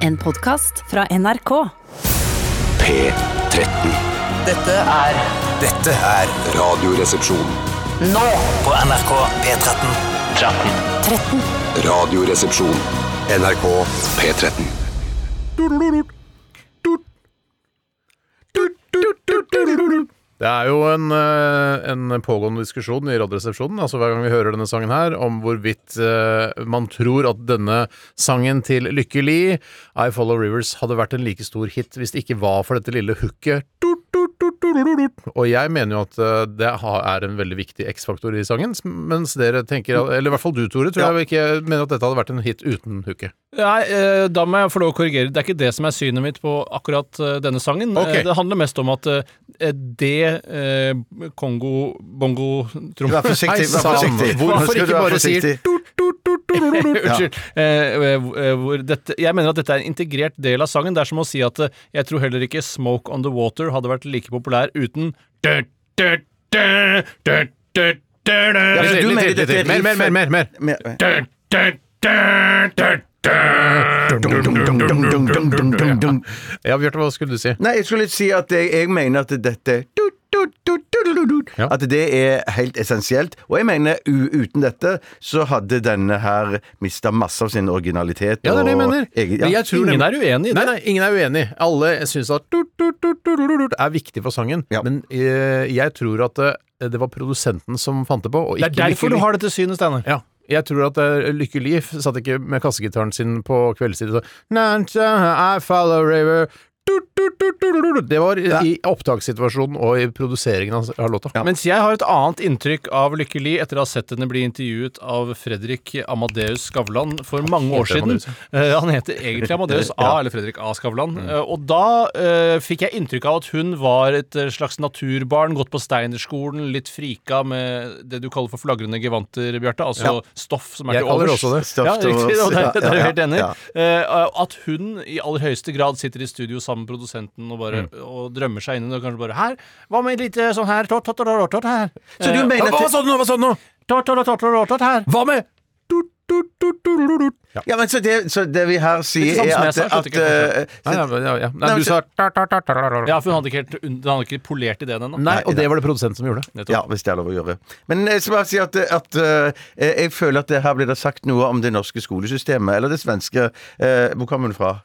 En podkast fra NRK. P13. Dette er Dette er Radioresepsjon. Nå på NRK P13 13 Radioresepsjon. NRK P13. Det er jo en, eh, en pågående diskusjon i Radioresepsjonen altså hver gang vi hører denne sangen her, om hvorvidt eh, man tror at denne sangen til Lykke Li, I Follow Rivers, hadde vært en like stor hit hvis det ikke var for dette lille hooket. Tut, tut, tut, tut, tut, tut. Og jeg mener jo at eh, det ha- er en veldig viktig X-faktor i sangen, s- mens dere tenker, at- eller i hvert fall du, Tore, tror jeg ikke mener at dette hadde vært en hit uten hooket. Nei, eh, da må jeg få lov å korrigere. Det er ikke det som er synet mitt på akkurat eh, denne sangen. Ok. Eh, Det handler mest om at eh, det eh, Kongo Bongo Trom... Vær forsiktig, Hei, vær sann. forsiktig. Nå Hvorfor skal du ikke være bare sier forsiktig. tut, tut, tut, tut, tut, tut? Unnskyld. Eh, eh, hvor dette, jeg mener at dette er en integrert del av sangen. Det er som å si at eh, jeg tror heller ikke Smoke on the Water hadde vært like populær uten du, du, du, du, du, du, Ja, du, men Litt du til, mener litt dette til. er Mer, mer, mer, mer, mer. Men- du, du, du, du, du. Dum, dum, dum, dum, dum, dum, dum, dum, dum. Ja, Bjarte, hva skulle du si? Nei, jeg skulle litt si at jeg, jeg mener at dette tut, tut, tut, tut, tut, tut, Ja. At det er helt essensielt. Og jeg mener u, uten dette så hadde denne her mista masse av sin originalitet. Ja, det er det jeg og mener. egen- Men ja. jeg tror Ingen nemlig- er uenig i Nei, det. nei, ingen er uenig. Alle syns at tut, tut, tut, tut, tut, tut er viktig for sangen. Ja. Men eh, jeg tror at eh, det var produsenten som fant det på. Og Det ikke er derfor Lykke du Li. har dette synet, Steinar. ja. Jeg tror at eh, Lykke Li satt ikke med kassegitaren sin på kveldstid og så Nanta, I follow river Tut, tut, tut, tut, tut, tut. Det var i- i opptakssituasjonen og i produseringen av- av låta. Mens jeg har et annet inntrykk av Lykke Li etter å ha sett henne bli intervjuet av Fredrik Amadeus Skavlan for mange år heter siden. Amadeus, Eh, han heter egentlig Amadeus A, eller Fredrik A. Skavlan. Eh, og da eh, fikk jeg inntrykk av at hun var et eh, slags naturbarn, gått på Steinerskolen, litt frika med det du kaller for flagrende gevanter, Bjarte. Altså stoff som er Jeg til kaller det overs. også det. Stoff ja, til riktig, overs. og der, Ja, der er ja, jeg helt enig. ja. Eh, at hun i aller høyeste grad sitter i studio sammen med produsenten og, bare, Mm. og drømmer seg inn i det, og kanskje bare Her, hva med litt eh, sånn her, tott, tott, tott, tott, tott her? Så du mener at sa du nå? Eh, Hva sa du nå? Tott, tott, tott, tott, tott her? Hva med tut, tut, tut, tut, tut, tut? Ja. ja, men så det, så det vi her Litt sier, sånn er som jeg at, sa, skjønte at ikke eh, Nei, ja, ja, ja. Nei, Nei, du men sa så- Ja, for hun hadde ikke, helt, hun hadde ikke polert ideen ennå. Nei, og det var det produsenten som gjorde. Nettopp. Ja, hvis det er lov å gjøre. Men jeg skal bare si at, at eh, jeg føler at det her blir det sagt noe om det norske skolesystemet, eller det svenske. eh, hvor kommer hun fra?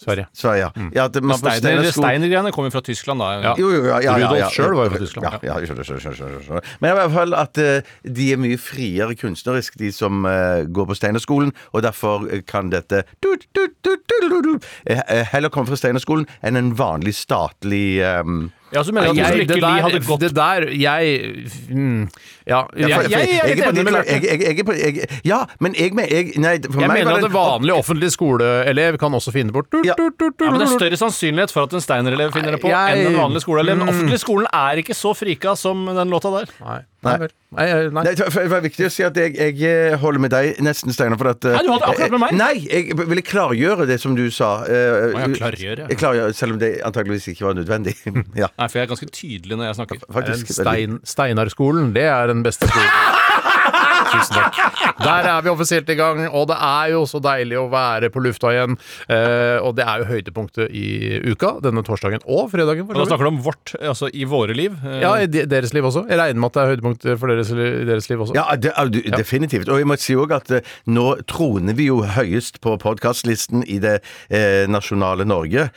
Sverige. Sverige, ja. Mm. ja at man på Steiner- Steiner skole- Steiner-greiene kom jo fra Tyskland, da. Jo, jo, ja, ja, ja, ja. Rudolf selv var jo fra Tyskland. Ja, ja, skjønner, skjønner, skjønner, skjønner, skjønner. Men i hvert fall at eh, de er mye friere kunstnerisk, de som eh, går på Steinerskolen, og derfor eh, kan dette tut, tut, tut, tut, tut, tut, eh, eh, heller komme fra Steinerskolen enn en vanlig statlig ehm, Ja, så mener jeg at Jeg, Lykke det, Li hadde der, gått det der Jeg mm, Ja. Jeg, for- jeg, jeg, for- jeg er på er enig ditt med lag. Bjarte. Jeg- jeg- jeg er på- jeg- Ja, men jeg, men jeg, nei, for Jeg meg mener var at en det vanlig offentlig skoleelev kan også finne bort Ja. ja, men Det er større sannsynlighet for at en Steiner-elev finner det på Jeg- Mm. enn en vanlig skoleelev. Den offentlige skolen er ikke så frika som den låta der. Nei. Nei. vel. Nei, eh, nei. Nei, det var viktig å si at jeg, jeg holder med deg nesten, Steinar. for at, eh, Nei, du holder akkurat med meg. Nei, jeg ville klargjøre det som du sa. eh, Å, ja, klargjøre, ja. Jeg klargjør, selv om det antageligvis ikke var nødvendig. ja, Nei, for jeg er ganske tydelig når jeg snakker. Den faktisk. Eh, Stein, Steinarskolen, det er den beste skolen. Tusen takk. Der er vi offisielt i gang, og det er jo så deilig å være på lufta igjen. Eh, og det er jo høydepunktet i uka, denne torsdagen og fredagen. for Og da så vidt. snakker du om vårt, altså i våre liv. Eh, Ja, i de- deres liv også. Jeg regner med at det er høydepunkt for deres, i deres liv også. Ja, det, er du- definitivt. Og jeg må si òg at eh, nå troner vi jo høyest på podkastlisten i det eh, nasjonale Norge.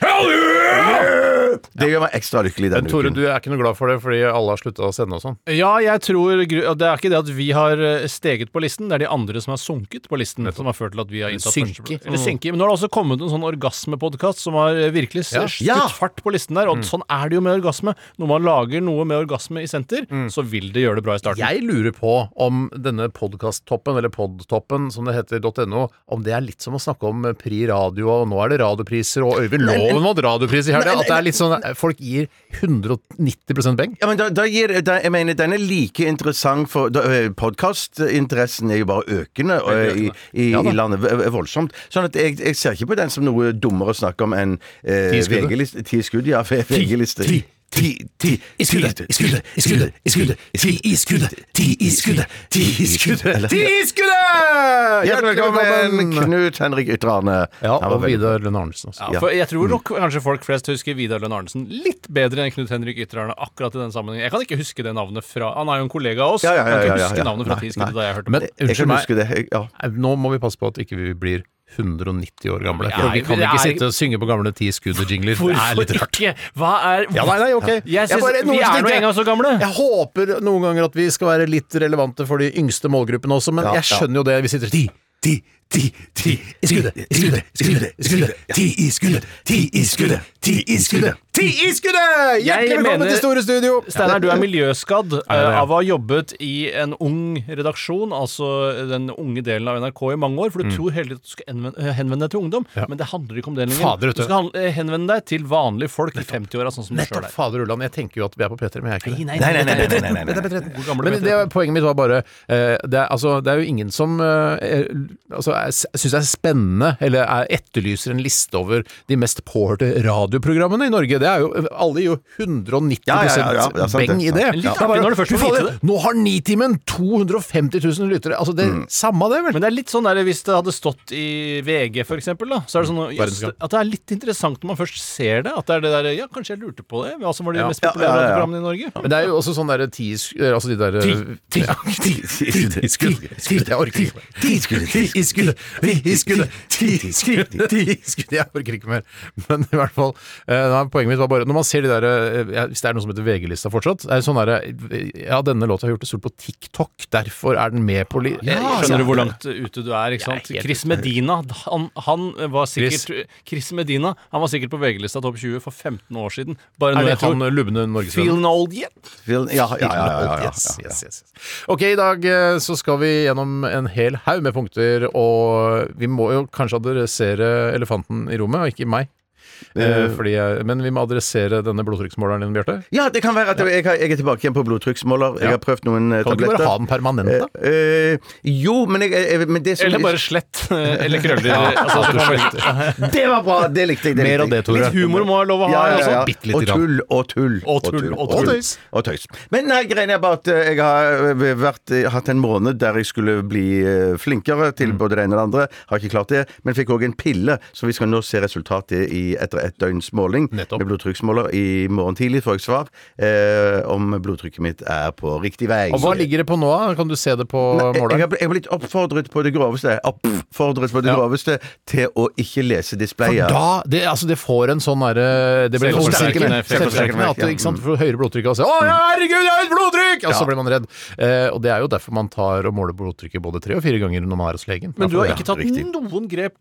Det gjør meg ekstra lykkelig Men denne Tore, uken. du er ikke noe glad for det fordi alle har slutta å sende og sånn. Ja, jeg tror gru- Det er ikke det at vi har eh, steget på listen, det er de andre som har sunket på listen. Som har ført til at vi har inntatt Synke. førsteplass. Eller synke. Men nå har det også kommet en sånn orgasmepodkast som har eh, virkelig s- Ja. skutt Ja. Mm. fart på listen der. Og sånn er det jo med orgasme. Når man lager noe med orgasme i senter, Mm. så vil det gjøre det bra i starten. Jeg lurer på om denne podkasttoppen, eller podtoppen som det heter, .no, om det er litt som å snakke om Pri radio, og nå er det radiopriser, og Øyvind Loven vant radiopris i helga. At det er litt sånn folk gir 190 beng. Ja, men da, da gir, da, jeg mener, Den er like interessant for Podkastinteressen er jo bare økende og, i, i, Ja da. i landet. v- v- Voldsomt. Sånn at jeg, jeg ser ikke på den som noe dummere å snakke om enn eh, Ti skuddet. VG-liste. Ti skudd, ja. VG-liste. ti, ti, I skuddet, ti- i skuddet, i skuddet, i skuddet, ti i skuddet, ti i skuddet, ti i skuddet. Eller- Skuddet! Hjertelig velkommen, Knut Henrik Ytrane. Ja, Han var og veldig- Vidar Lønn Arnesen også. Ja, for jeg Mm. tror nok kanskje folk flest husker Vidar Lønn Arnesen litt bedre enn Knut Henrik Ytrerne akkurat i den sammenhengen. Jeg kan ikke huske det navnet fra Han er jo en kollega av oss. Ja, ja, ja, jeg kan ja, ikke ja, huske ja. navnet fra Nei, Ti i skuddet da nei. jeg hørte om Men det. Jeg unnskyld kan meg, huske det. jeg- Ja. nå må vi passe på at ikke vi blir 190 år gamle. For Ja, vi kan det ikke er- sitte og synge på gamle ti skudd og jingler. Det er Hvorfor litt rart. ikke? Hva er Ja, nei, nei, ok. Jeg synes, bare- noen Vi er tenker nå jeg- engang så gamle. Jeg håper noen ganger at vi skal være litt relevante for de yngste målgruppene også, men Ja, jeg skjønner jo det. Vi sitter ti, ti, ti, ti I skuddet, i skuddet, i skuddet, i skuddet, ti i skuddet, ti i skuddet, ti i skuddet. Ti i skuddet! Hjertelig Jeg velkommen mener- til Store Studio! Steinar, du er miljøskadd eh, ja. av å ha jobbet i en ung redaksjon, altså den unge delen av NRK, i mange år. For du Mm. tror hele tiden at du skal henvende, eh, henvende deg til ungdom, men det handler ikke om det lenger. Fader, vet du. du skal han- eh, henvende deg til vanlige folk i 50-åra, sånn som du sjøl Nettopp, er. fader Ulland. Jeg tenker jo at vi er på P3, men jeg er ikke det. Nei, nei, nei, nei, nei, nei, nei, nei. Hvor gamle Men vet det, du? poenget mitt var bare eh, det, er, altså, det er jo ingen som eh, er- altså, syns det er spennende, eller er, etterlyser en liste over de mest påhørte radioprogrammene i Norge. Det er jo, Alle gir jo 190 Ja, ja, ja, ja, det er sant, det. beng i det. Men litt Det er artig når du først «Fy får vite fader, Nå har Nitimen 250 000 lyttere! Altså, det Samme det, vel? Men det er litt sånn der, hvis det hadde stått i VG, for eksempel, da, så er det sånn jøss, Mm. Verdenskamp. at det er litt interessant når man først ser det. At det er det der Ja, kanskje jeg lurte på det? Hva som var de Ja. mest Ja, populære ja, ja, ja. radioprogrammene i Norge? Men det er jo også sånn derre ti sk- eh, Altså de derre ti, ti, ti skudd. Skudd, Jeg orker ikke mer. Ti i skuddet, ti i skuddet, ti i skuddet, ti i skuddet. Ti skudd, jeg orker ikke mer. Men i hvert fall, eh, nei, poenget mitt var bare Når man ser de der eh, ja, Hvis det er noe som heter VG-lista fortsatt, er det sånn derre eh, Ja, denne låta har gjort det stort på TikTok, derfor er den med på li... Ja, Skjønner Eh, skjønner du hvor langt eh, ute du er, ikke sant? Jeg er helt Chris Medina, han, han var sikkert Chris. Medina, han var sikkert på VG-lista topp 20 for 15 år siden. Bare Er når det jeg tror han lubne norgesvennen? Feeling old yet? Vil- Ja, ja, ja. ja, ja, ja, ja. Yes, yes, yes. Ok, i dag eh, så skal vi gjennom en hel haug med punkter, og vi må jo kanskje adressere elefanten i rommet, og ikke meg. Eh, fordi jeg, men vi må adressere denne blodtrykksmåleren din, Bjarte. Ja, det kan være at jeg, har- jeg er tilbake igjen på blodtrykksmåler. Jeg har prøvd noen eh, Kan du ikke tabletter. bare ha den permanente? Eh, eh, jo, men, jeg, jeg, men det som Eller bare slett, eller krøller. eh, altså, så kan man velge. Det var bra! Det likte jeg. Det Mer av likte jeg. det, Tore. Litt humor må jeg lov å ha. Ja, ja, altså. ja. bitte lite Og grann. tull og tull. Og tull, og tøys. og tøys. Men nei, greien er bare at eh, jeg har eh, vært, eh, hatt en måned der jeg skulle bli eh, flinkere til Mm. både det ene og det andre. Har ikke klart det. Men fikk òg en pille, så vi skal nå se resultatet i, etter et døgns måling Nettopp. med blodtrykksmåler. I morgen tidlig får jeg svar eh, om blodtrykket mitt er på riktig vei. Og hva ligger det på nå? da? Kan du se det på Nei, jeg, måleren? har bl- jeg har blitt oppfordret på det groveste Oppfordret på det Ja. groveste til å ikke lese For displayet. da, det, altså det får en sånn derre Det blir en Selvforsterkende oversterkende effekt. selvforsterkende at Ja. Mm. ikke sant, for høyere blodtrykk og så, Å, ja, herregud, jeg har høyt blodtrykk! Og så blir man redd. Eh, og det er jo derfor man tar og måler blodtrykket både tre og fire ganger når man er hos legen. Men du har Ja, ikke tatt riktig. noen grep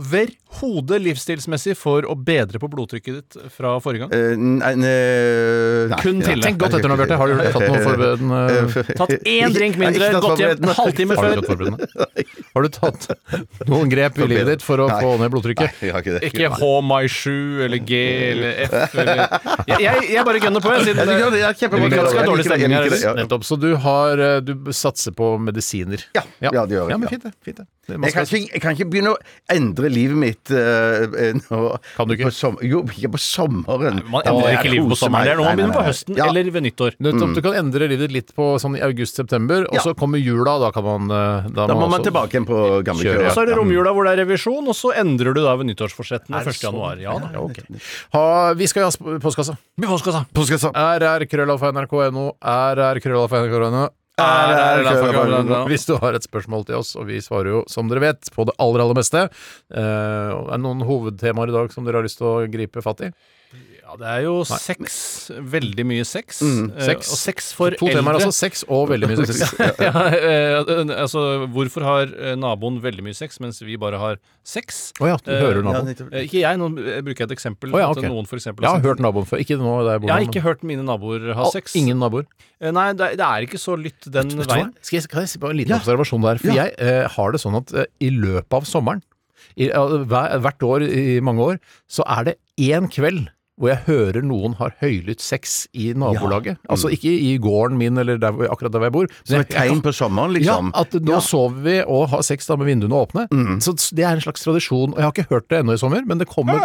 overhodet livsstilsmessig for å bedre på blodtrykket ditt fra forrige gang? Eh, nei, eh, nei, nei. Kun til. Tenk godt etter nå, Bjarte. Har du tatt noen Eh, forberedende Tatt én drink mindre, Ikke tatt gått hjem en forberedende. halvtime Har du før. tatt forberedende? Har du tatt noen grep i livet ditt for å Nei. få ned blodtrykket? Nei, jeg har ikke det. Ikke H my 7 eller G eller F eller Jeg, jeg, jeg bare gønner på, jeg, siden Ja, det gjør det. Det er Vi kjempebra. kan ikke ha Jeg dårlig liker det, jeg stemning her, liker det, ja. Nettopp. Så du har eh, Du satser på medisiner. Ja, ja, det gjør jeg, Ja, men ja. fint, det. Fint, det. det. er Jeg masse- kan, ikke, jeg kan ikke begynne å endre livet mitt eh, eh, nå. Kan du ikke? På som, jo, ikke på sommeren. Man endrer Jeg ikke livet på koser sommeren. meg. Det er noe man Nei, nei, begynner på nei. høsten Ja. eller ved nyttår. Nettopp, Du kan endre livet ditt litt på sånn i august-september, og Ja. så kommer jula, og da kan man eh, Da må man også- tilbake igjen på gamle Kjører, Og køer. så er det romjula hvor det er revisjon, og så endrer du da ved nyttårsforsettene 1. sånn? januar. Ja da. Ha, vi skal i hans postkassa. Vi får skal sa. RR-krøllalfa.nrk.no. RR-krøllalfa.nrk.no. RR-krøllalfa.nrk.no. Hvis du har et spørsmål til oss, og vi svarer jo som dere vet på det aller aller meste. Eh, er det noen hovedtemaer i dag som dere har lyst til å gripe fatt i? Ja, det er jo sex. Veldig mye sex. Eh, Mm. sex. Og sex for To eldre. temaer, altså. Sex og veldig mye sex. ja, eh, altså, hvorfor har eh, naboen veldig mye sex, mens vi bare har sex? Å ja, du hører naboen. Eh, Ikke jeg, nå eh, bruker jeg et eksempel. Å ja, at ok. Noen for eksempel Jeg har har sendt- hørt naboen før. Ikke nå der jeg bor. jeg har nå, ikke hørt mine naboer ha men- sex. Ingen naboer. Eh, Nei, det er, det er ikke så lytt den Vet du hva? veien. Skal jeg, kan jeg si bare en liten observasjon der? For jeg eh, har det sånn at eh, i løpet av sommeren, i, ja, hver, hvert år i mange år, så er det én kveld hvor jeg hører noen har høylytt sex i nabolaget. Altså Mm. ikke i gården min eller der, hvor- akkurat der hvor jeg bor. Som Men et tegn på sommeren, ja, liksom. at nå sover vi og Mm. har sex da med vinduene åpne. Så det er en slags tradisjon. Og jeg har ikke hørt det ennå i sommer, men det kommer.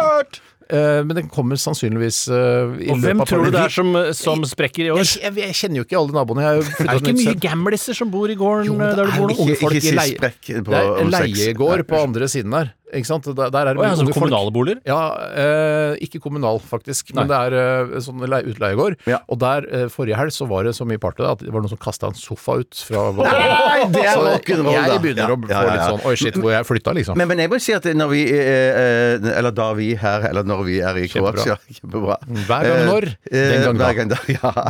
Eh, Men den kommer sannsynligvis eh, i Og hvem løpet av tror du det pandemien. er som, eh, som sprekker i år? jeg, jeg, jeg kjenner jo ikke alle naboene. Jeg har jo flyttet Er til det ikke nytt mye sted. gamliser som bor i gården Jo, men eh, det der du er bor jo nå? Unge Ikke, folk ikke i si leie- sprekk på Det er en om sex. leiegård Nei, på unnskyld. andre siden der. Ikke sant? Der, der er det Å, ja, mye sånn som unge folk. kommunale boliger? Ja, eh, ikke kommunal faktisk, men det er eh, sånn lei- utleiegård. Ja. Og der, eh, forrige helg, så var det så mye party at det var noen som kasta en sofa ut fra Nei, det er Så rock'n'roll, da. Jeg begynner å Ja, få ja, ja, litt ja. sånn Oi, shit, hvor jeg flytta, liksom. Men, men jeg må si at når vi eh, eh, Eller da vi her, eller når vi er i Kjempebra. Mm, Kroatia Kjempebra. Hver gang Eh, når, den eh, gang da. Mm. hver gang da.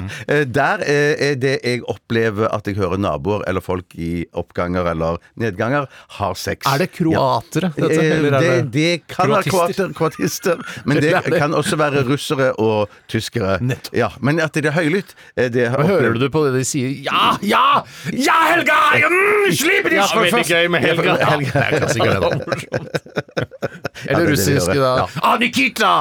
Ja. Eh, Der eh, er det jeg opplever at jeg hører naboer eller folk i oppganger eller nedganger har sex. Er det kroatere, Ja. dette? Eh, Eller er det, det kan være Kroatister? kroater, kroatister, men det kan også være russere og tyskere. Nettopp. Ja, men at det er høylytt eh, det Men Hører du på det de sier? Ja, ja! Ja, Helga! Mm, slipp de Ja, som veldig først! gøy med Helga. Ja, Helga er en klassiker, det da. Ja, det er Eller det russiske, vi da. hører. Ah, Nikita!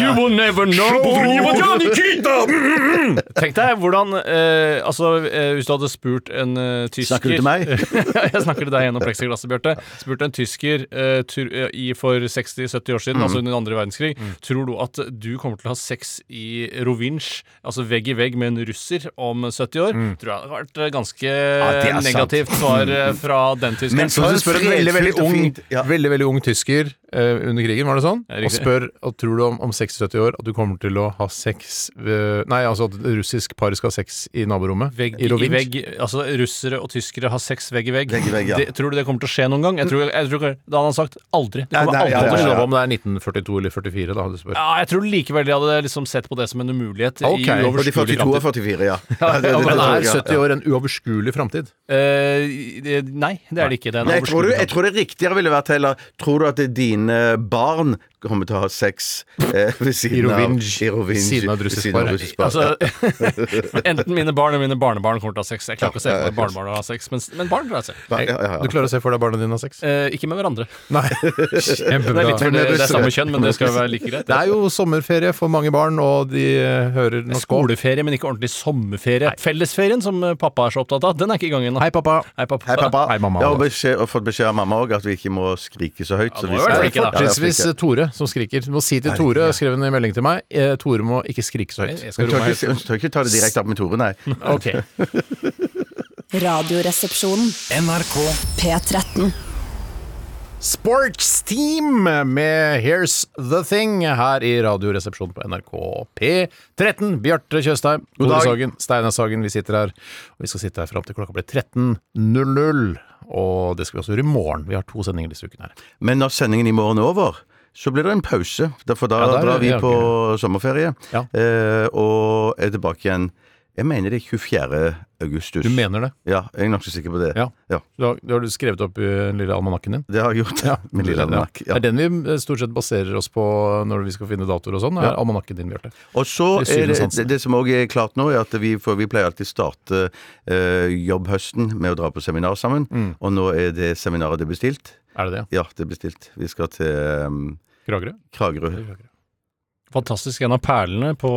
You will never Ja, Nikita! Mm-hmm. Tenk deg hvordan eh, Altså, eh, hvis du hadde spurt en eh, tysker Snakker du til meg? Ja, jeg snakker til deg gjennom pleksiglasset, Bjarte. Spurt en tysker eh, tur, eh, i, for 60-70 år siden, altså Mm. under andre verdenskrig, tror du at du kommer til å ha sex i Rovinj, altså vegg i vegg med en russer, om 70 år? Tror jeg hadde vært eh, ganske Mm. det er sant. negativt svar eh, fra den Men tyskeren. Så For du spør en veldig, veldig fredfullt og ung, fint, ja. veldig, veldig ung tysker eh, under krigen, var det sånn? Ja, riktig. Og spør og tror du om, om 60-70 år at du kommer til å ha sex eh, Nei, altså at et russisk par skal ha sex i naborommet? Vegg i, I Rovinj? vegg, altså Russere og tyskere har sex vegg i vegg. Vegg i vegg, ja. det, tror du det kommer til å skje noen gang? Jeg tror, jeg tror, ikke- da hadde han sagt aldri. Det Nei, kommer nei, aldri ja, til å ja, skje. ja. Hva om det er 1942 eller 44, da, du spør? Ja, jeg tror likevel de hadde liksom sett på det som en umulighet Ok, i Og de uoverskuelig 42 og framtid. 44, Ja, ja. det- det- men det- Men det er ja. 70 år en uoverskuelig framtid? Eh, det- nei, det er det ikke. Det er en Nei, jeg, tror du, overskuelig jeg tror det riktigere ville vært heller Tror du at det er dine barn kommer til å ha sex eh, ved siden av Rovinj. i Rovinj, Siden av et ved russisk siden av par. et russisk par. framtid. Altså, enten mine barn eller mine barnebarn kommer til å ha sex. Jeg klarer ikke å se for meg barnebarn har sex, men, men barn klarer seg. Ja, ja, ja. Du klarer å se for deg barna dine har sex? Eh, ikke med hverandre. Nei. Det er, litt Kjempebra. for det, det er samme kjønn, men det skal jo være like greit. Det er jo sommerferie for mange barn, og de eh, hører nok på. Skoleferie, men ikke ordentlig sommerferie. Fellesferien, som eh, pappa er så opptatt av, den er ikke i gang ennå. Hei, pappa. Hei, pappa. Hei, pappa. Hei, mamma. Jeg har beskjed, og fått beskjed av mamma òg at vi ikke må skrike så høyt. så må vi jo være skal- flinke, da. Ja, vi er Fortrinnsvis flinke. Tore som skriker. Du må si til Tore, skrev hun i melding til meg, eh, Tore må ikke skrike så høyt. Jeg skal Hun tør roe meg ikke- hun tør ikke ta det direkte opp med Tore, nei. Ok. Radioresepsjonen. NRK P13. Sports Team med Here's The Thing her i Radioresepsjonen på NRK P13. Bjarte Tjøstheim, God Tore dag. Sagen, Steinar Sagen. Vi sitter her, og vi skal sitte her fram til klokka blir 13.00. Og det skal vi også gjøre i morgen. Vi har to sendinger disse ukene her. Men når sendingen i morgen er over så blir det en pause, Da- for da Ja, der- drar vi ja, ok. på sommerferie. Ja. eh, Og er tilbake igjen Jeg mener det er 24. augustus. Du mener det? Ja, jeg er nokså sikker på det. Ja. Du har, du har skrevet opp i den lille almanakken din? Det har jeg gjort. Min lille almanakk. Ja. Det er den vi eh, stort sett baserer oss på når vi skal finne datoer og sånn. er Almanakken din, Bjarte. Og så Det er er det, syvensansen. det, det som òg er klart nå, er at vi, for vi pleier alltid starte eh, jobbhøsten med å dra på seminar sammen. Og nå er det seminaret det er bestilt. Er det det? Ja, det er bestilt. Vi skal til ehm, Kragerø? Kragerø. Fantastisk. En av perlene på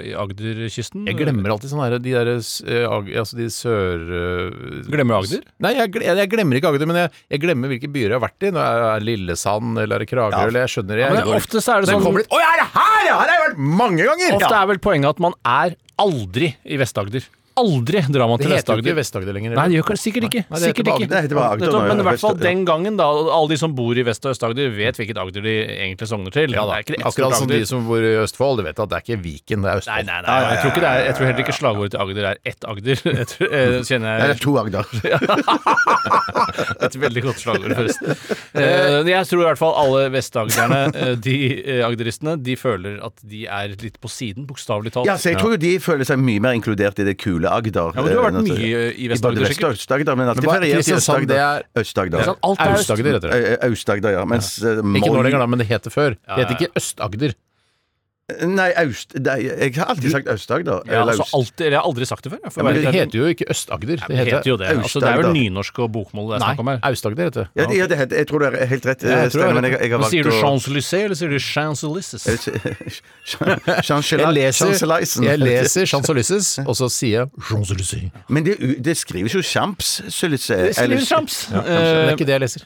eh, i Agderkysten. Jeg glemmer alltid sånne her, de der eh, Ag- altså de sør... eh, Glemmer Agder? Nei, jeg, gle- jeg glemmer ikke Agder, men jeg, jeg glemmer hvilke byer jeg har vært i. Når jeg er Lillesand eller er det Kragerø, Ja. eller jeg skjønner jeg, Men det, går- ofte så er det Den sånn kommer litt- Å, ja, er det her, ja! Her har jeg vært mange ganger! Ofte Ja. er vel poenget at man er aldri i Vest-Agder. Aldri drar man Det til heter jo ikke Vest-Agder. Vest-Agder lenger. Nei, det gjør ikke- sikkert ikke. Nei, det heter Sikkert bare ikke. Agder. Det heter bare Agder Nettopp, nå, men i ja. hvert fall Vest- ja. den gangen, da. Alle de som bor i Vest- og Øst-Agder, vet hvilket Agder de egentlig sogner til. Ja, det da. er ikke ett stort Akkurat som de Agder. som bor i Østfold, de vet at det er ikke Viken, det er Nei, Østfold. nei, nei. Jeg tror, ikke det er, jeg tror heller ikke slagordet til Agder er ett Agder. Jeg tror, eh, kjenner Nei, jeg det er to Agder. Et veldig godt slagord, forresten. Eh, Jeg tror i hvert fall alle vestagderne, eh, de eh, agderistene, de føler at de er litt på siden, bokstavelig talt. Ja, så jeg tror jo de føler seg mye mer inkludert i det kule Agder. Ja, men du har vært eh, enn at- mye i I Vest-Agder, både Vest- og sikkert. Øst-Agder, men alltid Men hva- feriert i Kristiansand, Øst-Agder. det Øst-Agder. Ikke sant? Alt er Aust- Øst-Agder, heter det. Ø- Ø- Aust-Agder, ja. Mens eh, Ikke Molde- nå lenger, da, men det heter før. Det Ja, heter ja. ikke Øst-Agder. Nei, Aust... Nei, jeg har alltid sagt Aust-Agder. Jeg har, eller altså Aust- alltid, eller jeg har aldri sagt det før. Jeg, for å Men være det helt ærlig. heter jo ikke Øst-Agder. Nei, det heter jo det. Altså, det er jo Aust-Agder. nynorsk og bokmål det er snakk om Nei, her. Aust-Agder heter Ja, det. det- ja, det heter- jeg tror du har helt rett, eh, jeg tror jeg Steinar. har Men jeg, jeg har Men valgt sier du å- Champs-Élysées eller sier du Champs-Élysées? Chancellor- Jeg leser, Chancellorisen. jeg leser Champs Elysees, og så sier jeg Champs Elysees. Men det, u- det skrives jo eh, champs, Sylysse. Det skriver Champs. Eh, Ja, kanskje. det Eh, er ikke det jeg leser.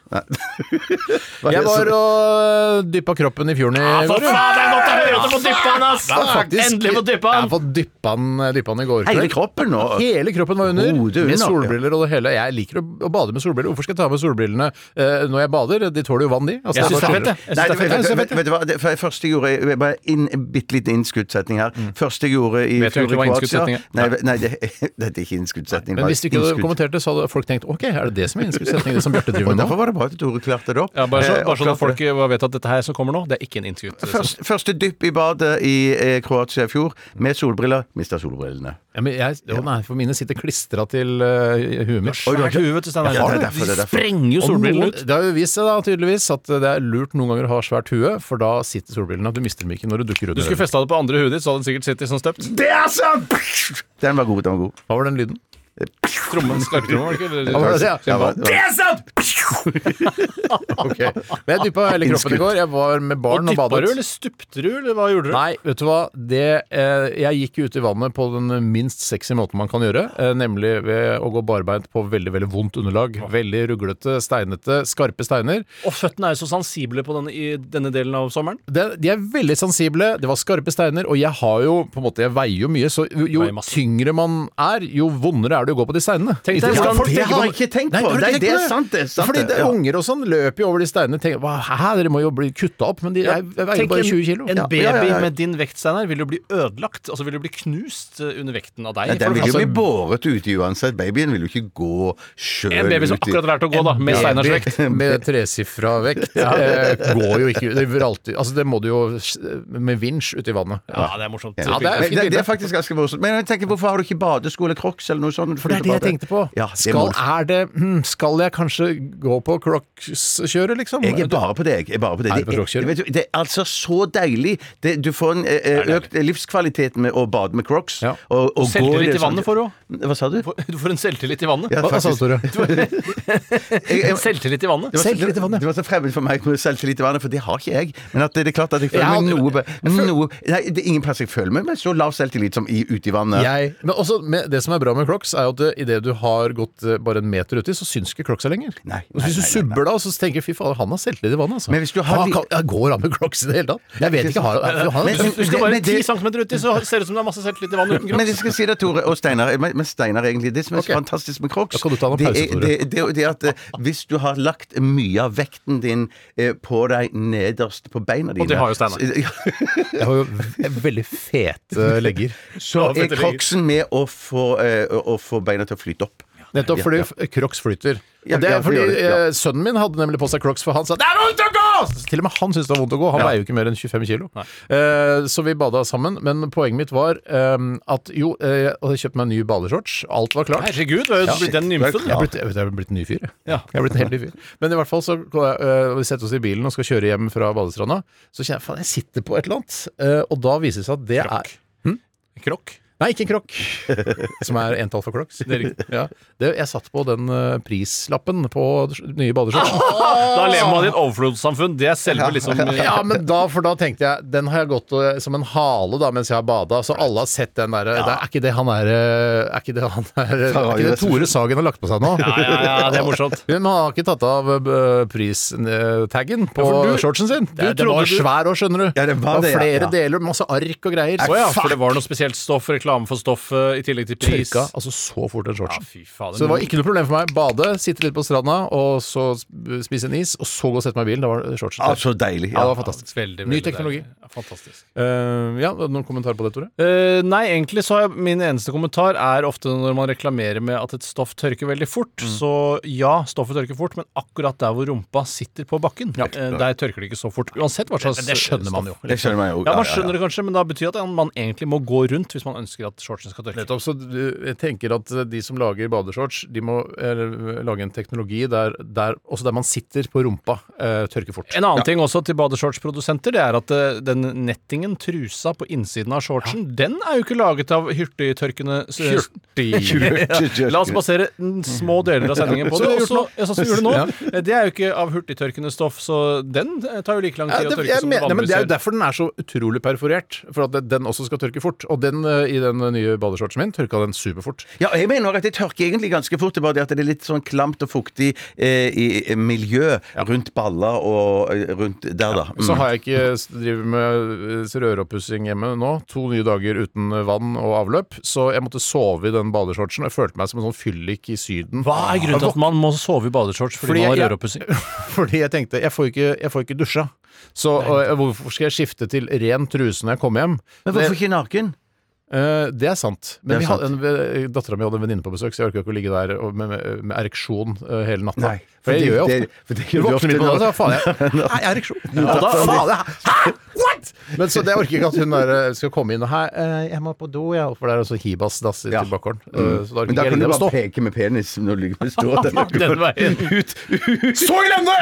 Jeg var og dyppa kroppen i fjorden i går. jo. er godt å høre at du får dyppa den, ass! Jeg har faktisk- Endelig får dyppa Jeg har den! fått dyppa den dyppa den i går. Hele kroppen nå. Hele kroppen var under, Hodet med under, ja. solbriller og det hele. Jeg liker å, å bade med solbriller. Hvorfor skal jeg ta med solbrillene eh, når jeg bader? De tåler jo vann, de. Altså, det er Jeg syns det bare er fett, skjønner. jeg. jeg. synes det er Nei, vet, fett. vet, vet, vet, du hva, det for- første jeg gjorde jeg- Bare inn- en bitte liten innskuddssetning her. Første jeg gjorde i Mm. Vet du egentlig hva innskuddssetning er? Nei, nei det, det er ikke innskuddssetning. Men bare hvis du ikke hadde innskudd. kommentert det, så hadde folk tenkt ok, er det det som er innskuddssetningen som Bjarte Og driver med Derfor nå? var det bra at Tore klarte det opp. Ja, bare, så, Eh, bare og sånn at klarte folk eh, vet at dette her som kommer nå, det er ikke en innskutt. Først, første dypp i badet i eh, Kroatia i fjor, med solbriller. Mista solbrillene. Ja, men jeg, å nei, for mine sitter klistra til eh, huet mitt. Svært hue, vet du, Steinar. Ja, det er Har du? derfor, det er De derfor. sprenger jo Og solbrillene noen- ut. Det har jo vist seg da, tydeligvis at det er lurt noen ganger å ha svært hue, for da sitter solbrillene. Du mister dem ikke når du dukker Du under. skulle dem. festa det på andre huet ditt, så hadde den sikkert sittet sånn støpt. Det er sant! Den var god, den var god. Hva var den lyden? Trommen, skarptrommen, var det ikke? Hva var det, jeg sa? Ja, hva- hva- er sant! Ok. Men jeg dyppa hele kroppen i går. Jeg var med Og barn og dyppa du, badet. eller stupte du, eller hva gjorde du? Nei, vet du hva. Det, eh, jeg gikk ut i vannet på den minst sexy måten man kan gjøre. Eh, nemlig ved å gå barbeint på veldig veldig vondt underlag. Veldig ruglete, steinete, skarpe steiner. Og føttene er jo så sensible på denne, i denne delen av sommeren. det, de er veldig sensible. Det var skarpe steiner, og jeg har jo på en måte, jeg veier jo mye, så jo, jo Veier masse. tyngre man er, jo vondere er det å gå på de steinene. Tenk deg hvordan- Folk Det tenker har på- jeg ikke tenkt Nei, på. har du Nei, tenkt det er sant, det er sant, Fordi det, det, ja. unger og sånn løper jo over de steinene og tenker "Hva, hæ, dere må jo bli kutta opp, men de, jeg, jeg veier Tenk bare en- 20 kilo. En Ja. baby ja, ja, ja. med din vekt, Steinar, vil jo bli ødelagt. Altså vil jo bli knust eh, under vekten av deg. Nei, den For vil det altså jo første- bli båret ute uansett. Babyen vil jo ikke gå sjøl ut. en baby som i- akkurat har lært å gå, da, med Steinars vekt. Med tresifra vekt eh, går jo ikke det, vil alltid, altså det må du jo eh, med vinsj uti vannet. Ja, det er morsomt. Ja, det er Men fint det, det bilde. er faktisk ganske morsomt. Men jeg tenker, hvorfor har du ikke badesko eller crocs eller noe sånt? For det er det jeg tenkte på. Ja, det skal, må du- er det, hm, skal jeg kanskje gå på Crocs-kjøret, liksom? Jeg er bare på det. Jeg er bare på det. Er du på Det crocs-kjøret? vet du, det er altså så deilig. Det, du får en eh, økt livskvalitet med å bade med crocs. Ja. Og, og gå Selvtillit det i vannet sånn- får du òg. Hva sa du? Du får en selvtillit i vannet. Ja, Hva, hva sa altså, du, faktisk. Tore? Jeg- jeg- Selvtillit i vannet. det var så- Selvtillit i vannet. Det var så fremmed for meg med selvtillit i vannet, for det har ikke jeg. Men at det, det er klart at jeg føler Jeg meg har- noe, be- noe Nei, det er ingen plass jeg føler meg med så lav selvtillit som i, ute i vannet. Jeg, men også med, det som er bra med Crocs, er jo at idet du har gått eh, bare en meter uti, så syns ikke Crocs er lenger. Nei, Og nei, hvis du nei, nei, subber da, så tenker jeg, fy fader, han har selvtillit i vannet, altså. Men hvis du har han, li- kan, ja, går han med Crocs i det hele tatt? Jeg vet ikke. Har, har, har, Men- han- Du skal Det- bare men 10 det- cm uti, så ser det ut som det er masse selvtillit i vannet uten Men kropp. jeg skal si det, Tore og Steinar. Men men Steinar, egentlig. Det som er Ok. så fantastisk med crocs, Da kan du ta noen det, pause, er, Tore. det, det, er jo det at eh, hvis du har lagt mye av vekten din eh, på deg nederst på beina dine det har jo Steinar. så- ja, jeg har jo veldig fete legger. Så Ja, er vet du, crocsen med å få, eh, å- å få beina til å flyte opp. Nettopp Ja, fordi ja. f- Crocs flyter. Ja, Og det ja, er det fordi gjør det, ja. eh, sønnen min hadde nemlig på seg Crocs, for han sa 'det er vondt å gå'! Til og med han syntes det var vondt å gå. Han veier jo ikke mer enn 25 kilo. Eh, så vi bada sammen. Men poenget mitt var eh, at jo, eh, jeg hadde kjøpt meg en ny badeshorts. Alt var klart. Herregud, du er jo blitt en nymfe. Jeg er blitt, jeg vet, jeg er blitt en ny fyr, jeg. Ja. jeg er blitt en helt ny fyr. Men i hvert fall så går jeg, øh, vi setter oss i bilen og skal kjøre hjem fra badestranda. Så kjenner jeg faen, jeg sitter på et eller annet. Eh, og da viser det seg at det er Hm? Krokk. Nei, ikke en krokk. Som er entall for crocs. Det er riktig. Ja. Det, jeg satt på den eh, prislappen på nye badeshorts. Ah, Da lever man i et overflodssamfunn. Det er selve liksom Ja, men da, for da tenkte jeg Den har jeg gått eh, som en hale da mens jeg har bada, så alle har sett den derre det Er ikke det han er eh, Er ikke det han er Er ikke det Tore Sagen har lagt på seg nå? Ja, ja, ja, det er morsomt. Men man har ikke tatt av eh, pristaggen på for du- shortsen sin. Det, det trodde var du- svær òg, skjønner du. Ja, det var det, ja, flere ja. deler, masse ark og greier. Å ja, for det var noe spesielt stoff, reklame for stoff eh, i tillegg til pris. Tørka altså så fort den Ja, shortsen. fy fader. Så det var ikke noe problem for meg. Bade, sitte litt på stranda, og så sp- spise en is, og så gå og sette meg i bilen. Da var shortsen Ja, der. så deilig. Ja, det Ja. var fantastisk. Veldig, Ny veldig teknologi. deilig. Ja, fantastisk. Eh, ja, Noen kommentarer på det, Tore? Eh, nei, egentlig så har jeg, min eneste kommentar er ofte når man reklamerer med at et stoff tørker veldig fort. Mm. Så ja, stoffet tørker fort, men akkurat der hvor rumpa sitter på bakken, eh, der tørker det ikke så fort. Uansett hva slags Det skjønner man jo. Det skjønner man jo. Ja, man skjønner det kanskje, men da betyr det at man egentlig må gå rundt hvis man ønsker ønsker at shortsen skal tørke. Nettopp, så du- jeg tenker at eh, de som lager badeshorts, de må eh, lage en teknologi der, der, også der man sitter på rumpa, eh, tørker fort. En annen ting også til badeshortsprodusenter, det er at eh, den nettingen, trusa på innsiden av shortsen, den er jo ikke laget av hurtigtørkende s- Eh, Hurtigtørkende. La oss basere n- små deler av sendingen Mm. Så på det har det. vi Også, gjort ja, sånn som vi gjorde nå. Eh, Det er jo ikke av hurtigtørkende stoff, så den eh, tar jo like lang Ja, tid å det, tørke jeg som mener, det nei, men det er jo vanligvis gjør. derfor den er så utrolig perforert. For at den også skal tørke fort. Og den eh, i den nye badeshortsen min tørka den superfort. Ja, og jeg mener at det tørker egentlig ganske fort. Det er bare det at det er litt sånn klamt og fuktig eh, i, i miljø rundt baller og eh, rundt der, da. Så Mm. har jeg ikke s- driver med eh, røroppussing hjemme nå. To nye dager uten eh, vann og avløp. Så jeg måtte sove i den badeshortsen. og Jeg følte meg som en sånn fyllik i Syden. Hva er grunnen til at man må sove i badeshorts fordi, Fordi man har jeg- røroppussing? Fordi jeg tenkte jeg får ikke, jeg får ikke dusja. Så og, eh, hvorfor skal jeg skifte til ren truse når jeg kommer hjem? Men hvorfor ikke naken? Eh, det er sant. Men Det er vi hadde en- dattera mi hadde en venninne på besøk, så jeg orka ikke å ligge der og- med, med, med ereksjon eh, hele natta. Nei, for det fordi gjør jeg det- ofte. for det Du gjør du ofte våkner midt på når- natta, så faen jeg Nei, jeg er ereksjon. Og da, faen, jeg, hæ? What?! Men så det orker ikke at hun der eh, skal komme inn og Hei, eh, jeg må på do, jeg. For det er en sånn hibas-dass i Ja. bakgården. Eh, så da orker ikke jeg Men da kan du ligge der og stå. bare peke med penis når du ligger står der. Den veien. Ut, ut. Så i lende!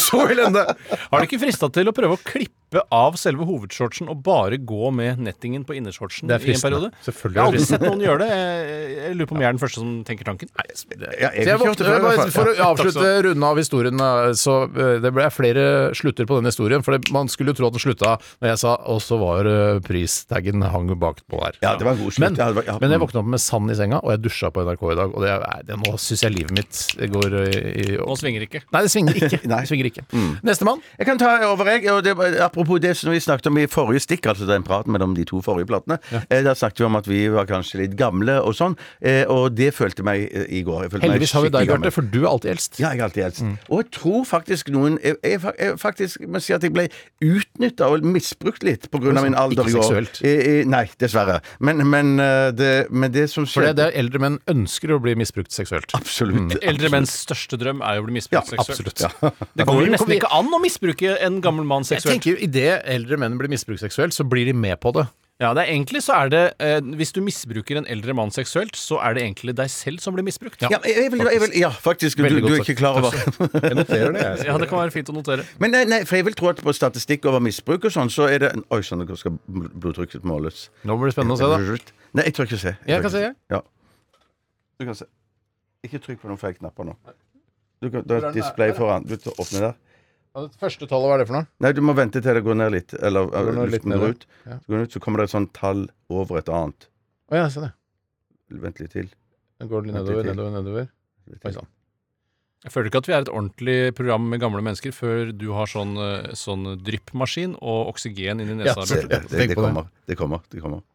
Så i lende! Har du ikke frista til å prøve å klippe av selve hovedshortsen og bare gå med nettingen på innershortsen Det i er en fristende. periode? Selvfølgelig Jeg har er det aldri sett noen gjøre det. Jeg, jeg lurer på om jeg er den første som tenker tanken. Ja, jeg Så jeg fikk kjøpt våkner, det før, i hvert bare, fall. for å Takk avslutte skal runde av historien, da, så eh, det ble flere slutter på denne historien. For det, man skulle jo tro at den slutta når jeg sa Og så var eh, pristaggen hang bakpå her. Ja, det var en god slutt. Men, Ja, det var- ja. men jeg våkna opp med sand i senga, og jeg dusja på NRK i dag. Og det, er- det, nå syns jeg livet mitt går eh, i, i Nå svinger ikke. Nei, det svinger ikke. Mm. Nei. Det svinger ikke. Nestemann. Jeg kan ta over, jeg. Og det, apropos det som vi snakket om i forrige stikk, altså den praten mellom de to forrige platene. Eh, der snakket vi om at vi var kanskje litt gamle og sånn, eh, og det følte meg eh, i går. Jeg følte Heldigvis har vi meg deg, skikkelig Bjarte, gammel. for du er alltid eldst. Ja, jeg er alltid eldst. Mm. Og jeg tror faktisk noen Jeg, jeg, fa- jeg faktisk må si at jeg ble utnytta og misbrukt litt på grunn av min alder Ikke i går. seksuelt. Eh, eh, Nei, dessverre. Men, men, eh, det, men det som For det, skjedde Mm. det er eldre menn ønsker å bli misbrukt seksuelt. Absolutt. Eldre menns største drøm er jo å bli misbrukt Ja, seksuelt. Det går jo nesten ikke an å misbruke en gammel mann Jeg seksuelt. tenker Idet eldre menn blir misbrukt seksuelt, så blir de med på det. Ja, det er Egentlig så er det eh, Hvis du misbruker en eldre mann seksuelt, så er det egentlig deg selv som blir misbrukt. Ja, jeg, jeg, vil- jeg, vil- ja, faktisk. Du, Veldig godt du er sagt. ikke klar over Jeg noterer det, jeg. Ja, det kan være fint å notere. Men nei, nei, for jeg vil tro at på statistikk over misbruk og sånn, så er det Oi sann, nå skal bl- blodtrykket måles. Nå blir det spennende å se, da. Nei, jeg tør ikke se. Jeg kan tør ikke se, jeg. Ja. Du kan se. Ikke trykk på noen feil knapper nå. Du kan, det er et display foran. Du tar opp med der. Første tallet, hva er det for noe? Nei, du må vente til det går ned litt. Eller går uh, ned litt luften ned, går ut. Så, går det ut. så kommer det et sånt tall over et annet. Å ja, se det. Vent litt til. Den går litt Vent nedover, litt til. nedover, nedover. Litt Oi til. sann. Jeg føler ikke at vi er et ordentlig program med gamle mennesker før du har sånn, eh, sånn dryppmaskin og oksygen inn i Ja, nesa. Se, Bjarte. det, det, Tenk det på det. kommer. Det kommer. Det kommer.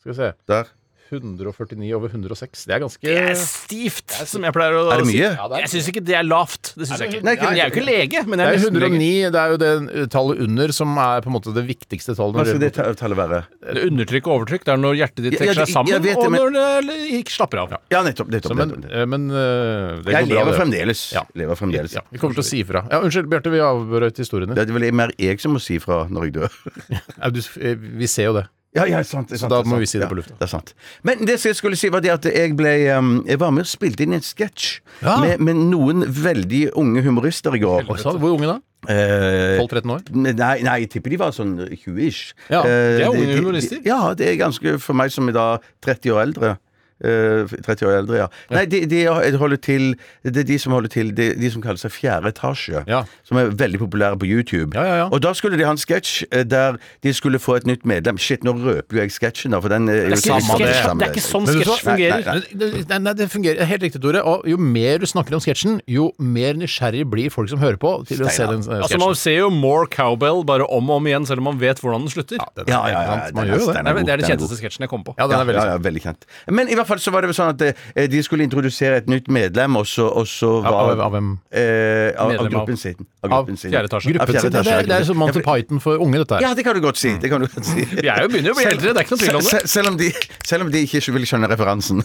Skal vi se. Der. 149 over 106. Det er ganske Det er stivt, som jeg pleier å Er det si. mye? Ja, det er- Jeg syns ikke det er lavt. Det Er syns jeg det ikke. Nei, ikke- jeg er jo ikke lege, men Det er jeg liksom er nesten lege. 109, det er jo det tallet under som er på en måte det viktigste tallet. Hva Når skal det det ta- tallet være? Det er Undertrykk og overtrykk. Det er når hjertet ditt Ja, ja, trekker seg jeg- sammen, jeg vet det, og men- når det ikke slapper av. Ja, nettopp. nettopp, Så, men nettopp. eh, men eh, det Jeg går lever bra, det. fremdeles. Ja. Lever fremdeles. Ja, vi kommer til å si ifra. Ja, unnskyld, Bjarte, vi avbrøt historien din. Det er vel mer jeg som må si fra når jeg dør. Ja, du, eh, vi ser jo det. Ja, ja, sant, det er sant, da det er må sant. vi si det Ja, på lufta. Det er sant. Men det som jeg skulle si, var det at jeg ble um, Jeg var med og spilte inn en sketsj Ja. med, med noen veldig unge humorister i går. Oi sann, hvor unge da? Eh, 12-13 år? Nei, nei, jeg tipper de var sånn 20-ish. Ja, det er Eh, de- unge de- humorister. de- Ja, det er ganske For meg som er da 30 år eldre. eh, 30 år eldre, ja. Nei, de, de holder til Det er de som holder til De, de som kaller seg Fjerde etasje. Ja. Som er veldig populære på YouTube. Ja, ja, ja. Og da skulle de ha en sketsj eh, der de skulle få et nytt medlem. Shit, nå røper jo jeg sketsjen, da, for den er jo Det er ikke, samme sketsj, samme- det er ikke sånn Men vet du sketsj hva? fungerer. Nei, det- det- nei, det fungerer helt riktig, Tore. Og jo mer du snakker om sketsjen, jo mer nysgjerrig blir folk som hører på, til å se den eh, Altså, man sånn. sketsjen. ser jo More Cowbell bare om og om igjen, selv om man vet hvordan den slutter. Den er Ja, ja, ja, helt sant, Man den er- gjør jo det. den Nei, men det er god, den den er kjenteste sketsjen jeg kom på. Ja, den er veldig ja, ja, veldig kjent. Men i hvert hvert fall så var det sånn at eh, de skulle introdusere et nytt medlem, og så, og så Av, var av, av hvem? eh, av, av Medlem av- gruppen sin. Av gruppen sin. fjerde etasje. Av Gruppen fjerde sin? Det etasje, er, det er som Monty Ja, for- Python for unge, dette her. Ja, det kan du godt si. Det kan du godt si. Vi er jo begynner å bli eldre, det er ikke noe tvil om det. Sel- Selv om, de, selv om de ikke vil skjønne referansen.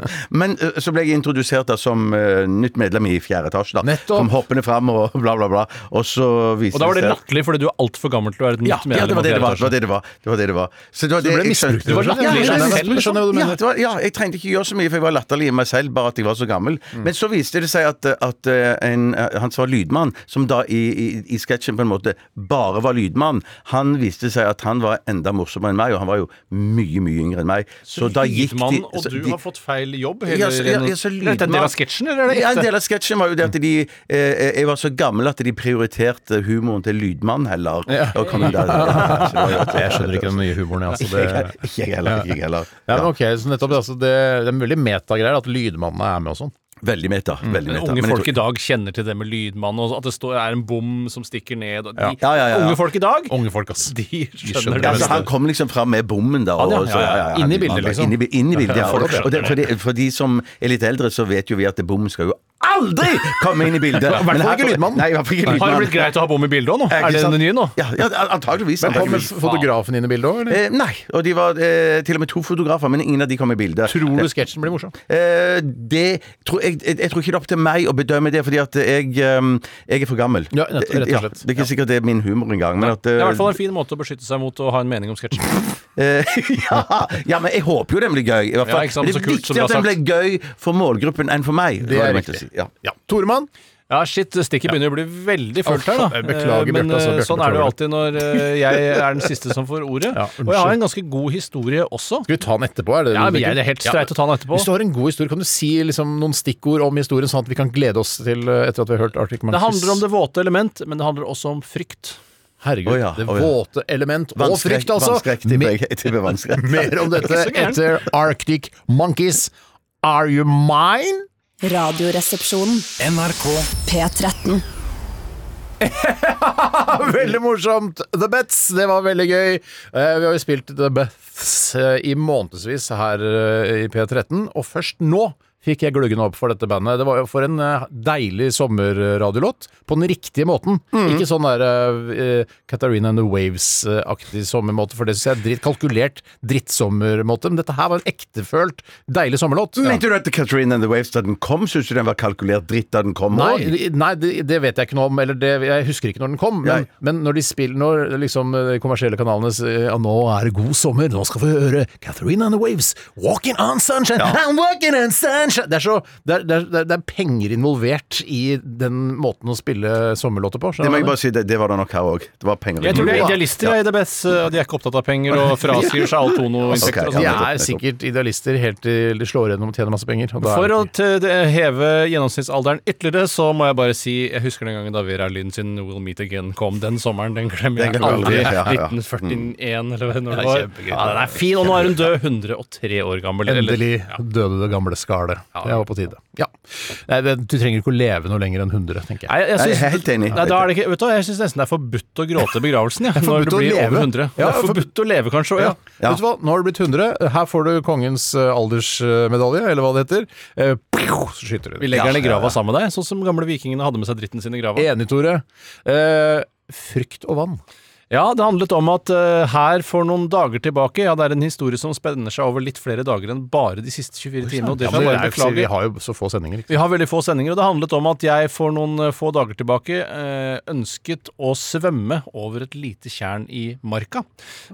Men eh, så ble jeg introdusert da som eh, nytt medlem i fjerde etasje. da Nettopp. Kom hoppende fram og bla, bla, bla. Og så viste Og da var det seg- latterlig, fordi du er altfor gammel til å være et ja, nytt ja, det medlem. var av det det var. Fjerde Etasje. Det var det det var. Det var, det det var. Så det var Du ble jeg skjønner- misbrukt, du var Ja, latterlig i deg ja, ja, selv, skjønner jeg hva du ja, mener. det var, ja, jeg trengte ikke gjøre så mye, for jeg var latterlig i meg selv, bare at jeg var så gammel. Mm. Men så viste det seg at, at eh, en, eh, han som var lydmann, som da i, i, i sketsjen på en måte bare var lydmann, han viste seg at han var enda morsommere enn meg, og han var jo mye, mye yngre enn meg. Så da gikk de Lydmannen, og så du de- har fått feil jobb? Ja, så- ja, ja, så Er dette en del lydmann- av sketsjen, eller er det ja, en ekte? del av sketsjen var jo det at de eh, Jeg var så gammel at de prioriterte humoren til lydmann heller. Og kom der, ja, så det var jo- Jeg skjønner ikke den nye humoren, jeg. Altså, Ikke jeg, det... ikke jeg heller. Ikke jeg heller. Ja, men Ja. ok, så nettopp det, altså, det, det er mulig metagreier at lydmannene er med og sånn. Veldig meta. Veldig meta. Unge Men jeg folk i tror- dag kjenner til det med lydmann, og at det står, er en bom som stikker ned. Og de, Ja, ja, ja, ja. Unge folk i dag, Unge folk, ass. de skjønner skjønner ja, det altså, meste. han kom liksom fram med bommen, da. og ja, ja, så- ja. han- Inn i bildet, liksom. Inn i, inn i bildet, ja. folk Og det, for, de, for de som er litt eldre, så vet jo vi at bom skal jo aldri komme inn i bildet. hvert Men fall her ikke kom- lydmannen. Nei, i hvert fall ikke Har det lydmannen. blitt greit å ha bom i bildet òg nå? Eh, ikke Er det sant? det nye nå? Ja, ja antageligvis. Men Kommer antageligvis. fotografen inn i bildet òg, eller? Eh, nei, og de var eh, til og med to fotografer, men ingen av de kom i bildet. Tror du sketsjen blir morsom? Eh, det tror jeg, jeg, jeg tror ikke det er opp til meg å bedømme det, fordi at jeg, ehm, jeg er for gammel. Ja, nett- rett og Ja, slett. det er ikke sikkert det er min humor engang. Men at, Det eh, er i hvert fall en fin måte å beskytte seg mot å ha en mening om sketsjen. Eh, ja, ja, men jeg håper jo den blir gøy. I hvert Ja, fall. ikke sant, Men så det er kult som viktig du har at den blir sagt. gøy for målgruppen enn for meg. Det er var jeg mente å riktig. si. Ja. Ja. Toremann? Ja, shit, stikket begynner å bli veldig fullt her, da. Jeg beklager, Eh, Men Bjarte, altså, eh, Bjarte, sånn er det jo beklager. alltid når eh, jeg er den siste som får ordet. Ja, Og jeg har en ganske god historie også. Skal vi ta den etterpå? Er det det Ja, du men tenker? jeg er helt streit å ta den etterpå. Hvis du har en god historie, kan du si liksom, noen stikkord om historien, sånn at vi kan glede oss til eh, etter at vi har hørt Arctic Monkeys? Det handler om det våte element, men det handler også om frykt. Herregud, Å ja, det å ja. våte element og Vannskrekk, frykt, altså! vannskrekk, tipper jeg. Jeg tipper vannskrekk. Mer om dette Ikke så gærent. etter Arctic Monkeys. Are you mine? Radioresepsjonen. NRK P13. Veldig morsomt! The Bets, det var veldig gøy. Eh, Vi har jo spilt The Bets eh, i månedsvis her eh, i P13, og først nå fikk jeg gluggen opp for dette bandet. Det var jo for en eh, deilig sommerradiolåt, på den riktige måten. Ikke sånn der eh, eh, Katarina and the Waves-aktig sommermåte, for det syns jeg er dritt kalkulert drittsommermåte, men dette her var en ektefølt deilig sommerlåt. Mente du at Katrine and the Waves da den kom, syns du den var kalkulert dritt da den kom? også? Nei, nei det, det vet jeg ikke noe om. Eller det, jeg husker ikke når den kom. Men, Nei. men når de spiller Når liksom eh, de kommersielle kanalene sier ja, nå er det god sommer, nå skal vi høre Catherine and the Waves, Walking on Sunshine, I'm walking on sunshine Det er så det er, det, er, det er penger involvert i den måten å spille sommerlåter på. skjønner Det må du? jeg bare si, det, det var det nok her òg. Det var penger Jeg tror de er involvert. idealister, jeg, i det beste. De er ikke opptatt av penger og fraskriver seg all tonoinsekter. og Ok, sånt. de ja, nettopp, er sikkert idealister helt til de slår gjennom og tjener masse penger. og da er For det å ikke- t- de- heve gjennomsnittsalderen ytterligere, så må jeg bare si Jeg husker den gangen da Vera Lynn sin We'll Meet Again kom den sommeren. Den glemmer jeg Den glemmer aldri. jeg aldri, ja, ja. 1941, eller når det er var. kjempegøy. Ja, den er fin, og nå er hun død. 103 år gammel. eller- Endelig døde det gamle skallet. Det var på tide. Ja. Nei, det- Du trenger ikke å leve noe lenger enn 100, tenker jeg. Nei, jeg Nei, synes, jeg er helt enig. Nei, da er det ikke, vet du, hva, jeg syns nesten det er forbudt å gråte i begravelsen. Ja, når forbudt du å blir leve. over 100. Ja, det er for- forbudt å leve, kanskje. også, Ja. Ja. Vet du hva, nå har det blitt 100. Her får du kongens eh, aldersmedalje, eller hva det heter. Eh, pjo, Så skyter Vi du den. legger den i grava sammen med deg, sånn som gamle vikingene hadde med seg dritten sin i grava. Enig, Tore. Eh, Frykt og vann. Ja, det handlet om at eh, her for noen dager tilbake Ja, det er en historie som spenner seg over litt flere dager enn bare de siste 24 timene, og det Ja, får men jeg bare det er jo- vi beklage. har jo så få sendinger. Ikke? Vi har veldig få sendinger, og det handlet om at jeg for noen eh, få dager tilbake eh, ønsket å svømme over et lite tjern i marka.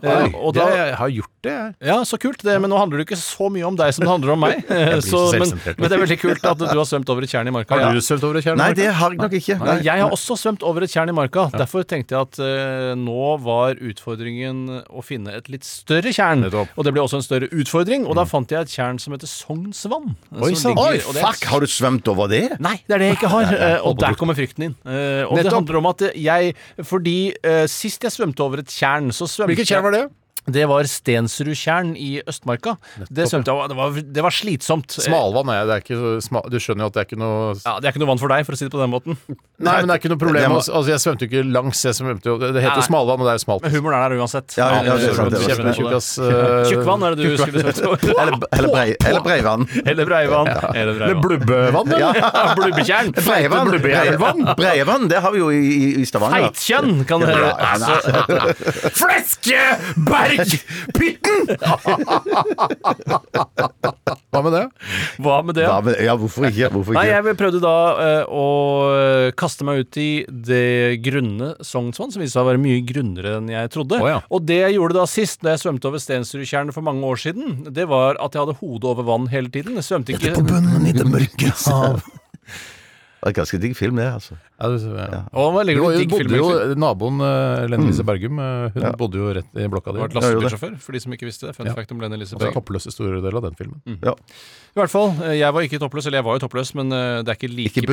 Eh, sant? og da, det, jeg har gjort det, jeg. Ja, så kult det, men nå handler det ikke så mye om deg som det handler om meg. blir Så, så men, selvsentrert. men det er veldig kult at du har svømt over et tjern i marka. Har Ja. du svømt over et tjern? Nei, Mark? det har jeg nok ikke. Nei. Jeg har også svømt over et tjern i marka. Derfor tenkte jeg at eh, nå var utfordringen å finne et litt større tjern. Nettopp. Mm. Og det ble også en større utfordring, og da fant jeg et tjer'n som heter Sognsvann. eh, Oi, som sant. ligger- Oi, og det- fuck! Har du svømt over det? Nei, det er det jeg ikke har. eh, Og der kommer frykten inn. Eh, Og det Nettopp. handler om at jeg Fordi eh, sist jeg svømte over et tjern, så svømte Hvilket tjern var det? jeg- Det var Stensrudtjern i Østmarka. Det, svømte, jeg- det, var, det var slitsomt. Smalvann er det er ikke så sma Du skjønner jo at det er ikke noe Ja, Det er ikke noe vann for deg, for å si det på den måten. Nei, men det er ikke noe Det problem. må- Altså, altså, jeg svømte jo ikke langs, jeg svømte jo Det heter Nei. jo smalvann, og det er jo smalt. Men humoren er der uansett. Ja, ja, det er sant, eh, det er sant. Kjempetjukkas eh, Tjukkvann er det du skulle svømt over. Eller, eller, brei, eller Breivann. Eller Breivann. Eller Med Breivann. blubbevann, eller? Blubbetjern. Breivann, Breivann, Breivann, det har vi jo i, i Stavanger. Feitkjønn, kan det høre. Altså, Fleskebergpytten! Hva med det? Hva med det? Ja, men, ja hvorfor ikke? Hvorfor Nei, ikke? jeg prøvde da eh, å eh, kaste meg ut i det grunne Sognsvann, som viste seg å være mye grunnere enn jeg trodde. Å, ja. Og det jeg gjorde da sist, da jeg svømte over Stensrudtjernet for mange år siden, det var at jeg hadde hodet over vann hele tiden. Jeg svømte ikke bunnen i det mørke hav. Det er ganske digg film, det, altså. Ja, du, ja. Og hva Du legger du i digg bodde film, jo, egentlig? Naboen eh, Lene Lise Bergum eh, Hun bodde jo rett i blokka Det di. var et Altså, lastebilsjåfør, for de som ikke visste det. Fun fact om Lene Elise Berg. Toppløs i store deler av den filmen. Mm. Ja. I hvert fall. eh, Jeg var ikke toppløs, eller jeg var jo toppløs, men eh, det er ikke like Ikke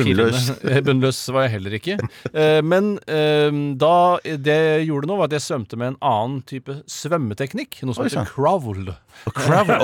bunnløs. pirrende. bunnløs var jeg heller ikke. Eh, Men eh, da Det jeg gjorde nå, var at jeg svømte med en annen type svømmeteknikk. Noe som Oi, heter sann. crawl. Cravel,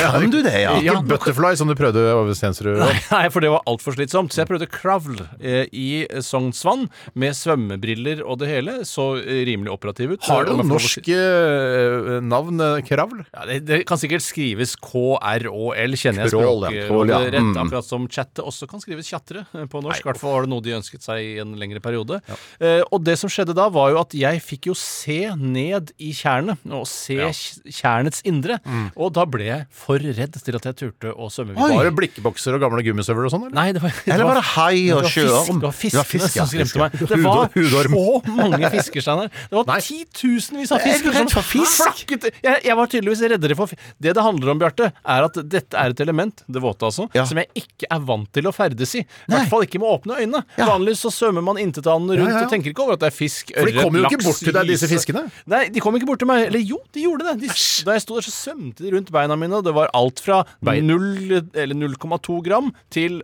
kan du det, ja? Ikke Butterfly, som du prøvde over Stensrud. Nei, for det var altfor slitsomt. Så jeg prøvde crawl eh, i Sognsvann med svømmebriller og det hele. Så eh, rimelig operativ ut. Har du Om jeg får lov å si- norske eh, navn? eh, Kravl? Ja, det, det kan sikkert skrives KRÅL, kjenner Crawl, ja. jeg Crawl, ja. språkrådet rett. Akkurat som chatte også kan skrives tjattere eh, på norsk. I hvert fall var det noe de ønsket seg i en lengre periode. Eh, og det som skjedde da, var jo at jeg fikk jo se ned i tjernet, og se tj- tjernets indre. Og da ble jeg for redd til at jeg turte å svømme videre. Var det blikkbokser og gamle gummisøvler og sånn? eller? Nei, det var, det Eller var det hai og var fisk, sjøorm? det var Det fiskene var fisk, ja, som skremte fisk, ja. meg. Det var Hudorm. så mange fiskesteiner. Det var Nei. titusenvis av Er fisk. du redd for fisk? Flakket. Jeg, jeg var tydeligvis reddere for fisk. Det det handler om, Bjarte, er at dette er et element, det våte altså, Ja. som jeg ikke er vant til å ferdes i. I hvert fall ikke med åpne øyne. Ja. Vanligvis så svømmer man intetanende rundt Ja, ja, ja. og tenker ikke over at det er fisk, For ørret, de kommer jo ikke laks, bort til deg, disse hyse. fiskene. Nei, de kom ikke bort til meg. Eller jo, de gjorde det. De, da jeg sto der, så svømte de rundt beina mine, og det var alt fra Bein. 0 eller 0,2 gram til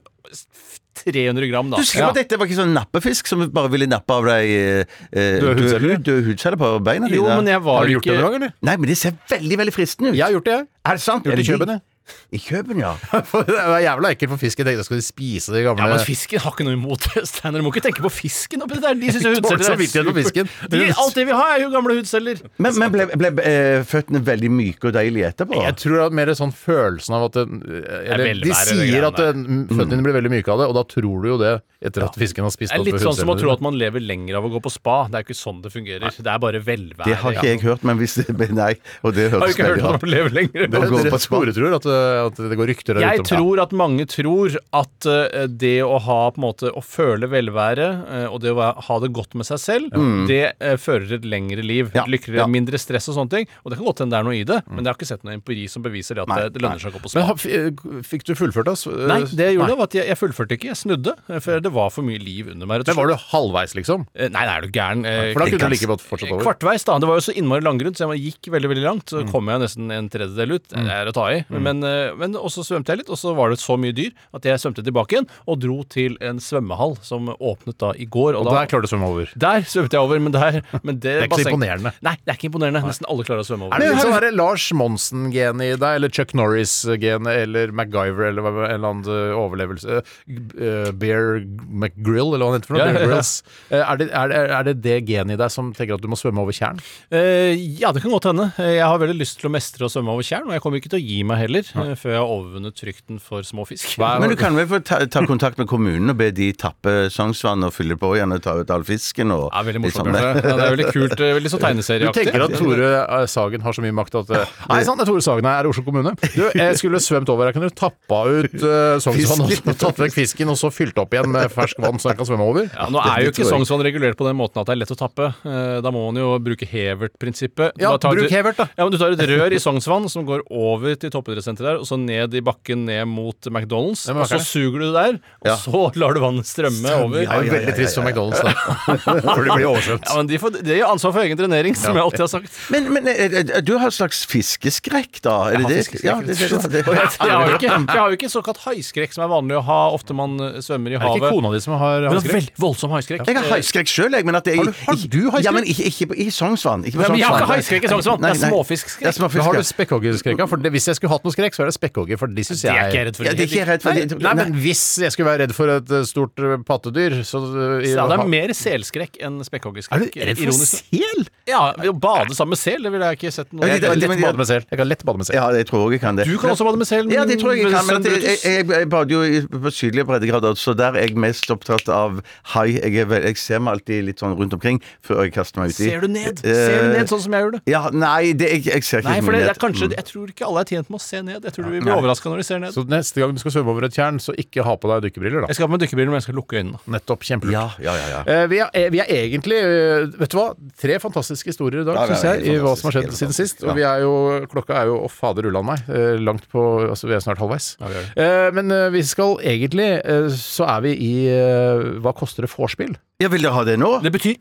300 gram, da. Du husker at dette var ikke sånn nappefisk som bare ville nappe av deg eh, Døde eh, døde- hudceller? døde hudceller på beina dine? Jo, men jeg var Har du gjort ikke det noen gang, eller? Nei, men de ser veldig, veldig fristende ut. Jeg har gjort det, jeg. Er det sant? Gjort det i Er det Kjøben, jeg. de- I Kjøben, ja. For det var jævla ekkelt for fisken. Jeg tenkte, skal de spise de gamle Ja, men fisken har ikke noe imot det, Steiner. Du må ikke tenke på fisken. oppi det der. De synes jo Jeg tåler hudceller er samvittigheten på fisken. super- De, alt det vi har, er jo gamle hudceller. Men, men ble, ble eh, føttene veldig myke og deilige etterpå? Jeg tror det er mer sånn følelsen av at den, eller, velvære, De det sier greiene at den- føttene dine blir veldig myke av det, og da tror du jo det etter at fisken har spist Det er opp litt sånn som å hudcellene tro dine. at man lever lenger av å gå på spa. Det er jo ikke sånn det fungerer. Det er bare velvære. Det har ikke jeg hørt, men hvis det Nei, og det Har du høres ikke hørt veldig om rart man lever lenger? å gå Dere på spa. sporetror at, eh, at det går rykter der Jeg ute om tror at mange tror at eh, det å ha på en måte å føle velvære eh, og det å være- ha det godt med seg selv, Mm. det eh, fører til et lengre liv. Ja, Lykkeligere, ja. mindre stress og sånne ting. Og det kan godt hende det er noe i det, men jeg har ikke sett noe empiri som beviser det at Nei, det, det lønner seg å gå på Mm. Men spa. ha- f- eh, fikk du fullført, Eh, da? Nei, det jeg gjorde var at jeg, jeg fullførte ikke. Jeg snudde, eh, for det var for mye liv under meg. rett Men og var slett. du halvveis, liksom? Eh, Nei, nei, er du gæren? Eh, For da kunne Kringkast. du like godt fortsatt over. Mm. Kvartveis, da. Det var jo så innmari langgrunt, så jeg gikk veldig veldig langt. Så kom jeg nesten en tredjedel ut. Det er å ta i. Men, eh, men og så svømte jeg litt, og så var det så mye dyr at jeg svømte tilbake igjen og dro til en svømmehall som åpnet da i går. Og da, der klarer du å svømme over. der svømte jeg over, men der men det, Det er ikke så imponerende. Nei, det er ikke imponerende. Nesten alle klarer å svømme over. Er det litt sånn der Lars Monsen-genet i deg, eller Chuck Norris-genet, eller MacGyver, eller hva- en eller annen eh, overlevelse Eh, Bear McGrill, eller hva han heter for noe? Ja, Bear ja, ja. Grylls. Eh, Er, det, er, det- er det det genet i deg som tenker at du må svømme over tjern? Eh, ja, det kan godt hende. Eh, Jeg har veldig lyst til å mestre å svømme over tjern, og jeg kommer ikke til å gi meg heller eh, før jeg har overvunnet frykten for små fisk. Men du kan vel få ta, ta kontakt med kommunen og be de tappe Sognsvann og fylle på igjen og ta ut all fisken og Ja, veldig litt morsomt. sånn. Bjarte. Ja, det er veldig kult. eh, Veldig sånn Du tegneserieaktig. tenker at Tore eh, Sagen har så mye makt at eh, Nei, sant, det er Tore Sagen her, er Oslo kommune. Du, jeg skulle svømt over her, kunne du tappa ut uh, Sognsvann og Fisken. tatt vekk fisken, og så fylt opp igjen med fersk vann så jeg kan svømme over? Ja, nå er jo ikke det tror jeg ikke. Sognsvann regulert på den måten at det er lett å tappe. Eh, Da må man jo bruke Hevert-prinsippet. Ja, Bare ta et- bruk Hevert, da. Ja, men Du tar et rør i Sognsvann som går over til toppidrettssenteret oppi der, og så ned i bakken ned mot McDonald's. Ja, men og så hva er det? suger du det der, og Ja. så lar du vannet strømme over. Det er jo veldig trist for McDonald's, da. For de blir oversvømt. Ja, men de, får, de har ansvar for egen drenering, som jeg alltid har sagt. Men, men eh, eh, du har en slags fiskeskrekk, da? Er det det? Ja, det, det, det, Jeg har jo ikke, jeg har jo ikke såkalt haiskrekk, som er vanlig å ha ofte man eh, svømmer i Er det havet. ikke kona di som har Men det er hansker? veldig voldsom haiskrekk. Jeg har haiskrekk sjøl, jeg. Men at jeg, Har du- har du haiskrekk? Ja, men ikke, ikke på, i Sognsvann. Ikke på Ja, men jeg har ikke Sognsvann. haiskrekk i Sognsvann. Nei, Det er nei. småfiskskrekk. Det er småfisk, Men har ja. du spekkhoggerskrekka? For det, hvis jeg skulle hatt noen skrekk, så er det spekkhogger, for de syns Det jeg er ikke jeg redd for. Ja, det er ikke jeg redd for. Nei, Det- nei, men hvis jeg skulle være redd for et eh, stort eh, pattedyr, så eh, i- Ja, det er ha- mer selskrekk enn Er spekkhoggerskrekk. du redd for Ironisk. sel? Ja, ved å bade sammen med sel, det ville jeg ikke sett noe Ja, Jeg det- kan lett men- bade med sel. Jeg kan lett bade med sel. Ja, jeg tror også jeg kan det. Du kan også bade med sel. Ja, det tror jeg jeg kan. Men at jeg, Brutus. jeg, jeg, jeg bader jo i- på sydlige breddegrader, så der er jeg mest opptatt av hai. Jeg, er vel- jeg ser meg alltid litt sånn rundt omkring før jeg kaster meg uti. Ser du ned? Ser du ned sånn som jeg gjør det? Ja, nei, det, jeg, jeg ser ikke Nei, så for det, mye det Eh, ned. er kanskje, jeg tror ikke alle er tjent med å se ned. Jeg tror du vil bli overraska når de ser ned. Så neste gang du skal svømme over et tjern, så ikke ha på deg dykkerbriller, da. Jeg skal ha på meg dykkerbriller, men jeg skal lukke øynene. Nettopp. Mm. Kjempelurt. Ja, ja, ja, ja. Eh, Vi er, eh, vi er egentlig eh, Vet du hva? Tre fantastiske historier i dag, Ja, det er syns jeg, helt i hva som har fantastisk, skjedd helt siden fantastisk, sist. Og vi er jo, klokka er jo å fader ulland meg. eh, Langt på Altså, vi er snart halvveis. Eh, Men eh, vi skal egentlig eh, Så er vi i eh, Hva koster det vorspiel? ja vil dere ha det nå? Det betyr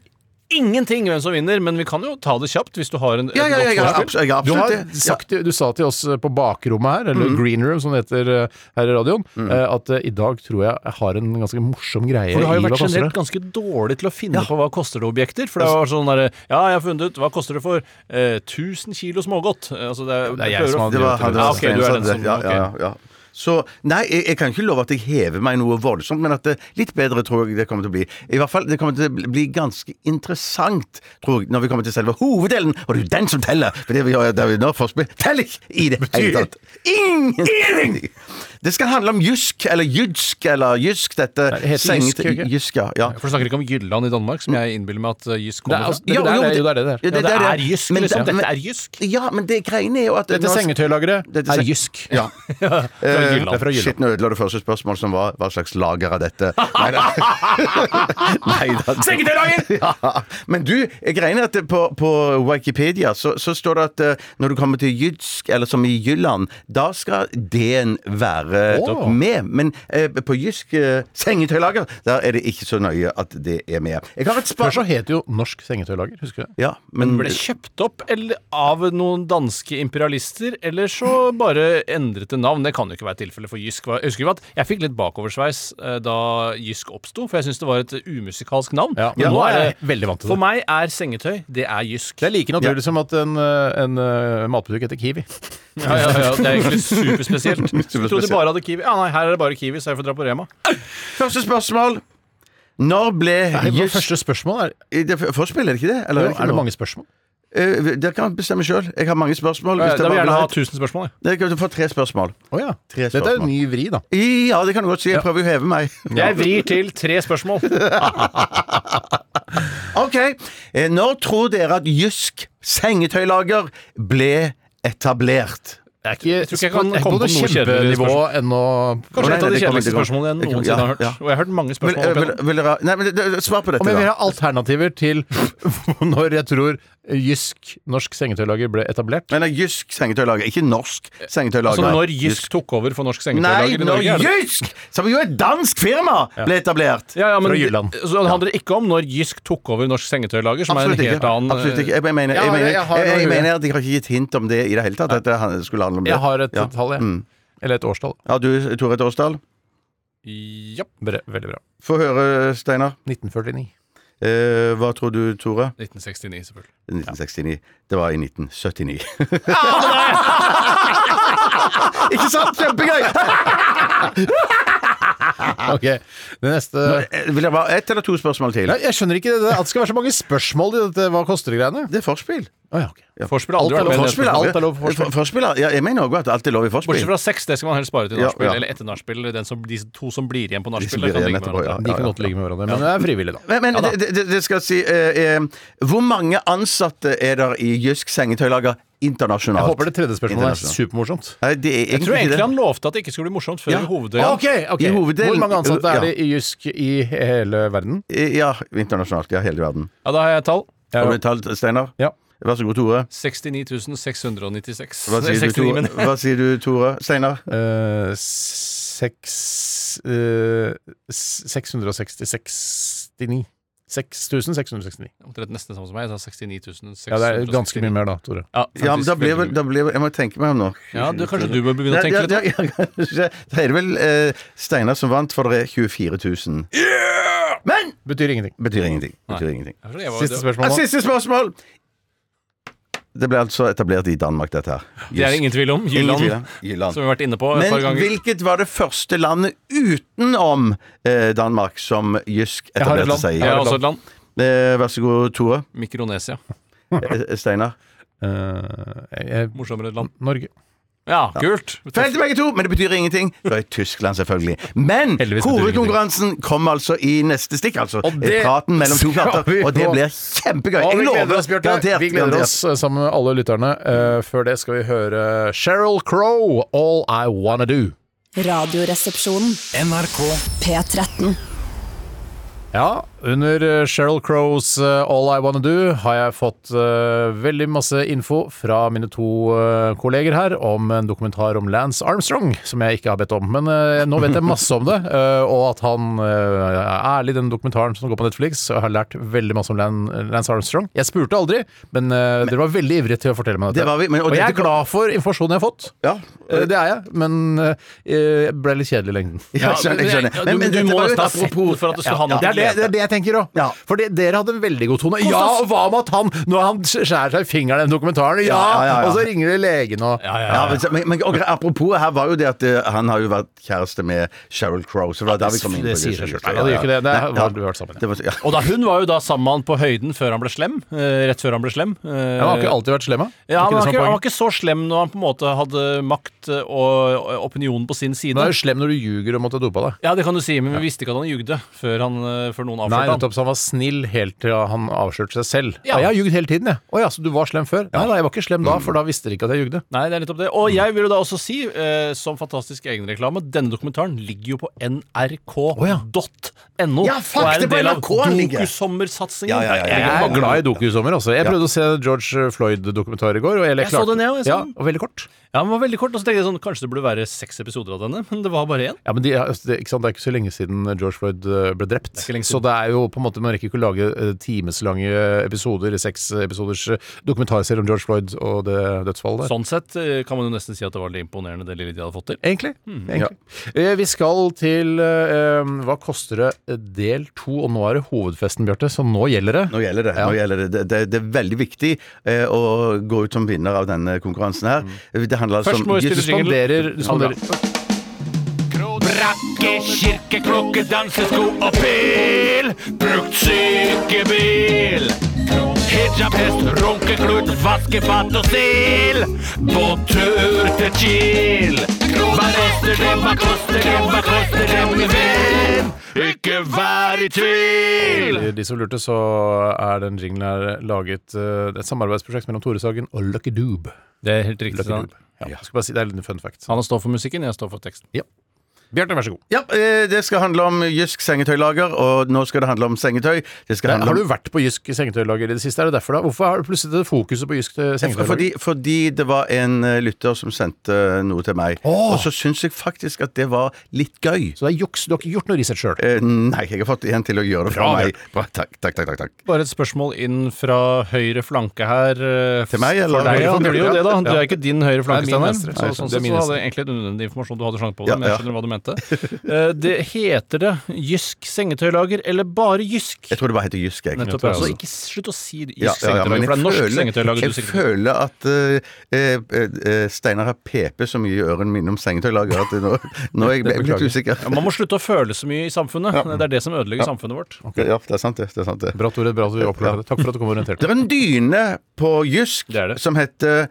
ingenting hvem som vinner, men vi kan jo ta det kjapt hvis du har en, et Ja, ja, ja, ja, godt abs- forspill. jeg har Du, absolutt har det. Mm. Ja. sagt, du sa til oss eh, på bakrommet her, eller green room som det heter eh, her i radioen, Mm. eh, at eh, i dag tror jeg jeg har en ganske morsom greie For du har i jo vært Hva koster generelt det? ganske dårlig til å finne på hva koster det objekter. For det var sånn derre Ja, jeg har funnet ut Hva koster det for eh, 1000 kilo smågodt? Eh, Altså, det, er, Det er jeg som har Det var han Ja, Ah, ok, du er den som ja, ok. ja, ja. Så nei, jeg, jeg kan ikke love at jeg hever meg noe voldsomt, men at det litt bedre tror jeg det kommer til å bli. I hvert fall, det kommer til å bli ganske interessant, tror jeg, når vi kommer til selve hoveddelen, og det er jo den som teller! For det vi gjør der vi nå forspill, teller ikke i det hele tatt! Ingenting! Det skal handle om jysk, eller jydsk, eller jysk, dette det heter jysk, sengete- ikke? Jysk, ja. ja. For du snakker ikke om Jylland i Danmark, Mm. som jeg innbiller meg at eh, Jysk Det er kommer altså- fra? det- Jo, det er jo, det- jo, det er det der. Ja, det- Ja, det det er jysk, Men liksom. men- Dette er jysk. Ja, men det greiene er jo at Dette sengetøylageret Dette er seng- jysk. Ja. Jylland. Eh, Det er fra Shit, nå ødela du første spørsmål, som var hva slags lager er dette? Nei da. Nei da. Sengetøylager! Ja. Men du, greiene er at det på, på Wikipedia så, så står det at eh, når du kommer til Jydsk, eller som i Jylland, da skal D-en være Åh. med. Men eh, på Jysk eh, sengetøylager, der er det ikke så nøye at det er med. Jeg har et Før så spørsmål. het det jo Norsk sengetøylager, husker du det? Ja, men Ble kjøpt opp eller, av noen danske imperialister, eller så bare endret det navn. Det kan jo ikke være tilfellet for Jysk. var- Jeg husker jo at jeg fikk litt bakoversveis eh, da Jysk oppsto, for jeg syns det var et umusikalsk navn. Ja, men nå er jeg veldig vant til For det. meg er sengetøy, det er Jysk. Det er like naturlig som at en, eh, en eh, matbutikk heter Kiwi. Ja, ja, ja, det er egentlig superspesielt. Jeg trodde Superspesielt. de bare hadde Kiwi. Ja, nei, her er det bare Kiwi, så jeg får dra på Rema. Første spørsmål. Når ble Nei, men Jysk første spørsmål er I det f- Forspill, er det ikke det? Eller Er ikke det noe? mange spørsmål? Eh, Dere kan bestemme sjøl. Jeg har mange spørsmål. Da Hvis dere vil jeg bare gjerne ha vil ha- 1000 spørsmål. Jeg. Dere kan få tre spørsmål. Å ja. Tre Dette er spørsmål. en ny vri, da. Ja, det kan du godt si. Jeg prøver å heve meg. jeg vrir til tre spørsmål. Ok. Eh, Når tror dere at Jysk sengetøylager ble etablert? Jeg, ikke, tror ikke jeg kan komme på noe kjedeligere kjempenivå ennå. Kanskje et av de Nei, nei, det kommer kjedeligste ikke. spørsmålene jeg Det kommer- noensinne ja, har hørt. ja. Og jeg har hørt mange Vil, eh, spørsmål. opp vil, igjennom. vil dere Nei, men det- det- svar på dette, Om jeg vil da. ha alternativer til når jeg tror Jysk norsk sengetøylager ble etablert? Nei, nei, Jysk sengetøylager. Ikke norsk sengetøylager. Altså når Jysk tok over for norsk Nei, sengetøylager i når Norge. er det- Jysk, som jo er et dansk firma, ble etablert. Ja, ja, men Fra Jylland. det- Så det handler ikke om når Jysk tok over norsk sengetøylager, som er Absolutt en helt ikke. annen eh, Absolutt ikke. Jeg mener, Ja, jeg, mener, det- jeg jeg, har noe i huet. mener at jeg har ikke gitt hint om det i det hele tatt. At det han- skulle handle om det. Jeg har et ja. tall, jeg. Mm. Eller et årstall. Ja, du, Tore Tårsdal. Ja. Bre- Veldig bra. Få høre, Steinar. 1949. Eh, hva tror du, Tore? 1969, selvfølgelig. 1969. Det var i 1979. ikke sant? Kjempegøy! Ok, det neste Eh, Vil jeg bare ett eller to spørsmål til? Nei, Jeg skjønner ikke det, det- at det skal være så mange spørsmål i dette hva koster-greiene. Det er forspill. Å ja, ok. Forspill har Alt aldri er vært lov. med. Forspill i er dette. Alt lov for forspill. For- forspill er- ja, jeg mener også at alt er lov i forspill. Bortsett fra sex, det skal man helst spare til Ja, nachspiel. ja. Eller etter nachspiel, den som- de to som blir igjen på De som nachspiel. blir da kan igjen ligge med etterpå, hverandre. ja. De kan godt ligge med hverandre, men det er frivillig, da. Men, men da. det, det, det skal jeg si eh, eh, Hvor mange ansatte er der i Jysk sengetøylager internasjonalt? Jeg håper det tredje spørsmålet er Internasjonalt. supermorsomt. Nei, det er Jeg tror egentlig egentlig ikke det. han lovte at det ikke skulle bli morsomt før Ja. i hoveddelen. I hoveddelen- Hvor mange ansatte er det i Jysk i hele verden? Ja, Eh, internasjonalt. Ja, hele verden. Ja, da har jeg tall. Ja. Har du et tall, Steinar? Ja. Vær så god, Tore. 69 696. Hva sier, du, Tore? Hva sier du, Tore? Steinar? Eh, seks, eh, s- 666 6669. Omtrent nesten det samme som meg. Jeg sa 69 669. Ja, det er ganske mye mer da, Tore. Ja, Ja, men da faktisk blir vel, veldig mye. da blir vel Jeg må tenke meg om nå. ja du, kanskje du bør begynne å Ja, tenke ja, litt? ja, ja, kanskje. Da er det vel eh, Steinar som vant, for det er 24 000. Men Betyr ingenting. betyr ingenting. Betyr Nei. ingenting. Jeg tror jeg var- Siste det- spørsmål. Ah, nå. siste spørsmål! Det ble altså etablert i Danmark, dette her. Det er det ingen tvil om. Jylland, Ingen tvil, Jylland. som vi har vært inne på et par Men ganger. hvilket var det første landet utenom eh, Danmark som Jysk Jeg har et etablerte land. seg i? Jeg har også et land. Eh, vær så god, Tore. Mikronesia. Eh, Steinar. Eh, jeg- jeg- Morsommere land. Norge. Ja, kult! Feil til begge to, men det betyr ingenting. Det var i Tyskland, selvfølgelig. Men betyr det hovedkonkurransen kom altså i neste stikk, altså. det Praten mellom to skal katter. vi Og det nå. blir kjempegøy. Og vi Jeg lover. gleder oss, Bjarte. Vi gleder oss eh, sammen med alle lytterne. Eh, før det skal vi høre Sheryl Crow, 'All I Wanna Do'. Radioresepsjonen. NRK P13. Ja, under Sheryl Crows eh, All I Wanna Do har jeg fått eh, veldig masse info fra mine to eh, kolleger her om en dokumentar om Lance Armstrong, som jeg ikke har bedt om. Men eh, nå vet jeg masse om det, eh, og at han eh, er ærlig i den dokumentaren som går på Netflix. Og jeg har lært veldig masse om Lan Lance Armstrong. Jeg spurte aldri, men eh, dere var veldig ivrige til å fortelle meg dette. Det var vi, men- og og, jeg dette er glad for informasjonen jeg har fått. Ja. Eh, Det er jeg, men eh, jeg ble litt kjedelig i lengden. Ja, jeg skjønner, jeg skjønner. Ja, Men- men du, dette du må var jo et nesten ha sett apropos- den for at du skal ha noe Det er det, til det, er det jeg tenker òg. Ja. Fordi dere hadde en veldig god tone. Ja, og hva med at han Når han skjærer seg i fingeren i den dokumentaren, ja! Ja, ja, ja, ja. Og så ringer det legen og Ja, ja, ja. Ja, men, men, men og, apropos her var jo det at eh, han har jo vært kjæreste med Sheryl Crow. Så det var der vi kom inn på det sier seg selv. Ja, det gjør ikke det. Det har du vært sammen med. Det var, ja. Og da, hun var jo da sammen med han på høyden før han ble slem. eh, rett før han ble slem. Eh, Han har ikke alltid vært slem, da. ja, Ikke han, det var som er ikke, han var poenget. ikke så slem når han på en måte hadde makt eh, og og opinionen på sin Men side. han er jo slem når du ljuger om at du har dopa deg. Ja, det kan du si, men vi visste ikke at han jugde før, han, eh, før noen Nei, avslørte han. nettopp, så han var snill helt til han avslørte seg selv. Ja. Ja, jeg har ljugd hele tiden, jeg. Å ja, så du var slem før? Nei da, jeg var ikke slem da, for da visste dere ikke at jeg ljugde. Nei, det er nettopp det. Og jeg vil jo da også si, eh, som fantastisk egenreklame, denne dokumentaren ligger jo på nrk.no. ja. Ja, fuck, og er det er en på del av NRK han ligger. dokusommersatsingen. Ja, ja, ja, ja. Jeg Jeg er var glad i dokusommer, altså. Jeg prøvde å se George Floyd-dokumentar i går. Og jeg, Jeg så den, jeg også, jeg så ja, den. og veldig kort. Ja, den var veldig kort, og så tenkte jeg sånn, Kanskje det burde være seks episoder av denne, men det var bare én. Ja, men de, det, ikke sant? det er ikke så lenge siden George Floyd eh, ble drept. ikke lenge så det er jo på en måte, man rekker ikke å lage eh, timeslange episoder, seks episoders eh, dokumentarserie om George Floyd og det dødsfallet der. Sånn sett eh, kan man jo nesten si at det var litt imponerende, det lille de hadde fått til. Hmm. Egentlig. egentlig. Eh, Vi skal til eh, eh, Hva koster det? eh, del to. Og nå er det hovedfesten, Bjarte, så nå gjelder det. Nå gjelder det. Nå gjelder det. Det, det, det er veldig viktig eh, å gå ut som vinner av denne konkurransen her. Det handler altså Først må vi om spille jingle. Spanderer, du Ja, bra. spanderer. Brakke, kirke, klokke, dansesko og pil. Brukt sykebil. Hijab, hest, runkeklut, vaskefat og stil. På tur til Kiel. Hva koster det, hva koster det, hva koster det, min venn? Ikke vær i tvil! For de som lurte, så er den jinglen her laget eh, Det er et samarbeidsprosjekt mellom Tore Sagen og Lucky Doob. Det er helt riktig. Lucky Stian. Doob. Ja. Jeg skal bare si, det er en liten fun fact. Han står for musikken, jeg står for teksten. Bjarte, vær så god. Ja, eh, det skal handle om Jysk sengetøylager, og nå skal det handle om sengetøy. Det skal handle Har om... du vært på Jysk sengetøylager i det siste? Er det derfor da? Hvorfor har du plutselig det fokuset på Jysk sengetøylager? Fordi, fordi det var en eh, lytter som sendte eh, noe til meg, og så syns jeg faktisk at det var litt gøy. Så det er juks. Du har ikke gjort noe research sjøl. Eh, Nei, jeg har fått en til å gjøre det for Bra, meg. Bra, takk, takk, takk, takk, takk. Bare et spørsmål inn fra høyre flanke her. eh, Til meg, eller? For deg, ja, Ja, det blir jo det, da. Du er ikke din høyre flanke, Det er min Steinar. venstre. Så, Nei, sånn det er sett min så venstre. hadde jeg egentlig litt unødvendig informasjon. Du hadde slank på det, Ja, men jeg ja. skjønner hva du mente. Eh, Det heter det Jysk sengetøylager eller bare Jysk? Jeg tror det bare heter Jysk, jeg. Nettopp, altså. Ikke slutt å si Jysk Ja, ja, ja, sengetøylager, men for det er norsk sengetøylager jeg du sikter til. føler at eh, eh, eh, Steinar har pepet så mye i ørene mine om sengetøylager at nå, nå er jeg ble- blitt usikker. Ja, man må slutte å føle så mye i samfunnet. Det er det som ødelegger samfunnet vårt. Ja, det er sant det. det, er sant det. Bra, Tore. Bra at du opplevde det. Takk for at du kom og Det orienterte. er en dyne på Jysk Det er det. som heter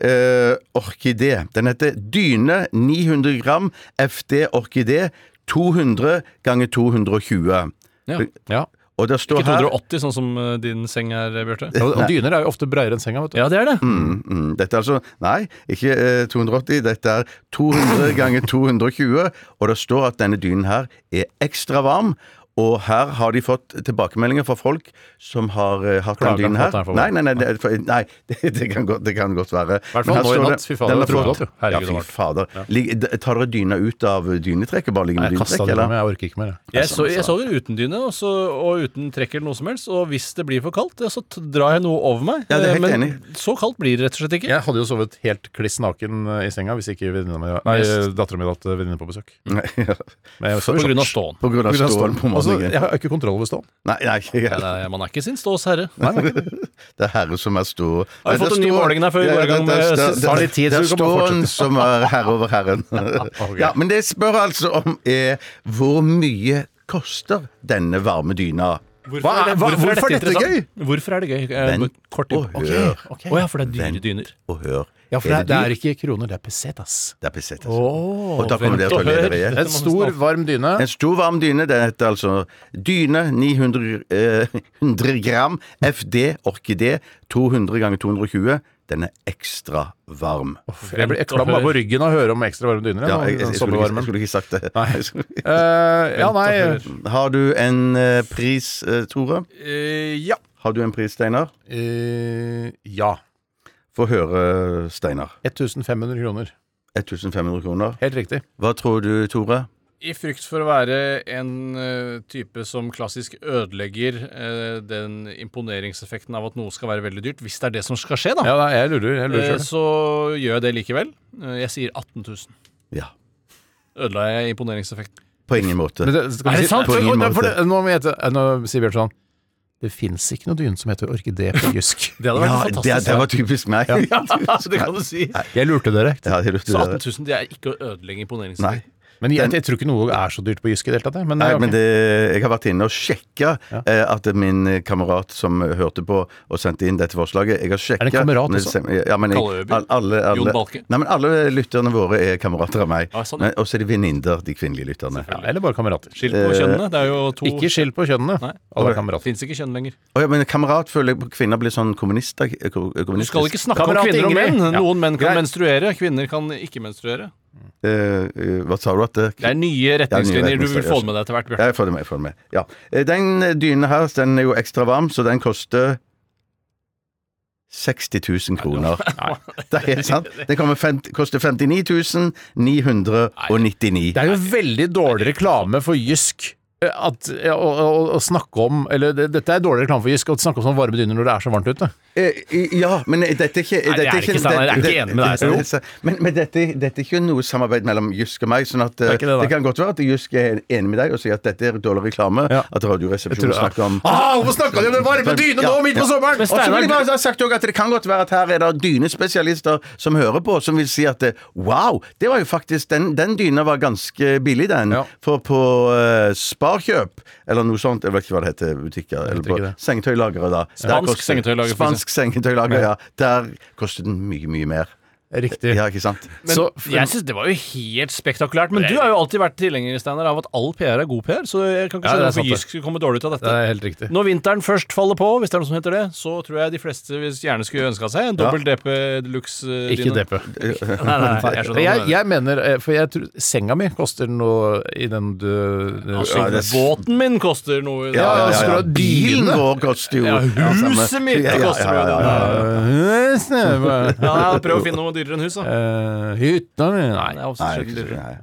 eh, Orkidé. Den heter Dyne 900 gram FD Orkidé 200 ganger 220. Ja. Ja. Og det står Ikke her 280, sånn som eh, din seng er, Bjarte. Ja, Og dyner er jo ofte breiere enn senga, vet du. Ja, det er det. mm, mm, Dette er altså Nei, ikke eh, 280. Dette er 200 ganger 220. Og det står at denne dynen her er ekstra varm. Og her har de fått tilbakemeldinger fra folk som har eh, hatt Klager den dynen på at her. den er for varm. Nei, nei, nei, det, for- nei det, det, kan godt, det kan godt være. I hvert fall nå i natt. Fy fader, det er trådgodt, jo. Herregud, Ja, det var fy varmt. fader. Ligg- d- tar dere dyna ut av dynetrekket? Bare ligger med Jeg kasta dynetrekk, den eller? med, jeg orker ikke mer. jeg. Jeg, så, jeg sover uten dyne og så- og uten trekk eller noe som helst. Og hvis det blir for kaldt, ja, så t- drar jeg noe over meg. Ja, det er Eh, helt Men enig. så kaldt blir det rett og slett ikke. Jeg hadde jo sovet helt kliss naken eh, i senga hvis ikke venninna mi- nei, dattera mi hadde hatt venninne på besøk. Nei, sånn. ja. Men jeg sover På grunn av shorts. ståen. På grunn av stålen på Altså, morgenen. jeg har ikke kontroll over stålen. Nei, nei, Nei, jeg, nei, man er ikke sin stås herre. det er herre som er stor. Har vi Nei, det fått en ny er stor- måling her før vi Ja, går i det- gang det er med stør- siste- det- Har litt tid, Det er så du kan bare ståen fortsette. som er herre over herren. Ja, men det jeg spør altså om er hvor mye koster denne varme dyna? Hva er- hva- hvorfor er dette interessant? Hvorfor er det gøy? Eh, Vent Kort og Ok, hør. ok. Å ja, for det er dyre Vent. dyner. Og hør. dyrt? ikke kroner, det er pesetas. Det er altså. pesetas. og da vent kommer det til å og lede hør. deg igjen. En stor, varm dyne. En stor, varm dyne. Den heter altså Dyne 900 eh, 100 gram FD Orkidé 200 ganger 220. Den er ekstra varm. Jeg blir jeg klam bare på ryggen av å høre om ekstra varme dyner. Ja, Ja, jeg, jeg, jeg, skulle, ikke- jeg skulle ikke sagt det. ja, nei Har du en eh, pris, eh, Tore? eh, Ja. Har du en pris, Steinar? Eh, ja. Få høre, Steinar. 1500 kroner. 1500 kroner. Helt riktig. Hva tror du, Tore? I frykt for å være en eh, type som klassisk ødelegger eh, den imponeringseffekten av at noe skal være veldig dyrt, hvis det er det som skal skje, da, Ja, nei, jeg lurer. Jeg eh, lurer selv. så gjør jeg det likevel. Eh, Jeg sier 18 000. Ja. Ødela jeg imponeringseffekten? På ingen måte. Men det, skal vi Er det si- sant? For, På ingen for, for, måte. det- nå, må vi hete- eh, nå sier Bjørn sånn Det fins ikke noe dyne som heter orkidé på jysk. Det hadde ja, vært en det, fantastisk. det var typisk meg. Ja, det kan du si. Jeg lurte dere. det lurte Så dere. 18 000 det er ikke å ødelegge Nei. imponeringseffekten. Men jeg, jeg tror ikke noe er så dyrt på jysk i det hele tatt. jeg. Men, eh, Nei, ok. men det, jeg har vært inne og sjekka eh, at min kamerat som hørte på og sendte inn dette forslaget Jeg har sjekka Er det en kamerat men- også? Ja, men Kalle jeg, Øby? alle, alle, Jon Balke? Nei, men alle lytterne våre er kamerater av meg. Ja, sånn, ja. Men- Og så er de venninner, de kvinnelige lytterne. ja, eller bare kamerater. Eh, Skilt på kjønnene. Det er jo to Ikke skill på kjønnene. Nei. Alle er kamerater. Fins ikke kjønn lenger. Å ja, men kamerat føler jeg på kvinner blir sånn kommunister. Du skal ikke snakke om Kamerat kvinner og Ingrid. menn. Ja. Noen menn Greit. kan menstruere, kvinner kan ikke menstruere. Eh, Hva sa du at det Det er nye retningslinjer du vil retningslinjer, få med deg etter hvert, Bjørn. Ja, jeg får det med. Jeg får det med. Ja. Eh, Den eh, dyna her, den er jo ekstra varm, så den koster 60 000 kroner. Det er helt sant. Den kommer fem- koster 59 999. Det er jo veldig dårlig reklame for Jysk eh, at, eh, å, å, å snakke om Eller det, dette er dårlig reklame for Jysk å snakke om sånne varme dyner når det er så varmt ute. Eh, Ja, men dette er ikke Nei, det er dette ikke sant. Jeg er ikke det- enig med deg, Steinar. det- Men, men dette, dette er ikke noe samarbeid mellom Jysk og meg. Sånn at eh, Det er ikke det, da. det, kan godt være at Jysk er enig med deg og sier at dette er dårlig reklame. Ja. At Radioresepsjonen snakker om Ah, hvorfor snakka de om den varme dyne nå, midt på sommeren?! Og så vil jeg bare ha sagt også at Det kan godt være at her er det dynespesialister som hører på, som vil si at eh, wow, det var jo faktisk den, den dyna var ganske billig, den. Ja. For på eh, Sparkjøp, eller noe sånt, jeg vet ikke hva det heter, butikker, eller på ikke det. sengetøylageret, da. Der Spansk koster- sengetøylager, for Spansk sengetøylager, ja. Der koster den mye, mye mer. Riktig. Ja, ikke sant? Men Så- jeg synes det var jo helt spektakulært. Men du har jo alltid vært tilhenger Steiner, av at all PR er god PR, så jeg kan ikke Ja, skjønne det er sant hvorfor det. Jysk skulle komme dårlig ut av Det dette. er helt riktig. Når vinteren først faller på, hvis det er noe som heter det, så tror jeg de fleste hvis gjerne skulle ønska seg en dobbel DP deluxe. eh, Ikke dyne. deppe. Nei, nei, nei, Jeg, jeg skjønner hva du mener. jeg mener, eh, for jeg tror senga mi koster noe i den du Altså, Ja, det er- båten min koster noe. ja, ja. Skulle ha Bilen dyne. vår koster jo Ja, huset mitt Ja, ja, ja, koster jo ja, ja, ja. Ja, ja, Prøv å finne noe dyrere enn hus, da. Eh, Hytta mi Nei. Nei, det er også Nei, sjelden dyrere. nei.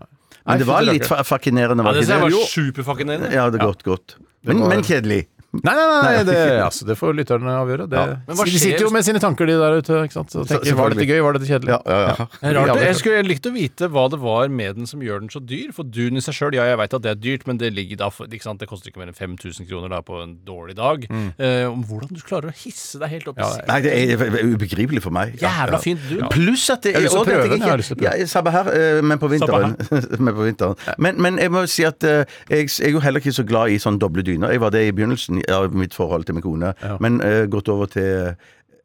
Men det var Nei, litt fa- fascinerende, Ja, var det ikke synes jeg det? var Jo. superfascinerende. Ja, det er godt, godt. Men, men kjedelig. Nei, nei, nei, det, altså, det får lytterne avgjøre. Det, Men hva de sitter skjer- jo med sine tanker, de der ute. Ikke sant? Og tenker, var dette gøy? Var dette kjedelig? Det er Rart. Ja, Jeg skulle jeg likte å vite hva det var med den som gjør den så dyr. For dun i seg sjøl, ja, jeg veit at det er dyrt, men det ligger da for- ikke sant? Det koster ikke mer enn 5000 kroner da på en dårlig dag. Mm. Eh, om hvordan du klarer å hisse deg helt opp i sikkerhet. Nei, det er det er ubegripelig for meg. Ja, Jævla ja. fint dun. Pluss at det Jeg har lyst til å og dette prøve den, jeg har ikke- lyst til å prøve. Ja, Sabba her, eh, men på vinteren. men, på vinteren. Men, men jeg må jo si at eh, jeg, jeg er jo heller ikke så glad i sånn doble dyner. Jeg var det i begynnelsen av mitt forhold til min kone, men eh, gått over til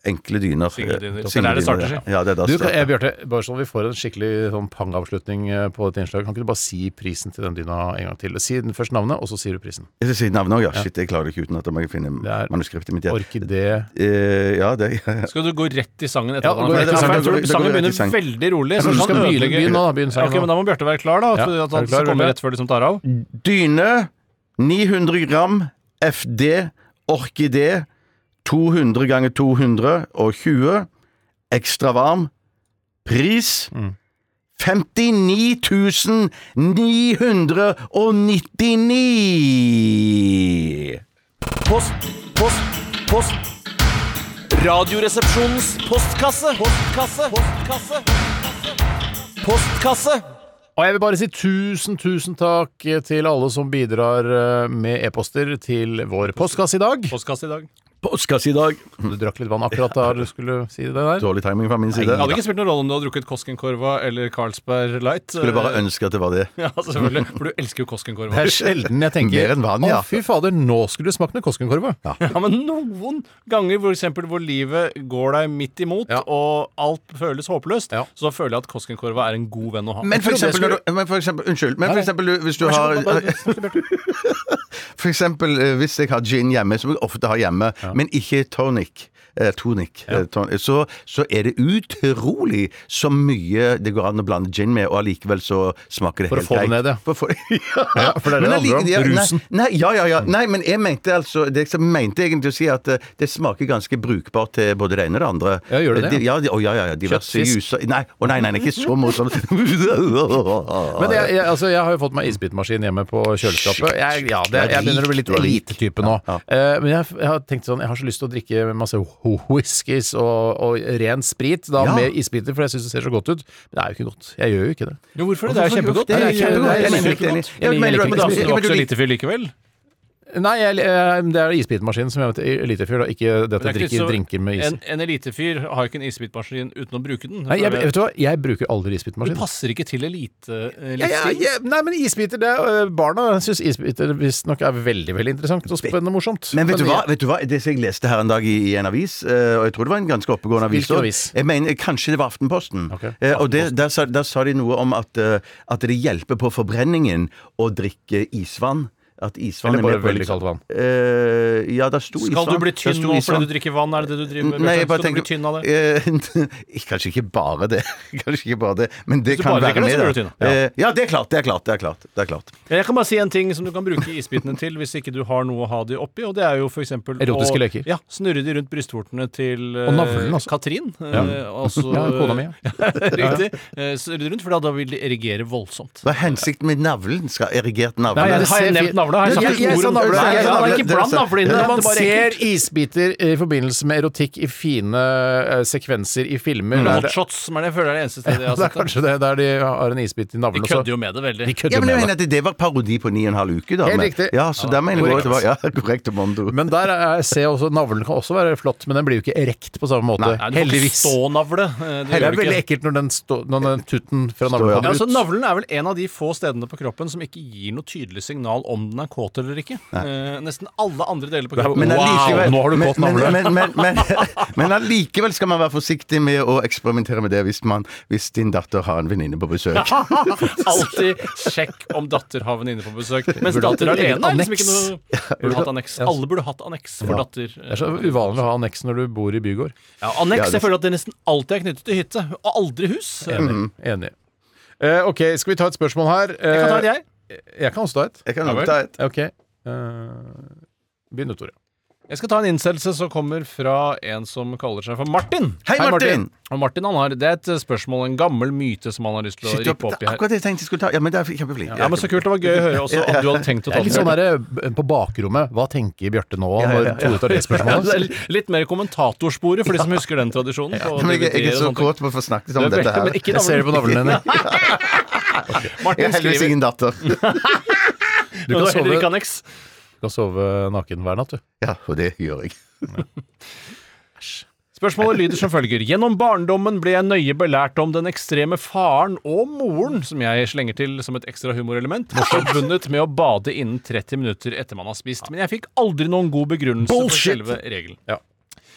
enkle dyner. Singledyner. Eh, Det er der det starter seg. Ja, det er der Du, det kan- starter. eh, Bjarte, bare sånn vi får en skikkelig sånn pangavslutning eh, på dette innslaget, kan ikke du bare si prisen til den dyna en gang til? Si den først navnet, og så sier du prisen. Jeg skal si navnet òg, ja. Shit, jeg klarer det ikke uten at jeg må finne Det er manuskriptet mitt. igjen. Orkidé Eh, ja, det Skal du gå rett i sangen etter Ja, at han gå rett i har Ja, for jeg sangen. tror Det går Sangen rett i begynner sangen. veldig rolig. Jeg tror du så han skal begynne- ødelegger- begynn nå, da, begynn sangen Ok, nå. men Da må Bjarte være klar, da. Ja, For at er han du klar, kommer Bjarte? rett før de som tar av. Dyne 900 gram FD orkidé 200 ganger 220 ekstra varm. Pris Mm. 59 999! Post, post, post. Radioresepsjonens postkasse. Postkasse. Postkasse. Postkasse. Og jeg vil bare si tusen, tusen takk til alle som bidrar eh, med e-poster til vår postkasse i dag. Postkasse i dag. Postkasse i dag. Du drakk litt vann akkurat da du skulle si det der. Dårlig timing fra min side. Det hadde ikke spilt noen rolle om du hadde drukket Koskenkorva eller Carlsberg Light. Skulle bare ønske at det var det. Ja, selvfølgelig. For du elsker jo Koskenkorva. Det er sjelden jeg tenker Mer enn vanlig, ja. Å, fy fader, nå skulle du smakt med Koskenkorva. Ja, men noen ganger for eksempel, hvor livet går deg midt imot, Ja. og alt føles håpløst, Ja. så føler jeg at Koskenkorva er en god venn å ha. Men for Jeg trodde eksempel, jeg når du, men for eksempel Unnskyld. Men for eksempel du- hvis du har For eksempel eh, hvis jeg har gin hjemme, som jeg ofte har hjemme, men ikke tonic. eh, Tonic. eh, ton- Så, så er det utrolig så mye det går an å blande gin med, og allikevel så smaker det For å helt få det greit. ned, ja. For å få det ja. Ja, for det er det Men det handler om. allike- ja, nei- Rusen. Nei, ja, ja, ja. Nei, men jeg mente altså Det jeg mente egentlig å si at eh, det smaker ganske brukbart til både det ene og det andre. Eh, Ja, gjør det det, De, ja, de, å, ja, ja, ja. Diverse Kjøttfisk. juser Nei, å nei, nei, nei, ikke så morsomt. Men Men jeg, jeg, altså, jeg har jo fått meg isbitmaskin hjemme på kjøleskapet. Jeg, ja, det, Du er jeg begynner å bli rik, litt du er rik. elitetype nå. Ja, Eh, men jeg, jeg har tenkt sånn, jeg har så lyst til å drikke masse ho- whiskies og, og ren sprit da, Ja. med isbiter, for jeg syns det ser så godt ut. Men det er jo ikke godt. Jeg gjør jo ikke det. Jo, hvorfor det? Det er Hvorfor kjempegodt. gjør du ikke det? Det er kjempegodt. Jeg liker Det er det. kjempegodt. Jeg mener Jeg liker det. Men Du at- men- var ikke så men- lite fyr likevel? Nei, jeg, eh, det er isbitmaskinen som jeg vet elitefyr, da. Ikke det at jeg Det er ikke drikker så- drinker med is. En, en elitefyr har jo ikke en isbitmaskin uten å bruke den. Nei, jeg, føler jeg. vet du hva? Jeg bruker aldri Du isbitmaskin. passer ikke til elite... eh, Ja, ja, livsstil. ja, nei, men isbiter det er, øh, Barna syns isbiter visstnok er veldig veldig interessant og spennende og morsomt. Men vet du, hva, jeg- vet du hva? Det som jeg leste her en dag i, i en avis, eh, og jeg tror det var en ganske oppegående avis Hvilken også. avis? Jeg mener, Kanskje det var Aftenposten. Ok. Eh, og det, der, sa, der sa de noe om at, eh, at det hjelper på forbrenningen å drikke isvann. At isvann Eller bare er med på- liksom- veldig kaldt vann. Eh, ja, der sto isvann. Skal du bli Der tynn sto nå isvann. fordi du drikker vann? Er det det du driver med? Nei, jeg Bjørnstein? bare Skal du tenker bli tynn av det? eh, Kanskje ikke bare det. Kanskje ikke bare det Men det Hvis du kan bare være drikker det, så med. blir da. du tynn. Eh, ja, det er klart. Det er klart. Det er klart. Det er klart. Jeg kan bare si en ting som du kan bruke isbitene til hvis ikke du har noe å ha de oppi, og det er jo for eksempel Erotiske å, leker. Ja, snurre de rundt brystvortene til eh, Og navlen, altså. Katrin. Ja. eh, altså- Ja, kona mi, ja. Riktig. Eh, Snurre de rundt, for da- da vil de erigere voldsomt. Hva er hensikten med navlen? Skal erigert navle? Nei, Har jeg ser fint- nevnt navla? Har jeg Nei, sagt jeg et ord sa om navla, det? jeg sa Nei, navla. Ikke bland navlene inn i det, Når man det er bare ser ekkelt. isbiter i forbindelse med erotikk i fine eh, sekvenser i filmer Eller er det, Hotshots, som er det jeg føler er det eneste stedet jeg har det er sett det. kanskje det der de har en isbit i De navlen. kødder jo så- med det veldig. de Ja, kødder men jeg med mener det. at Det var parodi på ni og en halv uke, da. Helt men- riktig. Ja, så der mener jeg også det var ja, korrekt mondo. Men der er, ser jeg også, navlen kan også være flott, men den blir jo ikke erekt på samme måte. Nei, du får Heldigvis. Stånavle. eh, Det gjør er du ikke. veldig ekkelt når den, stå, når den tutten fra navlen kommer Ja, ja. ut. altså Navlen er vel en av de få stedene på kroppen som ikke gir noe tydelig signal om den er kåt eller ikke. Eh, nesten alle andre deler på kroppen. Men Wow! allikevel- nå har du men- kåt navle. Men, men, men, men, men allikevel skal man være forsiktig med å eksperimentere med det hvis, man, hvis din datter har en venninne på besøk. Alltid sjekk om datter har venninne på besøk. Mens datter hatt et eget alene er liksom ikke anneks. noe Burde hatt anneks. Alle burde hatt anneks for datter. Det er så uvanlig å ha anneks når du bor i bygård. Ja, anneks Ja, det- jeg føler at det nesten alltid er knyttet til hytte, og aldri hus. Jeg Enig. enig. Eh, ok, skal vi ta et spørsmål her? Eh, kan ta et, jeg. jeg kan også ta et. Jeg kan Ja nok vel. ta et. Ok. Eh, Begynn du, Tore. Jeg skal ta en innsendelse som kommer fra en som kaller seg for Martin. Hei, Martin! Og Martin han har, Det er et spørsmål, en gammel myte, som han har lyst til å Shit, rippe opp i her. akkurat det jeg tenkte jeg skulle ta. Ja, men det er kjempeflink. Ja, men Så kult. Det var gøy å høre også at du hadde tenkt å Det ta er litt sånn der, eh, på bakrommet. Hva tenker Bjarte nå? Han ja, Tore tar det spørsmålet. der, litt mer kommentatorsporet, for de som husker den tradisjonen. på Men jeg, jeg DVD er og så sånne ting. kåt på å få snakket om Det er dette veldig- her. men ikke Jeg ser det på navlen din. Jeg Martin har heldigvis skriver ingen datter. Du Og kan det var heller sove, ikke anneks. du kan sove naken hver natt, du. Ja, og det gjør jeg. Spørsmålet lyder som følger. Gjennom barndommen ble jeg nøye belært om den ekstreme faren og moren, som jeg slenger til som et ekstra humorelement, forbundet med å bade innen 30 minutter etter man har spist. Men jeg fikk aldri noen god begrunnelse for selve regelen.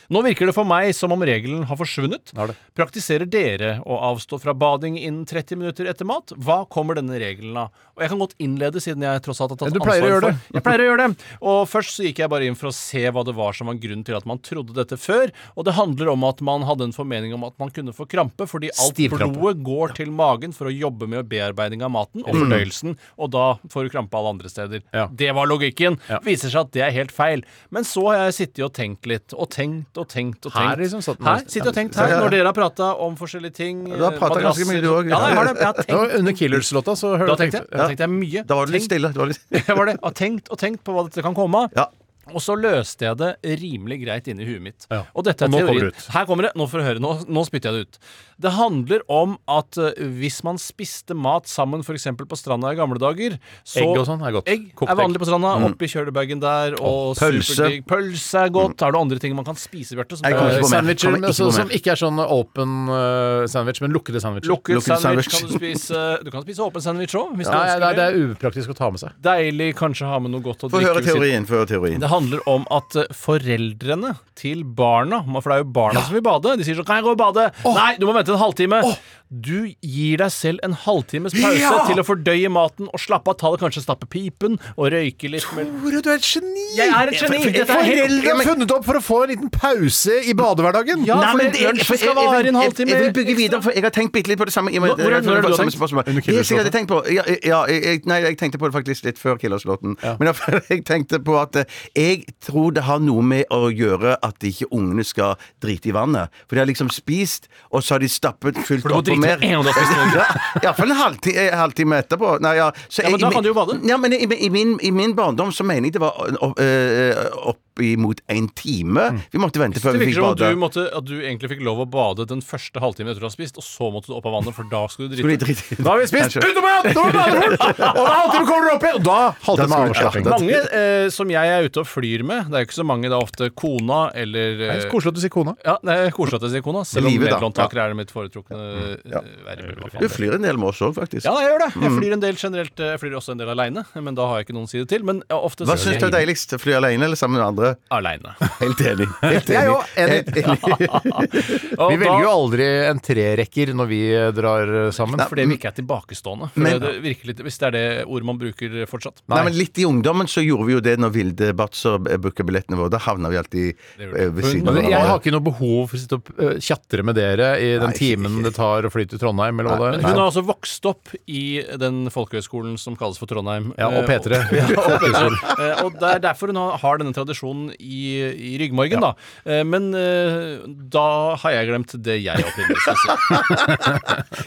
Nå virker det for meg som om regelen har forsvunnet. Har det. Praktiserer dere å avstå fra bading innen 30 minutter etter mat? Hva kommer denne regelen av? Og jeg kan godt innlede, siden jeg tross alt har tatt Du pleier å ansvar gjøre det. for Jeg pleier å gjøre det. Og først så gikk jeg bare inn for å se hva det var som var grunnen til at man trodde dette før. Og det handler om at man hadde en formening om at man kunne få krampe, fordi alt Stivkrampe. blodet går til magen for å jobbe med bearbeiding av maten og fordøyelsen, og da får du krampe alle andre steder. Mm. Ja. Det var logikken. Ja. Viser seg at det er helt feil. Men så har jeg sittet og tenkt litt, og tenkt og tenkt og tenkt. Her liksom satt den her, nærmest. sittet og tenkt her, når dere har prata om forskjellige ting. Du har eh, pratet ganske madrasser. mye, du også. Ja, nei, jeg har det. Jeg har Det var tenkt. under Killers-låta, så hørte Da tenkte jeg, da tenkte jeg mye. Da var du litt Tenkt- stille. Det var litt... Jeg var det. Har tenkt og tenkt på hva dette kan komme av. Ja. Og så løste jeg det rimelig greit inni huet mitt. Ja. Og dette er Og nå kommer teorien. det ut. Her kommer det. Nå får du høre. Nå, nå spytter jeg det ut. Det handler om at eh, hvis man spiste mat sammen f.eks. på stranda i gamle dager så Egg og sånn er godt. Egg Kokt er vanlig egg. på stranda. Oppi kjølebagen der. Og Mm. pølse. Mm. superdigg. Pølse er godt. Er det andre ting man kan spise, Bjarte? som Jeg er- kommer ikke på mer. Sandwicher Kommer men ikke på så, mer. som ikke er sånn open eh, sandwich, men lukkede sandwicher. Lukket sandwich Lukket sandwich. kan du spise. Du kan spise åpen sandwich òg, hvis Nei, du nei, ønsker det det. er upraktisk å ta med seg. Deilig kanskje å ha med noe godt å Få drikke. høre ved siden- teorien. Få høre teorien. Det handler om at eh, foreldrene til barna man- For det er jo barna som vil bade. De sier sånn 'Kan jeg gå og bade?' Nei, du må vente en halvtime. Du gir deg selv en halvtimes pause til å fordøye maten og slappe av. Ta det kanskje stappe pipen og røyke litt. Men Tore, du er et geni! Jeg er et geni. For- for- Dette er helt- Foreldre har funnet opp for å få en liten pause i badehverdagen. Ja, Nei, for men det- det- jeg- lunsjen skal jeg- jeg- vare en jeg- halvtime Jeg vil bygge ekstra. videre, for jeg har tenkt bitte litt på det samme. i og med- Nå- hvordan- jeg- jeg- når har du jeg- samme tenkt? spørsmål. Under Jeg jeg hadde Killerslåtten? tenkt på ja, ja, jeg, jeg- Nei, jeg tenkte på det faktisk litt før Killerslåten. Men jeg, jeg tenkte på at eh, jeg tror det har noe med å gjøre at ikke ungene skal drite i vannet. For de har liksom spist, og så har de stappet fullt du må opp og drite mer. med en gang du har spist noe. Ja, Iallfall en halvtime, eh, halvtime etterpå. Nei, ja, så Ja, men jeg- da i kan min- du jo bade. Ja, men i, i, min, i min barndom så mener jeg det var opp, eh, oppimot en time. Vi måtte vente før Mm. det vi virker fikk som om bade. du, måtte, at du egentlig fikk lov å bade den første halvtimen etter du har spist, og så måtte du opp av vannet, for da skulle du drite. Skulle de drite i det? Da har vi spist! Kanskje. Ut og med! Nå må vi bade fort! Og en halvtime kommer dere opp igjen! Og da halvtime skal vi avslapping. slappe av. Mange eh, som jeg er ute og flyr med, det er jo ikke så mange, det er ofte kona eller Det eh, er Koselig at du sier kona. ja, det er Koselig at jeg sier kona, selv om Livet, da. medlåntakere er det mitt foretrukne eh, ja. Du Mm. flyr en del med oss òg, faktisk. Ja, jeg gjør det. Jeg flyr en del generelt. eh, Jeg flyr også en del aleine, men da har jeg ikke noen side til. Men jeg ofte Hva så syns du er jeg deiligst? Fly alene eller sammen med andre? aleine. Helt enig. Helt Jeg er enig. jo enig. Helt enig. Vi velger jo aldri en trerekker når vi eh, drar eh, sammen. Fordi vi ikke er tilbakestående. For det virker litt, hvis det er det ordet man bruker fortsatt. Nei, men Litt i ungdommen så gjorde vi jo det når Vilde Batzer eh, booker billettene våre. Da havna vi alltid eh, ved Hun- siden av Men jeg har hverandre. ikke noe behov for å sitte og eh, tjatre med dere i den Nei, timen det tar å fly til Trondheim, eller hva Men det hun er. har altså vokst opp i den folkehøyskolen som kalles for Trondheim. Ja, og Eh, P3. Ja, og P3. Eh, og det er derfor hun har- har denne tradisjonen i, i ryggmargen, da. Eh, Men eh, da har jeg glemt det jeg opprinnelig skulle si.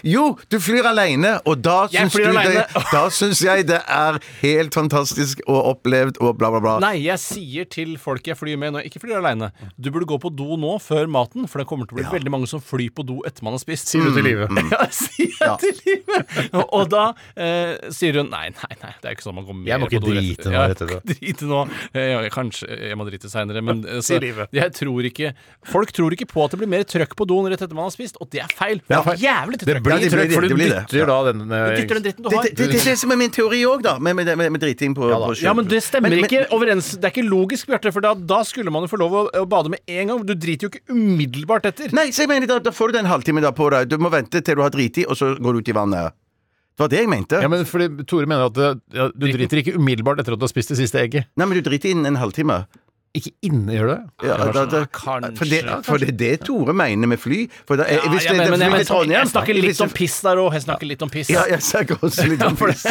Jo, du flyr alene, og da Jeg syns, flyr du det, alene. da syns jeg det er helt fantastisk og opplevd og bla, bla, bla. Nei, jeg sier til folk jeg flyr med når jeg ikke flyr aleine Du burde gå på do nå, før maten, for det kommer til å bli veldig mange som flyr på do etter man har spist. Sier du til Live. Ja, sier jeg til livet. Og da eh, sier hun nei, nei, nei, det er ikke sånn man går mer Jeg må ikke på do rett- drite nå, rett Ja, jeg må etter ikke drite nå. Eh, ja, kanskje jeg må drite seinere, men eh, Sier livet. jeg tror ikke Folk tror ikke på at det blir mer trøkk på doen rett etter man har spist, og det er feil. Det Ja. er jævlig Det trøkk. blir det blir trøkk, det, for du det blir det. dytter da den eh, Du dytter den dritten du Det, har. det, det, det er det som er min teori òg, da, med, med, med, med driting på, på sjøen. Ja, men det stemmer Men- men- ikke overens. Det er ikke logisk, Bjarte. For da, da skulle man jo få lov å, å bade med en gang. Du driter jo ikke umiddelbart etter. Nei, så jeg mener, da, da får du den halvtimen da på deg. Du må vente til du har driti, og så går du ut i vannet. Det var det jeg mente. Ja, men fordi Tore mener at det, ja, du driter ikke umiddelbart etter at du har spist det siste egget. Nei, men du driter innen en halvtime. Ikke inne, gjør du det? Ja, da, da, kanskje. For, det, for det er det Tore mener med fly. For da, eh, Ja, hvis ja, det, men- det, men- fly men- til Trondheim Jeg snakker hvis litt det- om piss der òg. Jeg snakker litt om piss. Ja, jeg snakker også litt om piss.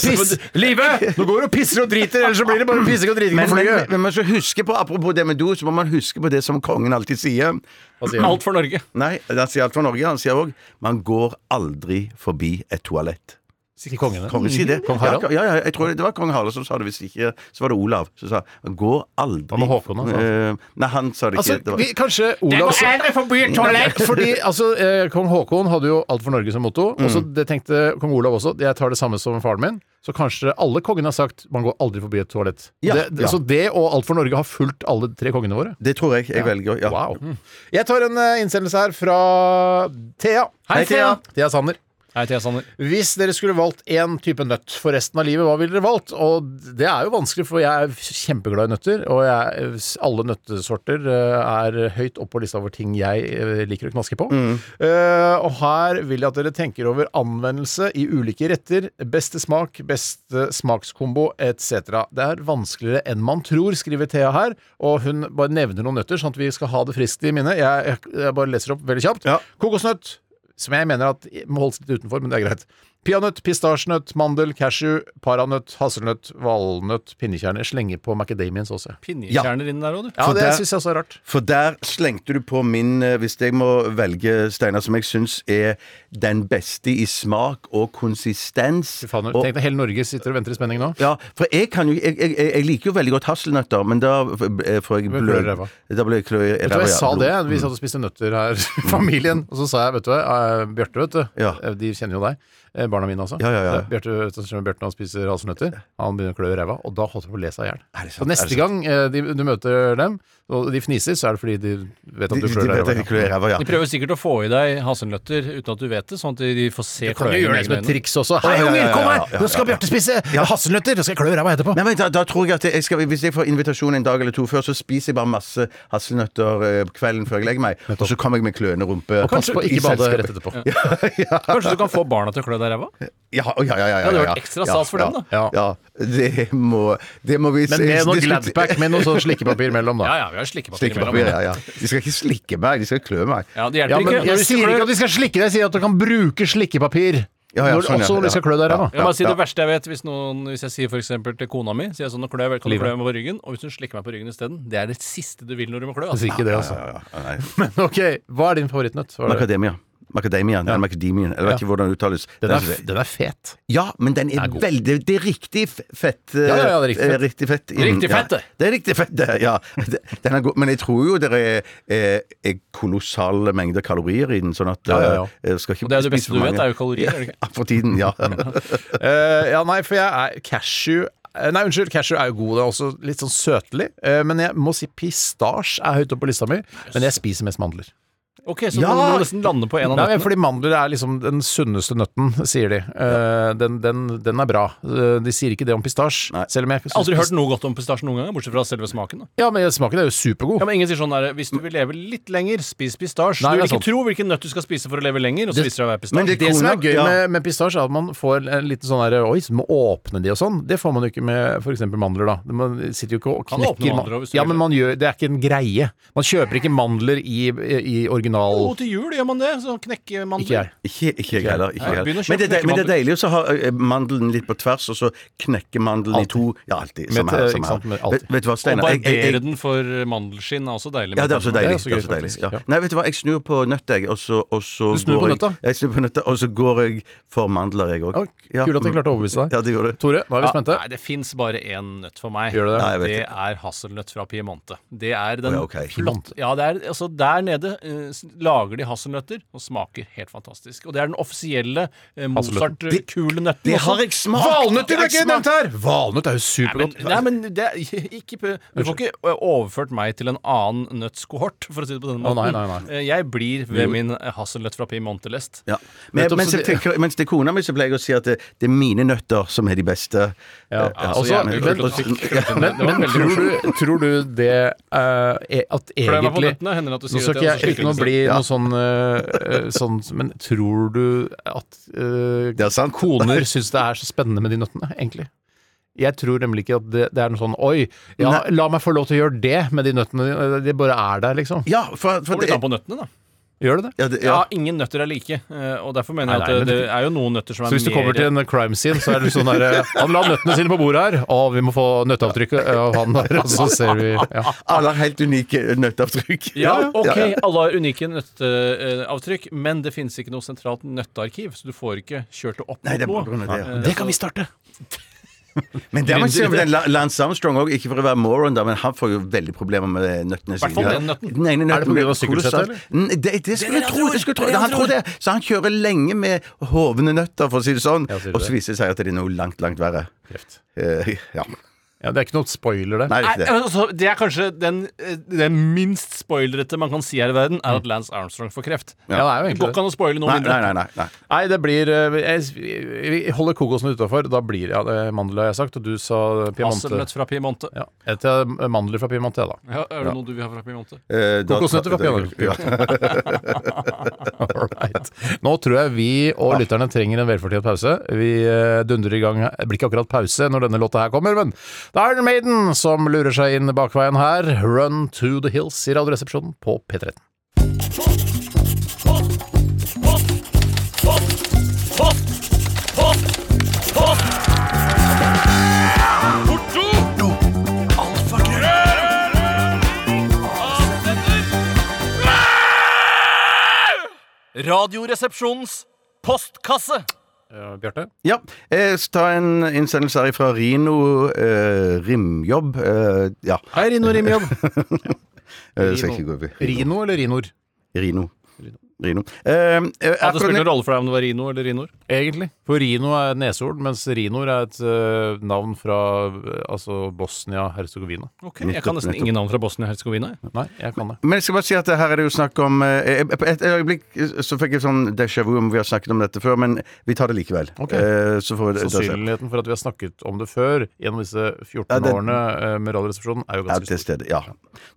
Piss! Live! Nå går du og pisser og driter, ellers så blir det bare pissing og driting Men, på men, flyet. men man skal huske på, apropos det med do, så må man huske på det som kongen alltid sier. Alt for Norge. Nei, han sier alt for Norge. Han sier òg 'man går aldri forbi et toalett'. Sier kongen det? Kongen sier Mhm. det. Kong Harald? Ja, ja, ja, jeg tror det, det var kong Harald som sa det. Hvis ikke, så var det Olav som sa han går aldri Hva med Håkon, da, sa han? Eh, Nei, han sa det ikke. Altså, det var, vi, kanskje Olav Fordi altså, eh, Kong Haakon hadde jo Alt for Norge som motto, og Mm. så det tenkte kong Olav også. Jeg tar det samme som faren min. Så kanskje alle kongene har sagt 'man går aldri forbi et toalett'. Ja, det, det, ja. Så det og Alt for Norge har fulgt alle tre kongene våre. det tror jeg. Jeg velger ja. Mm. Wow. Jeg tar en eh, innsendelse her fra Thea. Hei, Thea. Thea Sander. Hei, Thea Sander. Hvis dere skulle valgt én type nøtt for resten av livet, hva ville dere valgt? Og det er jo vanskelig, for jeg er kjempeglad i nøtter, og jeg, alle nøttesorter eh, er høyt oppe på lista over ting jeg eh, liker å knaske på. Eh, og her vil jeg at dere tenker over anvendelse i ulike retter, beste smak, beste smakskombo etc. Det er vanskeligere enn man tror, skriver Thea her, og hun bare nevner noen nøtter, sånn at vi skal ha det friskt i minnet. Jeg, jeg, jeg bare leser opp veldig kjapt. Ja. Kokosnøtt, som jeg mener at må holdes litt utenfor, men det er greit. Peanøtt, pistasjenøtt, mandel, cashew, paranøtt, hasselnøtt, valnøtt, pinnekjerner. Slenger på macadamians også. Pinnekjerner inni der òg, du. Ja, For det der- syns jeg også er rart. For der slengte du på min, eh, hvis jeg må velge, Steinar, som jeg syns er den beste i smak og konsistens. Fy faen, og, Tenk deg hele Norge sitter og venter i spenning nå. ja, for jeg kan jo jeg, jeg, jeg- jeg liker jo veldig godt hasselnøtter, men da f- eh, får jeg Men blø klør i ræva. Da blir jeg klø i Vet du hva, ræva, jeg ja. Mm. sa Blod. det. Vi satt og spiste nøtter her, familien. Og så sa jeg, vet du hva, eh, Bjarte, vet du. Ja. eh, De kjenner jo deg. eh, Barna mine, altså. Ja, ja, ja. Eh, Bjarte, vet du, søsteren min Bjarte han spiser hasselnøtter. Han begynner å klø i ræva, og da holder jeg på å le seg i hjel. Er det sant? Og Er det neste gang eh, de, du møter dem, og de fniser, så er det fordi de vet at De, de du klør i vet at ræva. jeg klør i ræva, ja. De prøver sikkert å få i deg hasselnøtter uten at du vet det, sånn at de får se Kan du gjøre det som et triks også? Hei, ja, ja, ja, unger, kom ja, ja, her! ja, Nå skal ja. Bjarte spise hasselnøtter! Nå skal jeg klø i ræva etterpå. Nei, men da, da tror jeg at jeg skal, Hvis jeg får invitasjon en dag eller to før, så spiser jeg bare masse hasselnøtter eh, kvelden før jeg legger meg. Og så kommer jeg med kløende rumpe. Og pass på å i ikke bade selskapet. rett etterpå. Kanskje du kan få barna til å klø deg i ræva? Ja, ja, ja. ja, ja, hadde ja, vært ja. ekstra Ja, stas for dem, da. Ja, ja. Det, må, det må vi Men med noe diskutere. Gladpack med noe sånn slikkepapir mellom, da. Ja, ja, vi har slikkepapir Slikkepapir, imellom. ja, ja. De skal ikke slikke meg, de skal klø meg. Ja, det Ja, hjelper men ikke. Når jeg du sier klør- ikke at de skal slikke deg, jeg sier at du kan bruke slikkepapir. Ja, ja, Når- sånn, ja. Også når de skal klø deg i ræva. Jeg må bare si Ja. Det verste jeg vet, hvis, noen, hvis jeg sier for eksempel til kona mi sier jeg sånn, nå klør jeg, kan du klø meg på ryggen, Og hvis hun slikker meg på ryggen isteden, det er det siste du vil når du må Jeg klø. Altså. sier ikke det, altså. Ja, ja, nei. Men ok, hva er din favorittnøtt? Hva er det? Macadamia. Macadamia, eller Macadamian, eller vet ikke hvordan det uttales. Den er, Den- f- den er fet. ja, men den er, er god. veldig Det er riktig f- fett. eh, Ja, ja, ja, det er riktig eh, fett. riktig fett. i den, Riktig ja. fett, det. Det er riktig fett, det, ja. Det- Den er god, men jeg tror jo det er, eh, er kolossale mengder kalorier i den, sånn at Ja, ja, ja. eh, skal ikke Og det er jo det spise beste for du vet, mange. er jo kalorier, er det ikke? Ja, for tiden, ja. Eh, ja, nei, for jeg er cashew eh, Nei, unnskyld, cashew er jo god. Det er også litt sånn søtlig. Eh, men jeg må si pistasje er høyt oppe på lista mi. Men jeg spiser mest mandler. Ok, Så Ja! du må nesten lande på en av Nei, men nøttene. fordi mandler er liksom den sunneste nøtten, sier de. Eh, den, den, den er bra. Eh, De sier ikke det om pistasje. Nei. Selv om jeg Jeg har aldri hørt noe godt om pistasje noen gang, bortsett fra selve smaken. Da. Ja, men smaken er jo supergod. Ja, men ingen sier sånn der, Hvis du vil leve litt lenger, spis pistasje. Nei, Du vil det er ikke tro hvilken nøtt du skal spise for å leve lenger, og så viser det seg å være Men pistasje. det- det som er kona- gøy ja. med, med pistasje, er at man får en liten sånn der Oi, så må åpne de og sånn. Det får man jo ikke med f.eks. mandler, da. Man sitter jo ikke og Kan åpne knekker mandler også, hvis du Ja, vil. men man gjør Det er ikke en greie. Man kjøper ikke mandler i, i original Jo, til jul gjør man det. Sånn Ikke jeg. knekkemandler. Ikke, ikke jeg heller. Ikke jeg heller. Begynn å kjøpe Men, det, er deil- men det er knekkemandeln. deilig å ha eh, mandelen litt på tvers, og så knekke mandelen i to. Ja, alltid. Samme Med- her. ikke Samme sant, med her. alt. Vet, vet du hva, Og Steinar? Jeg- jeg- jeg- barbere den for mandelskinn er også deilig. Ja, det er med tanke også på- deilig. Det Det er er også også gøy, deilig. faktisk, Ja. ja. Nei, vet du hva, jeg snur på nøtt, jeg, og så, og så Du snur på går jeg- nøtta? Jeg snur på nøtta, og så går jeg for mandler, jeg òg. Oi, Kult at jeg klarte å overbevise deg. Ja, det gjorde du. Tore, nå er vi spente. Nei, det fins bare én nøtt for meg. Gjør det det? Nei, jeg vet det er hasselnøtt fra Piemonte. Det er den Å, ja, ok. flott- Ja, det er, altså, der nede eh, s- lager de hasselnøtter og smaker helt fantastisk. Og det er den offisielle eh, Mozart-kule nøtten. Det også. har jeg smakt! Valnøtter Det ble har ikke jeg nevnt smakt. her! Valnøtt er jo Nei, men, supergodt. nei, men det er ikke p- Du får ikke eh, overført meg til en annen nøttskohort, for å si det på denne Å, nei, måten. nei, nei. Eh, Jeg blir ved min eh, hasselnøtt fra Piemonte-lest. Ja. Men, Nettopp, mens, så jeg det- tenker, mens det er kona mi, så pleier jeg å si at det, det er mine nøtter som er de beste. Ja, Eh, altså, så men- gjerne- Men, men tror, du, tror du det eh, er at Klør meg på egentlig nøttene, hender det at du Nå sier skal at ikke jeg- jeg uten å bli noe sånn, eh, eh, sånn Men tror du at eh, Det er sant. koner syns det er så spennende med de nøttene, egentlig? Jeg tror nemlig ikke at det, det er noe sånn Oi, ja, Nei. la meg få lov til å gjøre det med de nøttene. dine». De bare er der, liksom. Ja, for, for Kommer litt det, an på nøttene, da. Gjør det det? ja, det, Ja, ja. ingen nøtter er like, eh, og derfor mener Nei, jeg nei, at men det, det- det er jo noen nøtter som er Så hvis du mer kommer til en crime scene, så er det sånn der eh, Han la nøttene sine på bordet her, og vi må få nøtteavtrykket eh, av han der, og så ser vi ja. Alle har helt unike nøtteavtrykk. ja, ok, ja, ja. alle har unike nøtteavtrykk, men det finnes ikke noe sentralt nøttearkiv, så du får ikke kjørt det opp Nei, det er på mot grunn noe. Eh, av det. ja. Det kan vi starte! Men det må jeg si om den La- Lance Armstrong òg, ikke for å være moron, da, men han får jo veldig problemer med nøttene sine. Hvertfall den nøtten. Den ene nøtten Er det på grunn av blir sykkelsettet, kolossalt- eller? N- Det, det skulle jeg tro. Det skulle jeg tro. han tror det. Så han kjører lenge med hovne nøtter, for å si det sånn. sier du Og så det. viser det seg at det er noe langt, langt verre. Eh, ja. Ja, det er ikke noe spoiler, det. Nei, det er Nei, ikke det. men altså, det er kanskje den, eh, det minst spoilerete man kan si her i verden, er at Lance Armstrong får kreft. Ja, det er jo egentlig går ikke an å spoile noe Mm. Nei, mindre. nei, nei, nei, nei. Nei, det blir eh, jeg, Vi holder kokosen utafor. Da blir ja, det er mandel, har jeg sagt, og du sa Piemonte. Hasselnøtt fra Piemonte. Ja. Jeg tar mandler fra Piemonte, jeg, da. Ja, er det noe du vil ha fra Piemonte? Eh, da- Kokosnøtter var peanøtter. Ja. Alright. Nå tror jeg vi og lytterne trenger en velfortjent pause. Vi eh, dundrer i gang Det blir ikke akkurat pause når denne låta her kommer, men det er Iron Maiden som lurer seg inn bakveien her. Run to the hills i Radioresepsjonen på P13. Radioresepsjonens postkasse! Ja, Bjarte? Ja, jeg skal ta en innsendelse her fra Rino eh, Rimjobb. Eh, ja, Hei, Rino Rimjobb. eh, skal ikke gå over. Rino eller Rinor? Rino. Rino. Eh, eh, Ja, det akkurat- spiller ingen rolle for deg om det var Rino eller Rinor. Egentlig. For Rino er et neshorn, mens Rinor er et eh, navn fra eh, altså Bosnia-Hercegovina. Ok, Jeg kan nesten ingen navn fra Bosnia-Hercegovina. jeg. Nei, jeg kan det. Men jeg skal bare si at her er det jo snakk om eh, eh, På et øyeblikk eh, så fikk jeg sånn déjà vu om vi har snakket om dette før, men vi tar det likevel. Ok. Eh, så får vi Sannsynligheten for at vi har snakket om det før gjennom disse 14 Ja, det- årene eh, med Radioresepsjonen, er jo Ja, ganske til stor. stede, ja.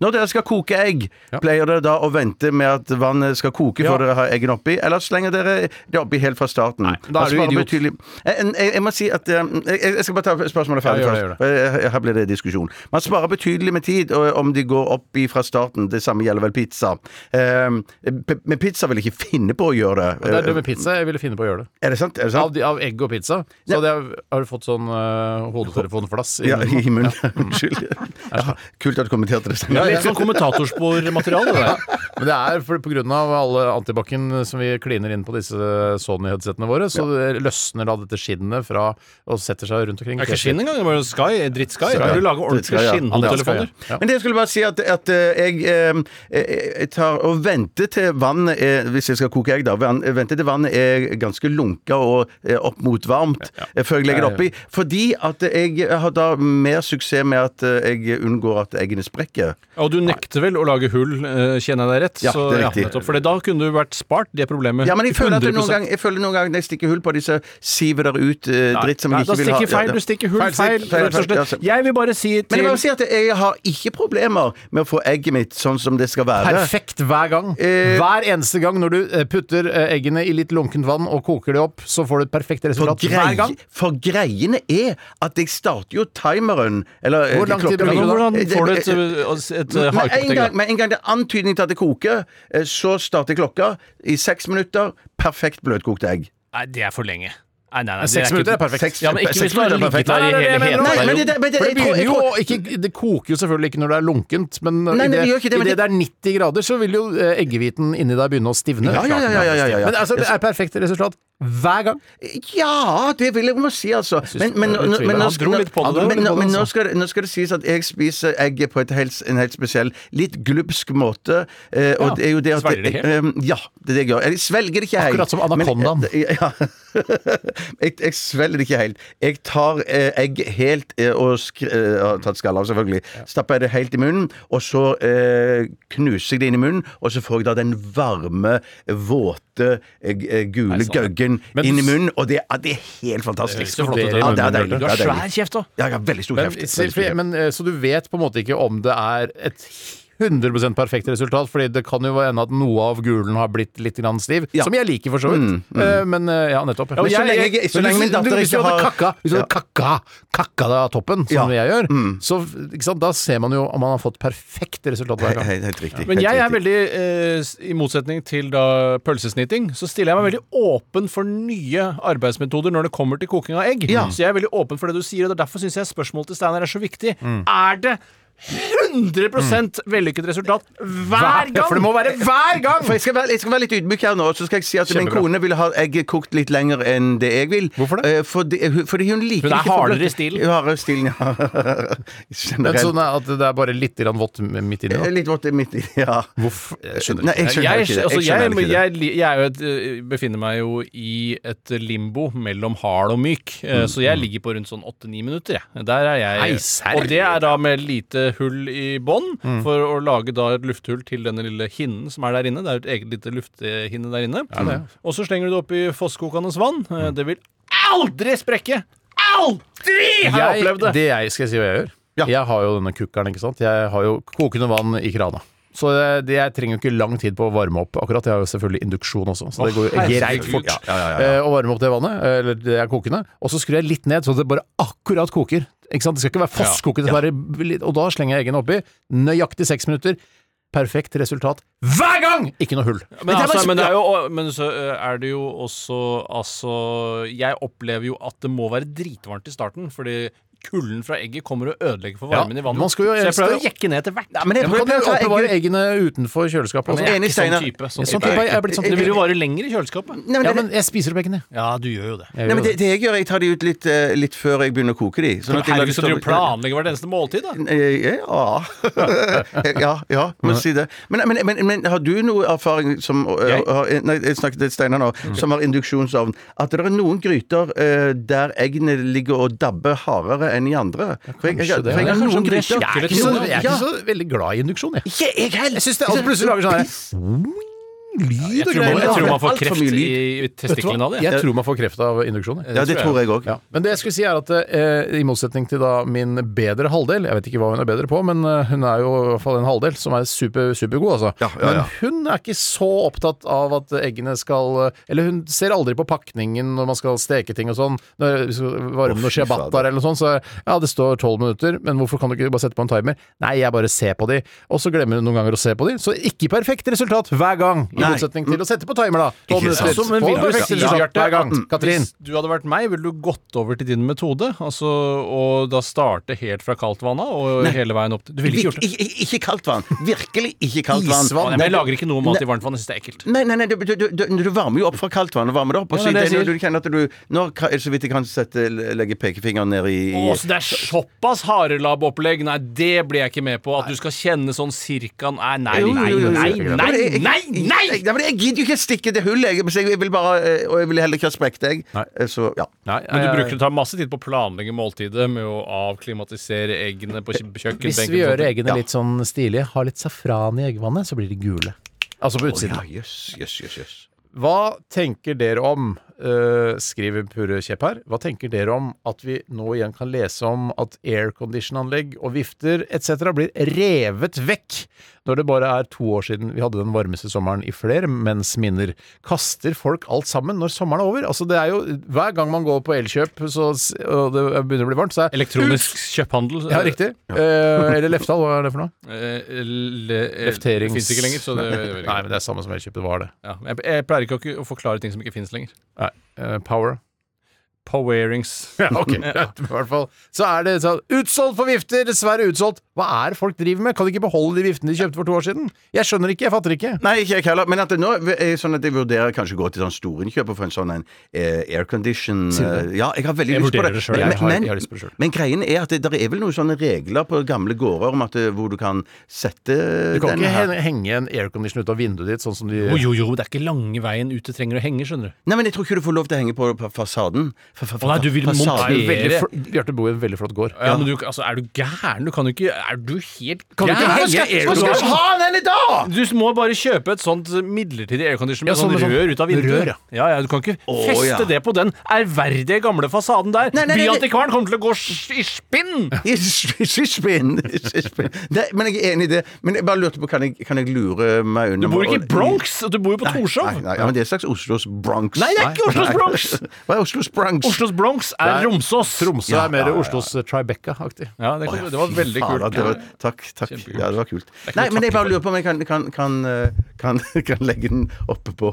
Når dere skal koke egg, pleier dere da å vente med at vannet skal koke Ja. før dere har eggene oppi, eller slenger dere det oppi helt fra starten? Altså, Nei, da er du idiot. Jeg, jeg, jeg må si at eh, jeg, jeg skal bare ta spørsmålet ferdig Ja, gjør det, gjør først. Eh, Her blir det diskusjon. Man sparer betydelig med tid og, om de går opp i fra starten. Det samme gjelder vel pizza. Eh, p- men pizza vil jeg ikke finne på å gjøre det. Det er det med pizza. Jeg ville finne på å gjøre det. Eh, er det sant? Er det Av, sant? de, av egg og pizza? Så hadde jeg, har du fått sånn uh, hodetelefonflass? i Ja, munnen? i munnen. Unnskyld. Ja, kult at du kommenterte det. Det er litt sånn kommentatorspormateriale. det der. Men det er for, på grunn av alle antibac-en som vi kliner inn på disse Sony-headsetene våre, så det løsner da dette skinnet fra og setter seg rundt omkring. Det er ikke skinn engang, det er bare Sky. Dritt-Sky. Sky, Du ja. lager ordentlige Dritt-Sky, ja. skinnhodetelefoner. Ja. Men det jeg skulle bare si at, at eh, jeg, eh, eh, jeg tar og venter til vannet er, Hvis jeg skal koke egg, da. van- Venter til vannet er ganske lunka og eh, opp mot varmt eh, før jeg legger det oppi. Fordi at jeg har da mer suksess med at eh, jeg unngår at eggene sprekker. Og du nekter vel å lage hull, eh, kjenner jeg deg rett? Ja, det er riktig. nettopp. For da kunne du vært spart det problemet. Ja, men jeg føler at det noen 100%. gang, jeg føler noen gang når jeg stikker hull på de, så siver det ut eh, dritt som Nei, jeg ikke vil ha. Da stikker feil, Ja, ja. du stikker hull, Feil, feil. feil, feil, rett og feil, ja, slett. så- Jeg vil bare si Men til jeg må jo si at jeg har ikke problemer med å få egget mitt sånn som det skal være. Perfekt hver gang. Eh, hver eneste gang når du eh, putter eh, eggene i litt lunkent vann og koker det opp, så får du et perfekt For, resultat hver grei, gang. for greiene er at jeg starter jo timeren eller, eh, Hvor lang tid klokka- bruker du da? Hvordan får du et, eh, et, eh, Med hardkokt en, egg, da? gang, med en gang det er antydning til at det koker, eh, så starter klokka i seks minutter. Perfekt bløtkokt egg. Nei, det er for lenge. Nei, nei, nei. Seks det minutter er ikke- perfekt. Ja, men ikke Seks hvis du har minutter er ligget perfekt. der i Nei, nei, hele nei, hele men- Nei, men perioden. det, det, men det, For det jeg tror- begynner jeg jo tror- å- ikke, Det koker jo selvfølgelig ikke når det er lunkent, men Nei, nei, i det, det gjør ikke i det, men det det- det er 90 grader, så vil jo eh, eggehviten inni deg begynne å stivne. Ja, ja, ja, ja, ja, ja, ja. Men altså, det er perfekte resultat hver gang. Ja, det vil jeg må si, altså. Men, men, jeg men, tviler. nå Han skal- dro litt på det, han men- dro litt på men- det, men nå altså. skal, det- nå skal det sies at jeg spiser egget på et helt, en helt spesiell, litt glupsk måte. eh, og Ja, det er jo det at, svelger det helt? eh, ja, det er det jeg gjør. Jeg svelger det ikke helt. Akkurat som men- eh, anakondaen. ja. jeg, jeg svelger det ikke helt. Jeg tar eh, egg helt eh, og skr, eh, har tatt skallet av, selvfølgelig. Stapper jeg det helt i munnen, og så eh, knuser jeg det inn i munnen, og så får jeg da den varme, våte, eh, eh, gule gøggen Men- inn i munnen, og det, ja, det er helt fantastisk. Så flott at du- Ja, det er deilig. Du det har er svær deilig. kjeft òg. Ja, jeg har veldig stor Men, kjeft. se- Veldig stor for- kjeft. men, eh, så du vet på en måte ikke om det er et 100 perfekt resultat, fordi det kan jo hende at noe av gulen har blitt litt grann stiv, Ja. Mm, som jeg liker for så vidt. Eh, Men eh, ja, nettopp. Men så jeg- lenge jeg- så men lenge min hvis- datter du- hvis du ikke hadde har- kakka, Hvis du hadde Ja. kakka, kakka deg av toppen, som Ja. Mm. jeg gjør, så ikke sant, da ser man jo om man har fått perfekt resultat hver gang. Helt, helt riktig. Men helt jeg er riktig. veldig, eh, s- i motsetning til da pølsesnitting, så stiller jeg meg veldig åpen for nye arbeidsmetoder når det kommer Mm. til koking av egg. Så jeg er veldig åpen for det du sier, og det er derfor syns jeg spørsmålet til Steinar er så viktig. Er det 100 vellykket resultat hver gang! Ja, Mm. for det må være hver gang! For jeg skal, være, jeg skal være litt ydmyk her nå, så skal jeg si at Kjempebra. min kone vil ha egget kokt litt lenger enn det jeg vil. Hvorfor det? Eh, Fordi, hun- fordi hun liker Hun er ikke for hardere bløtt. i stilen. Hun er Hardere i stilen, ja. Men Generelt. sånn at det er bare litt grann vått midt inni Eh, da. Litt vått midt i, ja. Hvorfor? Jeg skjønner Nei, jeg Jeg, skjønner ikke det. altså, Jeg skjønner jeg, ikke det. jeg, jeg, er jo et, eh, befinner meg jo i et limbo mellom hard og myk, Mm, eh, så jeg ligger på rundt sånn åtte-ni minutter. Jeg. Der er jeg. Nei, serr? og det er da med lite hull i bånn, Mm. for å lage da et lufthull til denne lille hinnen som er der inne. Det er jo et eget lite lufthinne der inne. Og så slenger du det opp i fosskokende vann. Eh, Mm. Det vil aldri sprekke! Aldri! Har jeg opplevd det. det jeg skal jeg si hva jeg gjør. Jeg har jo denne kukkeren, ikke sant. Jeg har jo kokende vann i krana. Så det, det, jeg trenger jo ikke lang tid på å varme opp akkurat. Jeg har jo selvfølgelig induksjon også, så det går jo greit fort eh, å varme opp det vannet. Eller det er kokende. Og så skrur jeg litt ned, så det bare akkurat koker. Ikke sant? Det skal ikke være fosskokende. det skal være litt- Og da slenger jeg eggene oppi. Nøyaktig seks minutter. Perfekt resultat hver gang! Ikke noe hull. Men, det er bare- altså, men, det ja. er jo, men så eh, er det jo også Altså, jeg opplever jo at det må være dritvarmt i starten, fordi kulden fra egget kommer og ødelegger for varmen Ja, i vannet. man skal jo så jeg helst- pleier å jekke ned etter hvert. men jeg Ja, men prøver kan du å ta oppbevare egget- eggene utenfor kjøleskapet? jeg er Ikke enig, sånn Steinar. type. Jeg Sånn er sånn type. type, jeg er blitt sånn Det type. vil jo vare lenger i kjøleskapet. Nei, men Ja, det- men jeg spiser opp eggene. Ja, du gjør jo det. Jeg Nei, gjør jo men det, det jeg gjør, jeg tar de ut litt, eh, litt før jeg begynner å koke de. Sånn at Herregud, jeg lager så du større- planlegger hvert eneste måltid, da. Eh, Ja Ja, ja, må si det. Men, men, men, men har du noe erfaring som eh, Jeg? Mm. har, Nei, jeg snakket til Steinar nå, som har induksjonsovn. At det er noen gryter eh, der eggene ligger og dabber hardere enn i andre. For jeg, jeg, kanskje det. Ja, for jeg har kanskje noen det gryter sjekker Jeg er litt ikke så, sånn, jeg er Ja. ikke så veldig glad i induksjon, jeg. Ikke jeg heller! Jeg synes det, altså, plutselig lager sånn her lyd Jeg og tror man, greier. jeg tror det er man får alt for kreft mye i lyd. i testiklene av det. Jeg tror man får kreft av induksjon. jeg. Ja, det tror jeg òg. Ja. Men det jeg skulle si er at eh, i motsetning til da min bedre halvdel, jeg vet ikke hva hun er bedre på, men eh, hun er jo i hvert fall en halvdel som er super, supergod, altså. Ja, ja, ja. Men hun er ikke så opptatt av at eggene skal eh, Eller hun ser aldri på pakningen når man skal steke ting og sånn. Når vi skal varme noen fy fader. ciabattaer eller noe sånt, så ja, det står tolv minutter, men hvorfor kan du ikke bare sette på en timer? Nei, jeg bare ser på de. Og så glemmer hun noen ganger å se på de, så ikke perfekt resultat hver gang. I Nei. motsetning til å sette på timer, da. Tolv Ikke minutter. sant. Mm. Altså, men Få vil du perfekt si, resultat Bjarte, hver gang. at Katrin. hvis du hadde vært meg, ville du gått over til din metode? Altså, og da starte helt fra kaldtvannet og hele veien opp til Du ville ikke gjort det? Ikke, ikke kaldt vann. Virkelig ikke kaldt vann. Isvann. Nei, men jeg lager ikke noe mat i varmt vann. Jeg syns det er ekkelt. Nei, nei, nei, du, du, du, du varmer jo opp fra kaldt vann og varmer det opp. Ja, Og det så er det jeg når sier. du kjenner at du Nå kan- er det så vidt jeg kan sette, legge pekefingeren ned i, i Å, så det er såpass harelabb-opplegg? Nei, det blir jeg ikke med på. At du skal kjenne sånn cirka Nei, nei, Jo, nei, jo, jo, nei, jo. Ja, nei, men jeg- jeg- nei! nei! Jeg, nei, men jeg gidder jo ikke stikke det hullet, jeg, så jeg vil bare, eh, og jeg vil heller ikke ha sprukket egg. Eh, Så ja. Men eh, du bruker å ta masse tid på å planlegge måltidet med å avklimatisere eggene på kjø- kjøkkenbenken. Hvis vi gjør og sånt. eggene litt sånn stilige, har litt safran i eggvannet, så blir de gule. Altså på utsiden. Ja, Jøss, jøss, jøss. jøss. Hva tenker dere om eh, Skriver Purre Kjepp her. Hva tenker dere om at vi nå igjen kan lese om at aircondition-anlegg og vifter etc. blir revet vekk når det bare er to år siden vi hadde den varmeste sommeren i flere menns minner? Kaster folk alt sammen når sommeren er over? Altså det er jo Hver gang man går på elkjøp så, s- og det begynner å bli varmt, så er Elektronisk kjøphandel. Ja, riktig. Eh, eller Leftal, hva er det for noe? Eh, Eh, Lefterings... Lefterings... Fins eh, ikke lenger, så det Nei, men det er samme som Elkjøp, det var det. Ja, jeg, jeg pleier ikke å, ku- å forklare ting som ikke finnes lenger. Nei, eh, Power. Powerings. Ja, ok, greit, i hvert fall. Så er det sånn Utsolgt for vifter! Dessverre utsolgt! Hva er det folk driver med? Kan de ikke beholde de viftene de kjøpte for to år siden? Jeg skjønner ikke, jeg fatter ikke. Nei, ikke jeg heller. Men at det nå er det sånn at jeg vurderer kanskje å gå til sånn storinnkjøp og få en sånn en eh, aircondition eh, Ja, jeg har veldig Jeg lyst på vurderer det. det selv. Men- Jeg har- men- jeg har lyst på det selv. Men greien er at det der er vel noen sånne regler på gamle gårder om at eh, hvor du kan sette Du kan denne ikke her. hen- henge en aircondition ut av vinduet ditt, sånn som de Jo, jo, jo, det er ikke lange veien ut det trenger å henge, skjønner du. Nei, men jeg tror ikke du får lov til å henge på, på fasaden. Fa- fa- Å, nei, du vil fasaden. montere. Veldig fl- Bjarte bor i en veldig flott gård. Ja, men du, altså, Er du gæren? Du kan jo ikke Er du helt Kan du ikke gæren? henge Hva skal du ha? ha den eller da?! Du må bare kjøpe et sånt eh, midlertidig aircondition med Ja, sånn sånn med sånn rør ut av vinduet. rør, ja. ja, ja, Du kan ikke feste ja. det på den ærverdige gamle fasaden der. Nei, nei, nei, nei. Byantikvaren kommer til å gå s- i spinn! Sysspinn! Men jeg er enig i det. Men jeg bare lurte på, kan jeg, kan jeg lure meg unna Du bor ikke i med å- Bronx, du bor jo på Nei, Torshov. nei, ja, men det er et slags Oslos Bronx. Nei, det er ikke Oslos Bronx! Hva er Oslos Bronx? Bronx. Oslos Bronx er Det er- Romsås. Tromsø Ja, er mer ja, ja. Oslos eh, Tribeca-aktig. Ja, det, det var veldig Faen, kult. at det var, takk. takk. Kjempekult. Ja, det var kult. Nei, men jeg bare lurer på om jeg kan, kan, kan, eh, kan, kan legge den oppe på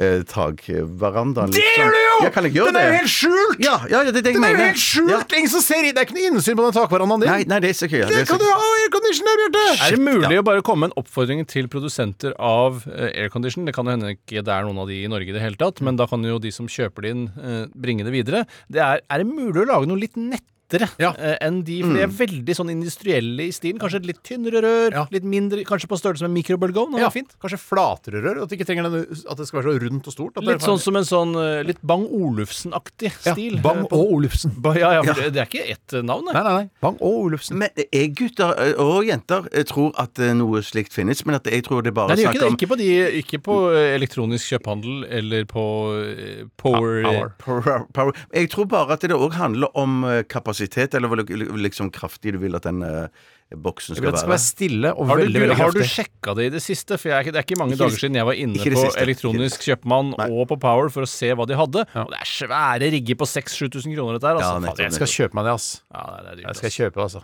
eh, takverandaen. Det liksom. gjør du jo! Ja, kan jeg gjøre den er jo det? helt skjult! Ja, ja, ja, det er det jeg den er jo mener. helt skjult! Ja. Ingen som ser i Det er ikke noe innsyn på den takverandaen din. Nei, nei, det er så kult. Der kan du ha aircondition der, Bjarte! Er det mulig å bare komme med en oppfordring til produsenter av eh, aircondition? Det kan jo hende ikke det er noen av de i Norge i det hele tatt, men da kan jo de som kjøper det inn, eh, bringe det videre. Det er, er det mulig å lage noe litt nettere Ja. Mm. eh, enn de? For de er veldig sånn industrielle i stilen. Kanskje et litt tynnere rør, Ja. litt mindre, kanskje på størrelse med en mikrobølgeovn. Ja, Ja. Fint. Kanskje flatere rør? At, det ikke trenger den, at det skal være så rundt og stort? At Litt det er sånn som en sånn eh, litt Bang Olufsen-aktig stil. ja, Bang eh, på- og Olufsen. Ba- Ja, ja, for Det, det er ikke ett eh, navn, Nei, det. nei, nei. Bang og Olufsen. Men jeg, gutter eh, og jenter, eh, tror at eh, noe slikt finnes, men at jeg tror det bare Nei, det gjør ikke det. snakker om Ikke på, de, ikke på eh, elektronisk kjøphandel eller på eh, Power, Ah, Power, power. Jeg tror bare at det òg handler om eh, kapasitet, eller hvor li- liksom kraftig du vil at den eh, boksen Jeg vil skal at det skal være. være stille og Har du, veldig, veldig har du kraftig. sjekka det i det siste? For jeg, er ikke- Det er ikke mange Ikke det dager siden jeg var inne ikke det på siste. Elektronisk Kjøpmann og på Power for å se hva de hadde. Og det er svære rigger på 6000-7000 kroner, dette her. Altså. Ja, Faen, nettopp, jeg Jeg skal kjøpe meg det, ass. ja, det er dyrt, Jeg altså. skal kjøpe det, altså.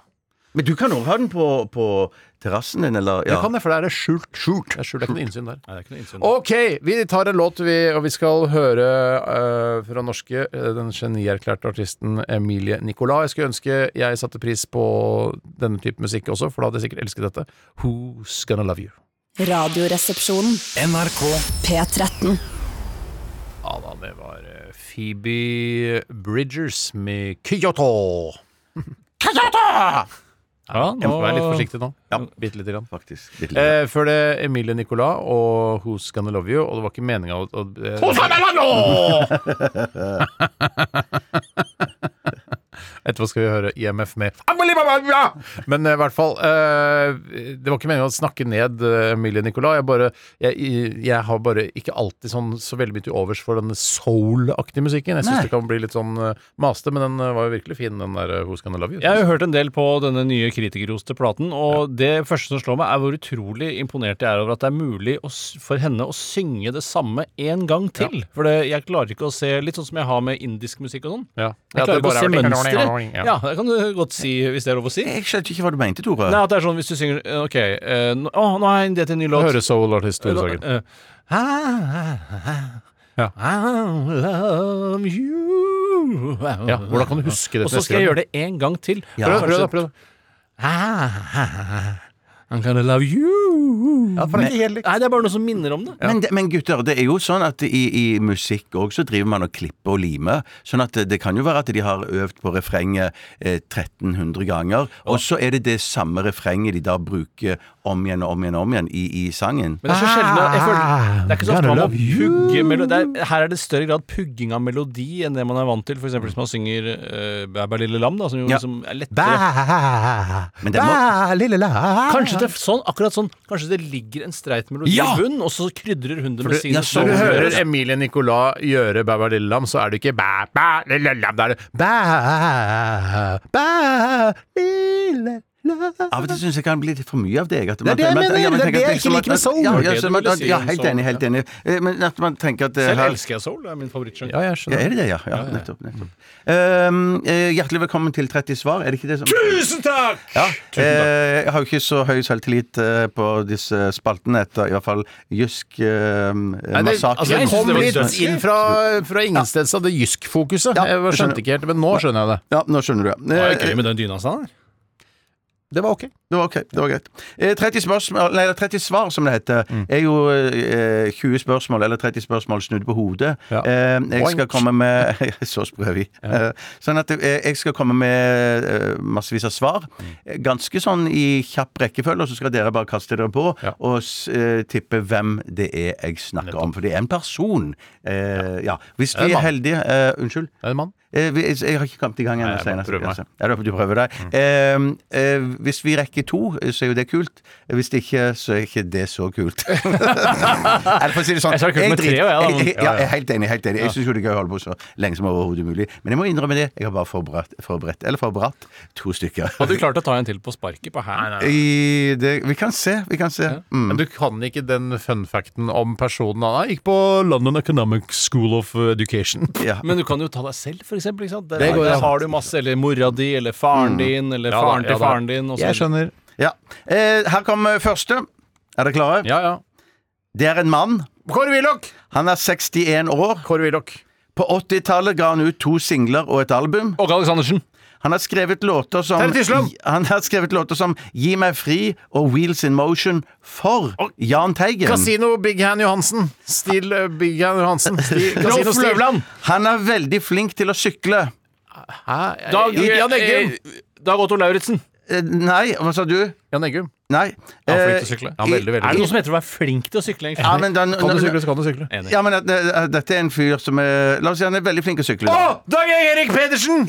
Men du kan òg ha den på, på terrassen din, eller? Jeg kan det, for det er skjult. Skjult. Det er skjult, det er ikke noe innsyn der. Nei, det er ikke noe innsyn. Ok, vi tar en låt, vi, og vi skal høre eh, fra norske eh, den genierklærte artisten Emilie Nicolai. Jeg skulle ønske jeg satte pris på denne type musikk også, for da hadde jeg sikkert elsket dette. Who's gonna love you? Radioresepsjonen. NRK P13. Ja da, det var eh, Phoebe Bridgers med Kyoto. Ja, Jeg må være litt nå, forsiktig nå. Bitte lite grann. Faktisk. Litt lite. Eh, før det Emilie Nicolas og Who's Gonna Love You, og det var ikke meninga å, å eh, Etterpå skal vi høre IMF med Men eh, i hvert fall eh, Det var ikke meningen å snakke ned eh, Emilie Nicolas. Jeg, bare, jeg, jeg har bare ikke alltid sånn, så veldig mye til overs for denne soul-aktige musikken. Jeg syns det kan bli litt sånn eh, maste, men den eh, var jo virkelig fin, den der eh, Who's Gonna Love You. Jeg har jo hørt en del på denne nye kritikerroste platen, og det første som slår meg, er hvor utrolig imponert jeg er over at det er mulig å, s- for henne å synge det samme en gang til. For det, jeg klarer ikke å se Litt sånn som jeg har med indisk musikk og sånn. Ja. Jeg Ja, klarer det ikke å se bare er- mønsteret. Ja. Ja, det kan du godt si, hvis det er lov å si. Jeg skjønte ikke hva du mente, Tore. Nei, at det er sånn hvis du synger eh, OK, eh, nå- å, nå har jeg en idé til en ny låt. Høre soul-artist Tore Sagen. Eh, Ja. I love you Ja, hvordan kan du huske det? Og så skal jeg gjøre det en gang til. Prøv, prøv, da, prøv. da. I'm gonna love you Ja, for det er ikke helt likt. Nei, det er bare noe som minner om det. Men, det- men gutter, det er jo sånn at i, i musikk òg så driver man og klipper og limer. Sånn at det, det kan jo være at de har øvd på refrenget eh, 1300 ganger, og så er det det samme refrenget de da bruker om igjen og om igjen og om igjen i, i sangen. Men det er så sjelden jeg føler, Det er ikke så Ah, ofte Gonna man må love you. pugge melo- det er, Her er det større grad pugging av melodi enn det man er vant til. For eksempel hvis man synger uh, Bæ bæ lille lam, da, som jo Ja. liksom er lettere. Men det må, Kanskje det, er sånn, akkurat sånn, kanskje det ligger en streit melodi Ja! i bunnen, og så krydrer hun det For med du- sin ja, sånn- Når du Sånn hører gjøres. Emilie Nicolas gjøre Bæ bæ lille lam, så er det ikke bæ bæ lille lam, det er det bæ bæ lille lam. Av og til syns jeg kan bli litt for mye av det. jeg, At er det jeg mener, det er det jeg ikke liker med soul. Ja, ja, Det er det så du man- ville si ja, om helt soul, enig. helt ja. enig Eh, Men at man tenker at eh, Selv her- elsker jeg soul, det er min favorittsjanger. Ja, jeg ja, skjønner. er det det, ja? ja nettopp. nettopp. Ehm, eh, hjertelig velkommen til 30 svar. Er det ikke det som Tusen takk! Ja, eh, jeg har jo ikke så høy selvtillit eh, på disse spaltene etter i hvert fall Jysk eh, Nei, det, massakre. altså, det Jeg synes kom det var litt dødsgøy. inn fra, fra ingensteds av det jysk-fokuset. Ja, Jeg jeg skjønner. skjønte ikke helt, men nå skjønner jeg det. Ja, nå skjønner du. Det Eh, var gøy med den dyna hans der. Det var ok. Det var ok, det var greit. Eh, 30, spørsmål, nei, eller 30 svar, som det heter, Mm. er jo eh, 20 spørsmål, eller 30 spørsmål snudd på hodet. Ja. Eh, jeg skal Oink. komme med Så sprø er vi. Eh, sånn at eh, jeg skal komme med eh, massevis av svar. Mm. Eh, Ganske sånn i kjapp rekkefølge, og så skal dere bare kaste dere på Ja. og s- eh, tippe hvem det er jeg snakker om. For det er en person. Eh, ja. Hvis er vi en er mann. heldige eh, Unnskyld? Er det en mann? Eh, vi- Jeg jeg har ikke kommet i gang Nei, jeg ennå, bare Steinar. Mm. prøver meg. Ja, du prøver deg. Eh, eh, hvis vi rekker to, eh, så er jo det kult. Hvis ikke, så er ikke det så kult. Eller for å si det sånn Jeg sa det kult med drit- tre, og jeg da, men- jeg- ja, jeg er helt enig. helt enig Jeg syns jo det er gøy å holde på så lenge som overhodet mulig. Men jeg må innrømme det. Jeg har bare forberedt, forberedt eller forberedt to stykker. Hadde du klart å ta en til på sparket på hælen? I det, vi kan se. Vi kan se. Mm. Men du kan ikke den funfacten om personen han er. Gikk på London Economic School of Education. Ja. Men du kan jo ta deg selv, for eksempel. Ikke sant? Der, Det går, der ja. Mm. har du masse, eller mora di, eller faren din, eller Ja da, faren ja til da. faren din. og så Jeg videre. skjønner. ja. Eh, her kommer første. Er dere klare? Ja, ja. Det er en mann. Kåre Willoch! Han er 61 år. Kåre Willoch. På 80-tallet ga han ut to singler og et album. Åge Aleksandersen. Mm. Han har skrevet låter som Terje Tysland! Han har skrevet låter som Gi meg fri og Wheels in Motion for Jahn Teigen. Casino Big Hand Johansen. Stil eh, Big Hand Johansen. Stil- Casino Stil. Han er veldig flink til å sykle. Hæ? Ah, Dag, Jan Eggum. eh, Dag Otto Lauritzen. Eh, Nei, hva sa du? Jan Eggum. Eh, Nei. Eh, Han er flink til å sykle. Ja, veldig, veldig. Er det noe som heter å være flink til å sykle? egentlig? ja, men den, Kan du sykle, så kan du sykle. Enig. Ja, men at- eh, at dette er en fyr som er La oss si han er veldig flink til å sykle. Å, Dag Erik Pedersen!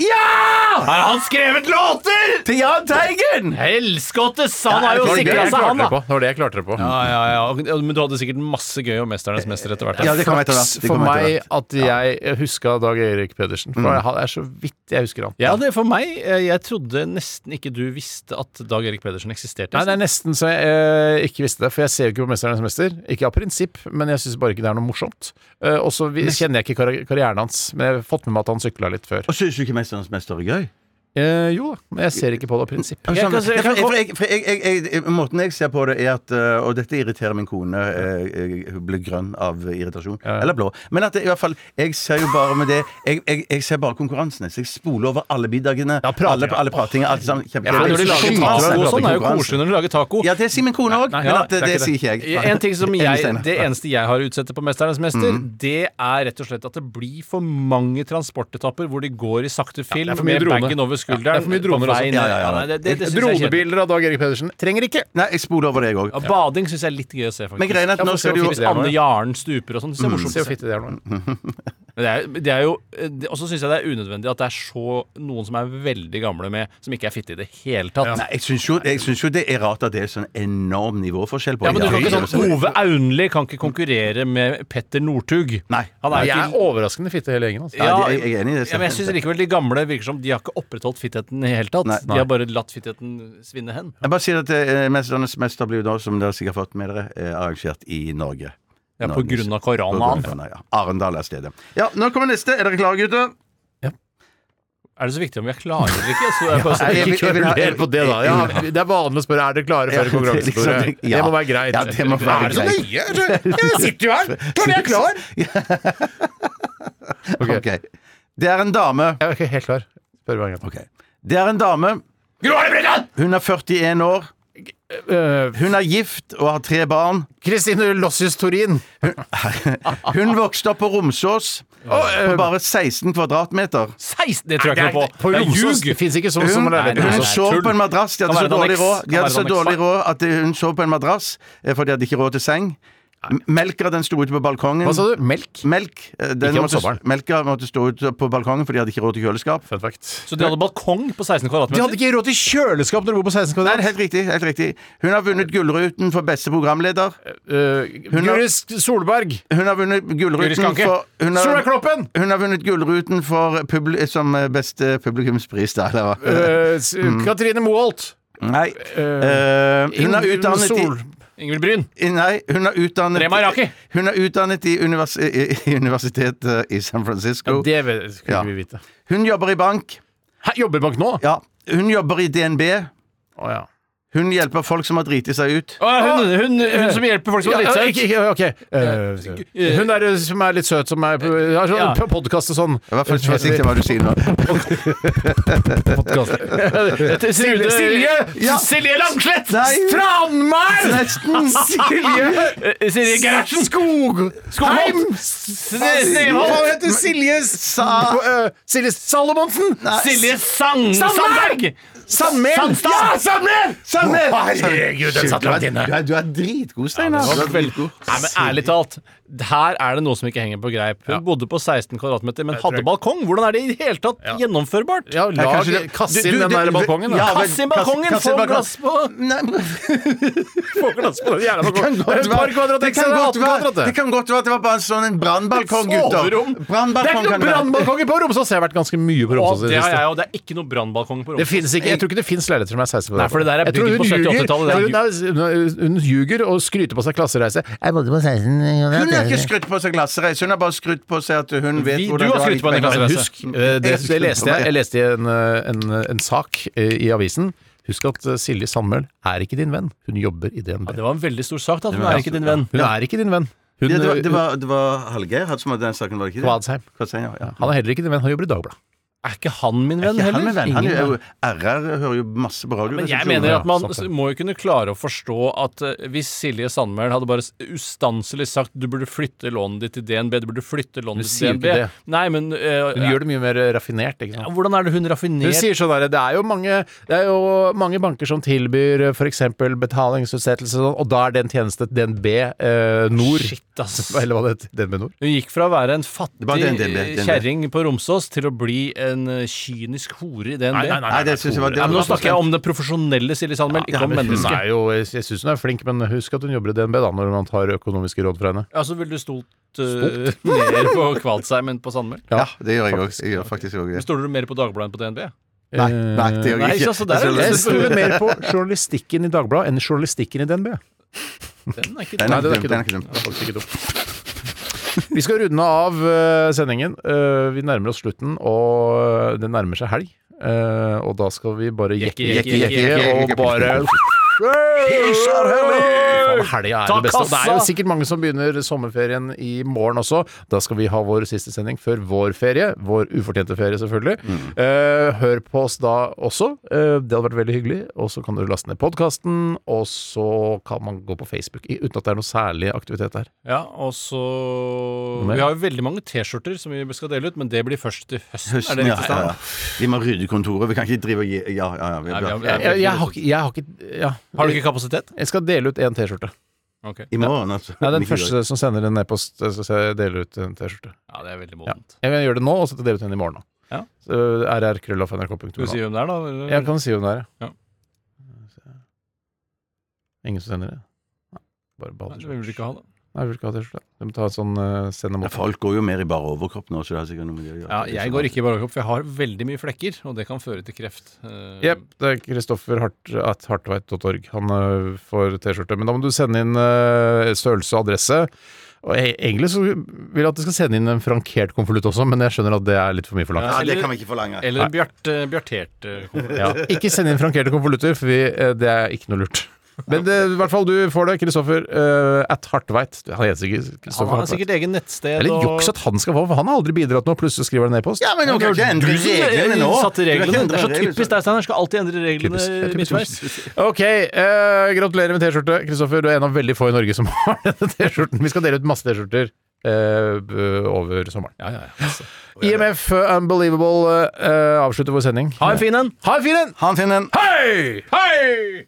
Har han skrevet låter?! Til Jahn Teigen! Helskottes! Han har Det jo var det sikra jeg seg, klarte han, det da! på. Det var det jeg klarte det på. Ja, ja, ja. Og- ja, Men du hadde sikkert masse gøy om Mesternes mester etter hvert. Ja, det kommer etter Flaks hvert. Det for kommer etter meg at jeg huska Dag Erik Pedersen. For jeg- det er så vidt jeg husker han. Ja, det er for meg. eh, Jeg trodde nesten ikke du visste at Dag Erik Pedersen eksisterte. Nei, det er nesten så jeg eh, ikke visste det, for jeg ser jo ikke på 'Mesternes mester'. Ikke av prinsipp, men jeg syns bare ikke det er noe morsomt. Eh, og så vi- kjenner jeg ikke karri karrieren hans, men jeg har fått med meg at han sykla litt før. Og syns du ikke 'Mesternes mester' er gøy? Eh, jo da, men jeg ser ikke på det av prinsipp. Ja, kan- for- jeg kan- for jeg- for jeg- jeg- jeg- Måten jeg ser på det, er at øh, Og dette irriterer min kone. øh, øh, Hun blir grønn av irritasjon. Eller blå. Men at det, i hvert fall Jeg ser jo bare med det Jeg, jeg, jeg ser bare konkurransene. Så jeg spoler over alle middagene, prater, alle, ja. alle pratinger. Alt sammen. Ja, Kjempegøy. når de lager Skyter taco over og sånn, er jo konkurransen. koselig når de lager taco. Ja, det sier min kone òg, men ja, at det, det er det, ikke sier ikke jeg. En ting som Enig, jeg, Steinar. Det eneste jeg har å utsette på 'Mesternes mester', Mm. det er rett og slett at det blir for mange transportetapper hvor de går i sakte film det er for mye med drone. bagen over Ja, skulderen. det er for mye droner på også. vei ned. Ja, ja, ja. nei, det, det, det synes jeg er kjedelig. Dronebilder av Dag Erik Pedersen trenger ikke! Nei, jeg spoler over deg òg. Ja, bading syns jeg er litt gøy å se, faktisk. Men greia er at Ja, nå for se skal du jo hvor Hvis det er noe, Anne ja. Jaren stuper og sånn. Det er morsomt. Se hvor fitte det er nå. Men det er, det er jo eh, det- Og så syns jeg det er unødvendig at det er så noen som er veldig gamle med, som ikke er fitte i det hele tatt. Nei, jeg syns jo, jeg syns jo det er rart at det er sånn enorm nivåforskjell på Ja, men du det. kan ikke sånn Ove Aunli kan ikke konkurrere med Petter Northug. Nei. Han er Jeg jo er ikke overraskende fitte hele gjengen. Altså. Ja, de- jeg- jeg er enig i det, ja, men jeg syns likevel de gamle virker som de har ikke opprettholdt fittheten i det hele tatt. Nei. De har bare latt fittheten svinne hen. Jeg bare sier at eh, Mesternes mester blir jo da, som dere sikkert har fått med dere, eh, arrangert i Norge. Ja, på Norges- grunn av på koronaen. grunn av- ja. Arendal er stedet. Ja, nå kommer neste. Er dere klare, gutter? Er det så viktig om jeg klarer det eller ikke? Så er det bare sånn, jeg vil- ikke jeg vil ha- kveruler på det, da. Ja, det er vanlig å spørre er dere klare Ja, før det er konkurransen. liksom- Tore? ja. Det må være greit. Ja, det må være er det så greit. nøye? Jeg sitter jo her! Klar, jeg er klar! Ok. Det er en dame. Jeg er ikke helt klar. Spør meg en gang. Det er en dame. Hun er 41 år. Hun er gift og har tre barn. Kristine Lossius Torin. Hun vokste opp på Romsås, på bare 16 kvadratmeter. 16! Det tror jeg ikke noe på. På Jeg Romsås ljuger. det fins ikke sånn Hun, som å lære nei, hun nei. Romsås. sov tull. på en madrass. De Kan hadde så være dårlig Donnex. råd De Kan hadde være så Donnex, dårlig råd at eh, hun sov på en madrass, eh, for de hadde ikke råd til seng. M- Melka den sto ute på balkongen. Hva sa du? Melk? Melk, eh, den Ikke om måtte, sommeren. melka måtte stå ute på balkongen, for de hadde ikke råd til kjøleskap. Fun fact. Så de hadde balkong på De 16 hadde kvadratmeter? ikke råd til kjøleskap når du bor på 16 Nei, kvadrat. helt riktig. helt riktig Hun har vunnet Gullruten for beste programleder. Uh, Hun har- Guri Solberg. Hun har vunnet Guri Gullruten Skanke. for hun Solveig har, Kloppen! hun har vunnet Gullruten for publi, som eh, beste publikumspris, da. Eller hva? Uh, s- Katrine Moholt. Nei. Uh, Eh, hun er utdannet i Sol. Ingvild Bryn? I- Nei, hun er utdannet Rema Iraki. Hun er utdannet i, univers i, i universitetet i San Ja, Francisco. det vet- skulle Ja. vi vite. Hun jobber i bank. Hæ, jobber bank nå? Ja, hun jobber i DNB. Å, ja. Hun hjelper folk som har driti seg ut. Å, Hun, hun, hun som hjelper folk som har Ja, dritt seg ut. ikke- ikke- ok. Uh, hun er, uh, som er litt søt, som er på, har sånn Ja. på podkast og sånn. Jeg var først forsiktig med hva du sier nå. Silje, Ja. Silje Langslett! Nei, Strandmar! nesten! Silje Eh, Silje Gerhardsen! Skog... Skogholt! Heim! Snevold! Hva heter Silje Sa- Sa- eh, Silje Salomonsen? Silje Sang Sandberg! Sandberg! Sandmel! Sandstad! Ja, Sandmel! Steinar! Herregud, den satt langt inne. Du er, du er dritgod, Steinar. Det Du var er veldig- dritgod. Nei, men Ærlig talt, her er det noe som ikke henger på greip. Hun bodde på 16 kvadratmeter, men hadde balkong. Hvordan er det i det hele tatt gjennomførbart? Ja, Jeg lag, kan ikke- Kast Du- inn du- den der du- balkongen, da. ja, vel, Kass inn balkongen, kass- kass inn få balkongen. glass på- Nei, men- Få glass på den jævla Det kan balkongen. Det er godt et par være kvadrat Det kan ekstra, det er godt 18 kvadrat. være- det kan godt være at det var bare en sånn en brannbalkong, gutter. Soverom. Det er ikke Brannbalkong kan noen det være. brannbalkonger på Romsås! Jeg har vært ganske mye på Og Romsås. i det det har siste. jeg, og det er ikke noe brannbalkong på Det rommet. finnes ikke, jeg tror ikke det finnes leiligheter som er 16 Nei, for det der er Jeg tror bygget på hun 70- ljuger. 80-tallet, det er Hun, er- hun ljuger og skryter på seg klassereise. Jeg bodde på 16 Hun har ikke skrytt på seg glassereis, hun har bare skrytt på seg at hun vet Vi- hvordan du har det var skrytt på i henne Kveikas. glassereis. Men husk, eh, det, det leste jeg, jeg leste i en, eh, en, en sak eh, i avisen. Husk at eh, Silje Sandmøl er ikke din venn. Hun jobber i DNB. Det var en veldig stor sak, da. Hun er ikke din venn. Hun er ikke din venn. Hun, Ja, det, var, det, eh, var, det var Hallgeir hatt som hadde den saken, var det ikke det? Kvadsheim. Kvadsheim, ja, ja. Han er heller ikke din venn. Han jobber i Dagbladet. Er ikke han min venn Ikke han, heller? min venn. Han Ingen er jo RR hører jo masse på radio. Men jeg resepsjonen. mener at man sant det. må jo kunne klare å forstå at eh, hvis Silje Sandmæl hadde bare s- ustanselig sagt du burde flytte lånet ditt til DNB, du burde flytte lånet ditt sier til jo DNB ikke det. Nei, men eh, Hun gjør det mye mer eh, raffinert. ikke sant? ja, Hvordan er det hun Hun raffinert sier sånn der, det er jo mange, det er jo mange banker som tilbyr f.eks. betalingsutsettelse, og sånn, og da er den tjeneste DNB eh, Nord. Shit, ass. Eller hva det heter. DNB Nord. Hun gikk fra å være en fattig var DNB, DNB. kjerring på Romsås til å bli en eh, kynisk hore i DNB. Nei, Nei, det synes jeg var det men Nå var- snakker jeg om den profesjonelle Silje Sandmæl, ikke om Hun mennesket. er jo, jeg syns hun er flink, men husk at hun jobber i DNB da, når man tar økonomiske råd fra henne. Altså, ville du stolt eh, mer på Kvalsheim enn på Sandmæl? Ja, det gjør jeg òg. Jeg gjør faktisk òg det. Stoler du mer på Dagbladet enn på DNB? Nei, nei, det gjør Nei, jeg så- ikke. så der er det- Altså, Eh, Jeg stoler mer på journalistikken i Dagbladet enn journalistikken i DNB. Den er ikke Den dum. er det ikke dum. Den er ikke dum. Faktisk ikke dumt. Vi skal runde av eh, sendingen. Eh, Vi nærmer oss slutten, og det nærmer seg helg. Eh, Og da skal vi bare jekke, jekke, jekke, og bare Faen, Helga er Ta det beste. Og det er jo kassa! sikkert mange som begynner sommerferien i morgen også. Da skal vi ha vår siste sending før vår ferie. Vår ufortjente ferie, selvfølgelig. Eh, hør på oss da også. Eh, det hadde vært veldig hyggelig. Og så kan du laste ned podkasten, og så kan man gå på Facebook i- uten at det er noe særlig aktivitet der. Ja, og så mer? Vi har jo veldig mange T-skjorter som vi skal dele ut, men det blir først til høsten. Høsten, er det ja, riktig? ja, Steinar? ja. Vi må rydde kontoret. Vi kan ikke drive og gi Ja, ja, ja. vi- Nei, vi har- ja. Jeg- jeg- jeg har ikke, Ja. Har du ikke kapasitet? Jeg skal dele ut én T-skjorte. Ok. I morgen, altså. Nei, den Ikke i dag. første som sender en e-post, eh, så skal jeg dele ut en T-skjorte. Ja, det er veldig modent. Jeg gjør det nå, og så dele ut en i morgen. da. Ja. Så eh, rrkrøllafnrk.no. Skal du si hvem det er, da? eller? Jeg kan si hvem det er, Ja. Ingen som sender det? Nei, bare Nei, behold det det selv. vil du ikke ha, da. Nei, vi vil ikke ha T-skjorte. De må ta et sånn uh, send dem Ja, opp. Folk går jo mer i bare overkropp nå, så det har sikkert noe med det å gjøre. Ja, jeg går ikke i barokkhopp, for jeg har veldig mye flekker, og det kan føre til kreft. Eh, Jepp, det er Kristoffer Hart, at hartveit.org. Han eh, får T-skjorte. Men da må du sende inn eh, størrelse og adresse. Og jeg, egentlig så vil jeg at du skal sende inn en frankert konvolutt også, men jeg skjønner at det er litt for mye forlangt. Ja, det kan vi ikke forlange. Eller en bjarte- bjartert eh, konvolutt. Ja. Ikke send inn frankerte konvolutter, for vi, eh, det er ikke noe lurt. Men det, i hvert fall du får det, Kristoffer. eh, at hartveit. Han heter sikkert Han Kristoffer har Hartveit. sikkert egen nettsted Det er litt og- juks at han skal få, for han har aldri bidratt nå. Plutselig skriver han en e-post. Ja, men nå kan du ikke endre reglene nå. Satte Du kan ikke reglene. Det endre er så reglene. typisk deg, Steinar. Skal alltid endre Typisk. Det reglene er typisk. midtveis. Ok, eh, gratulerer med T-skjorte. Kristoffer, du er en av veldig få i Norge som har denne T-skjorten. Vi skal dele ut masse T-skjorter eh, b- over sommeren. Ja, ja, ja. IMF eh, Unbelievable eh, avslutter vår sending. Ha en fin en! Ha en fin en! Han finner en Hei! Hei!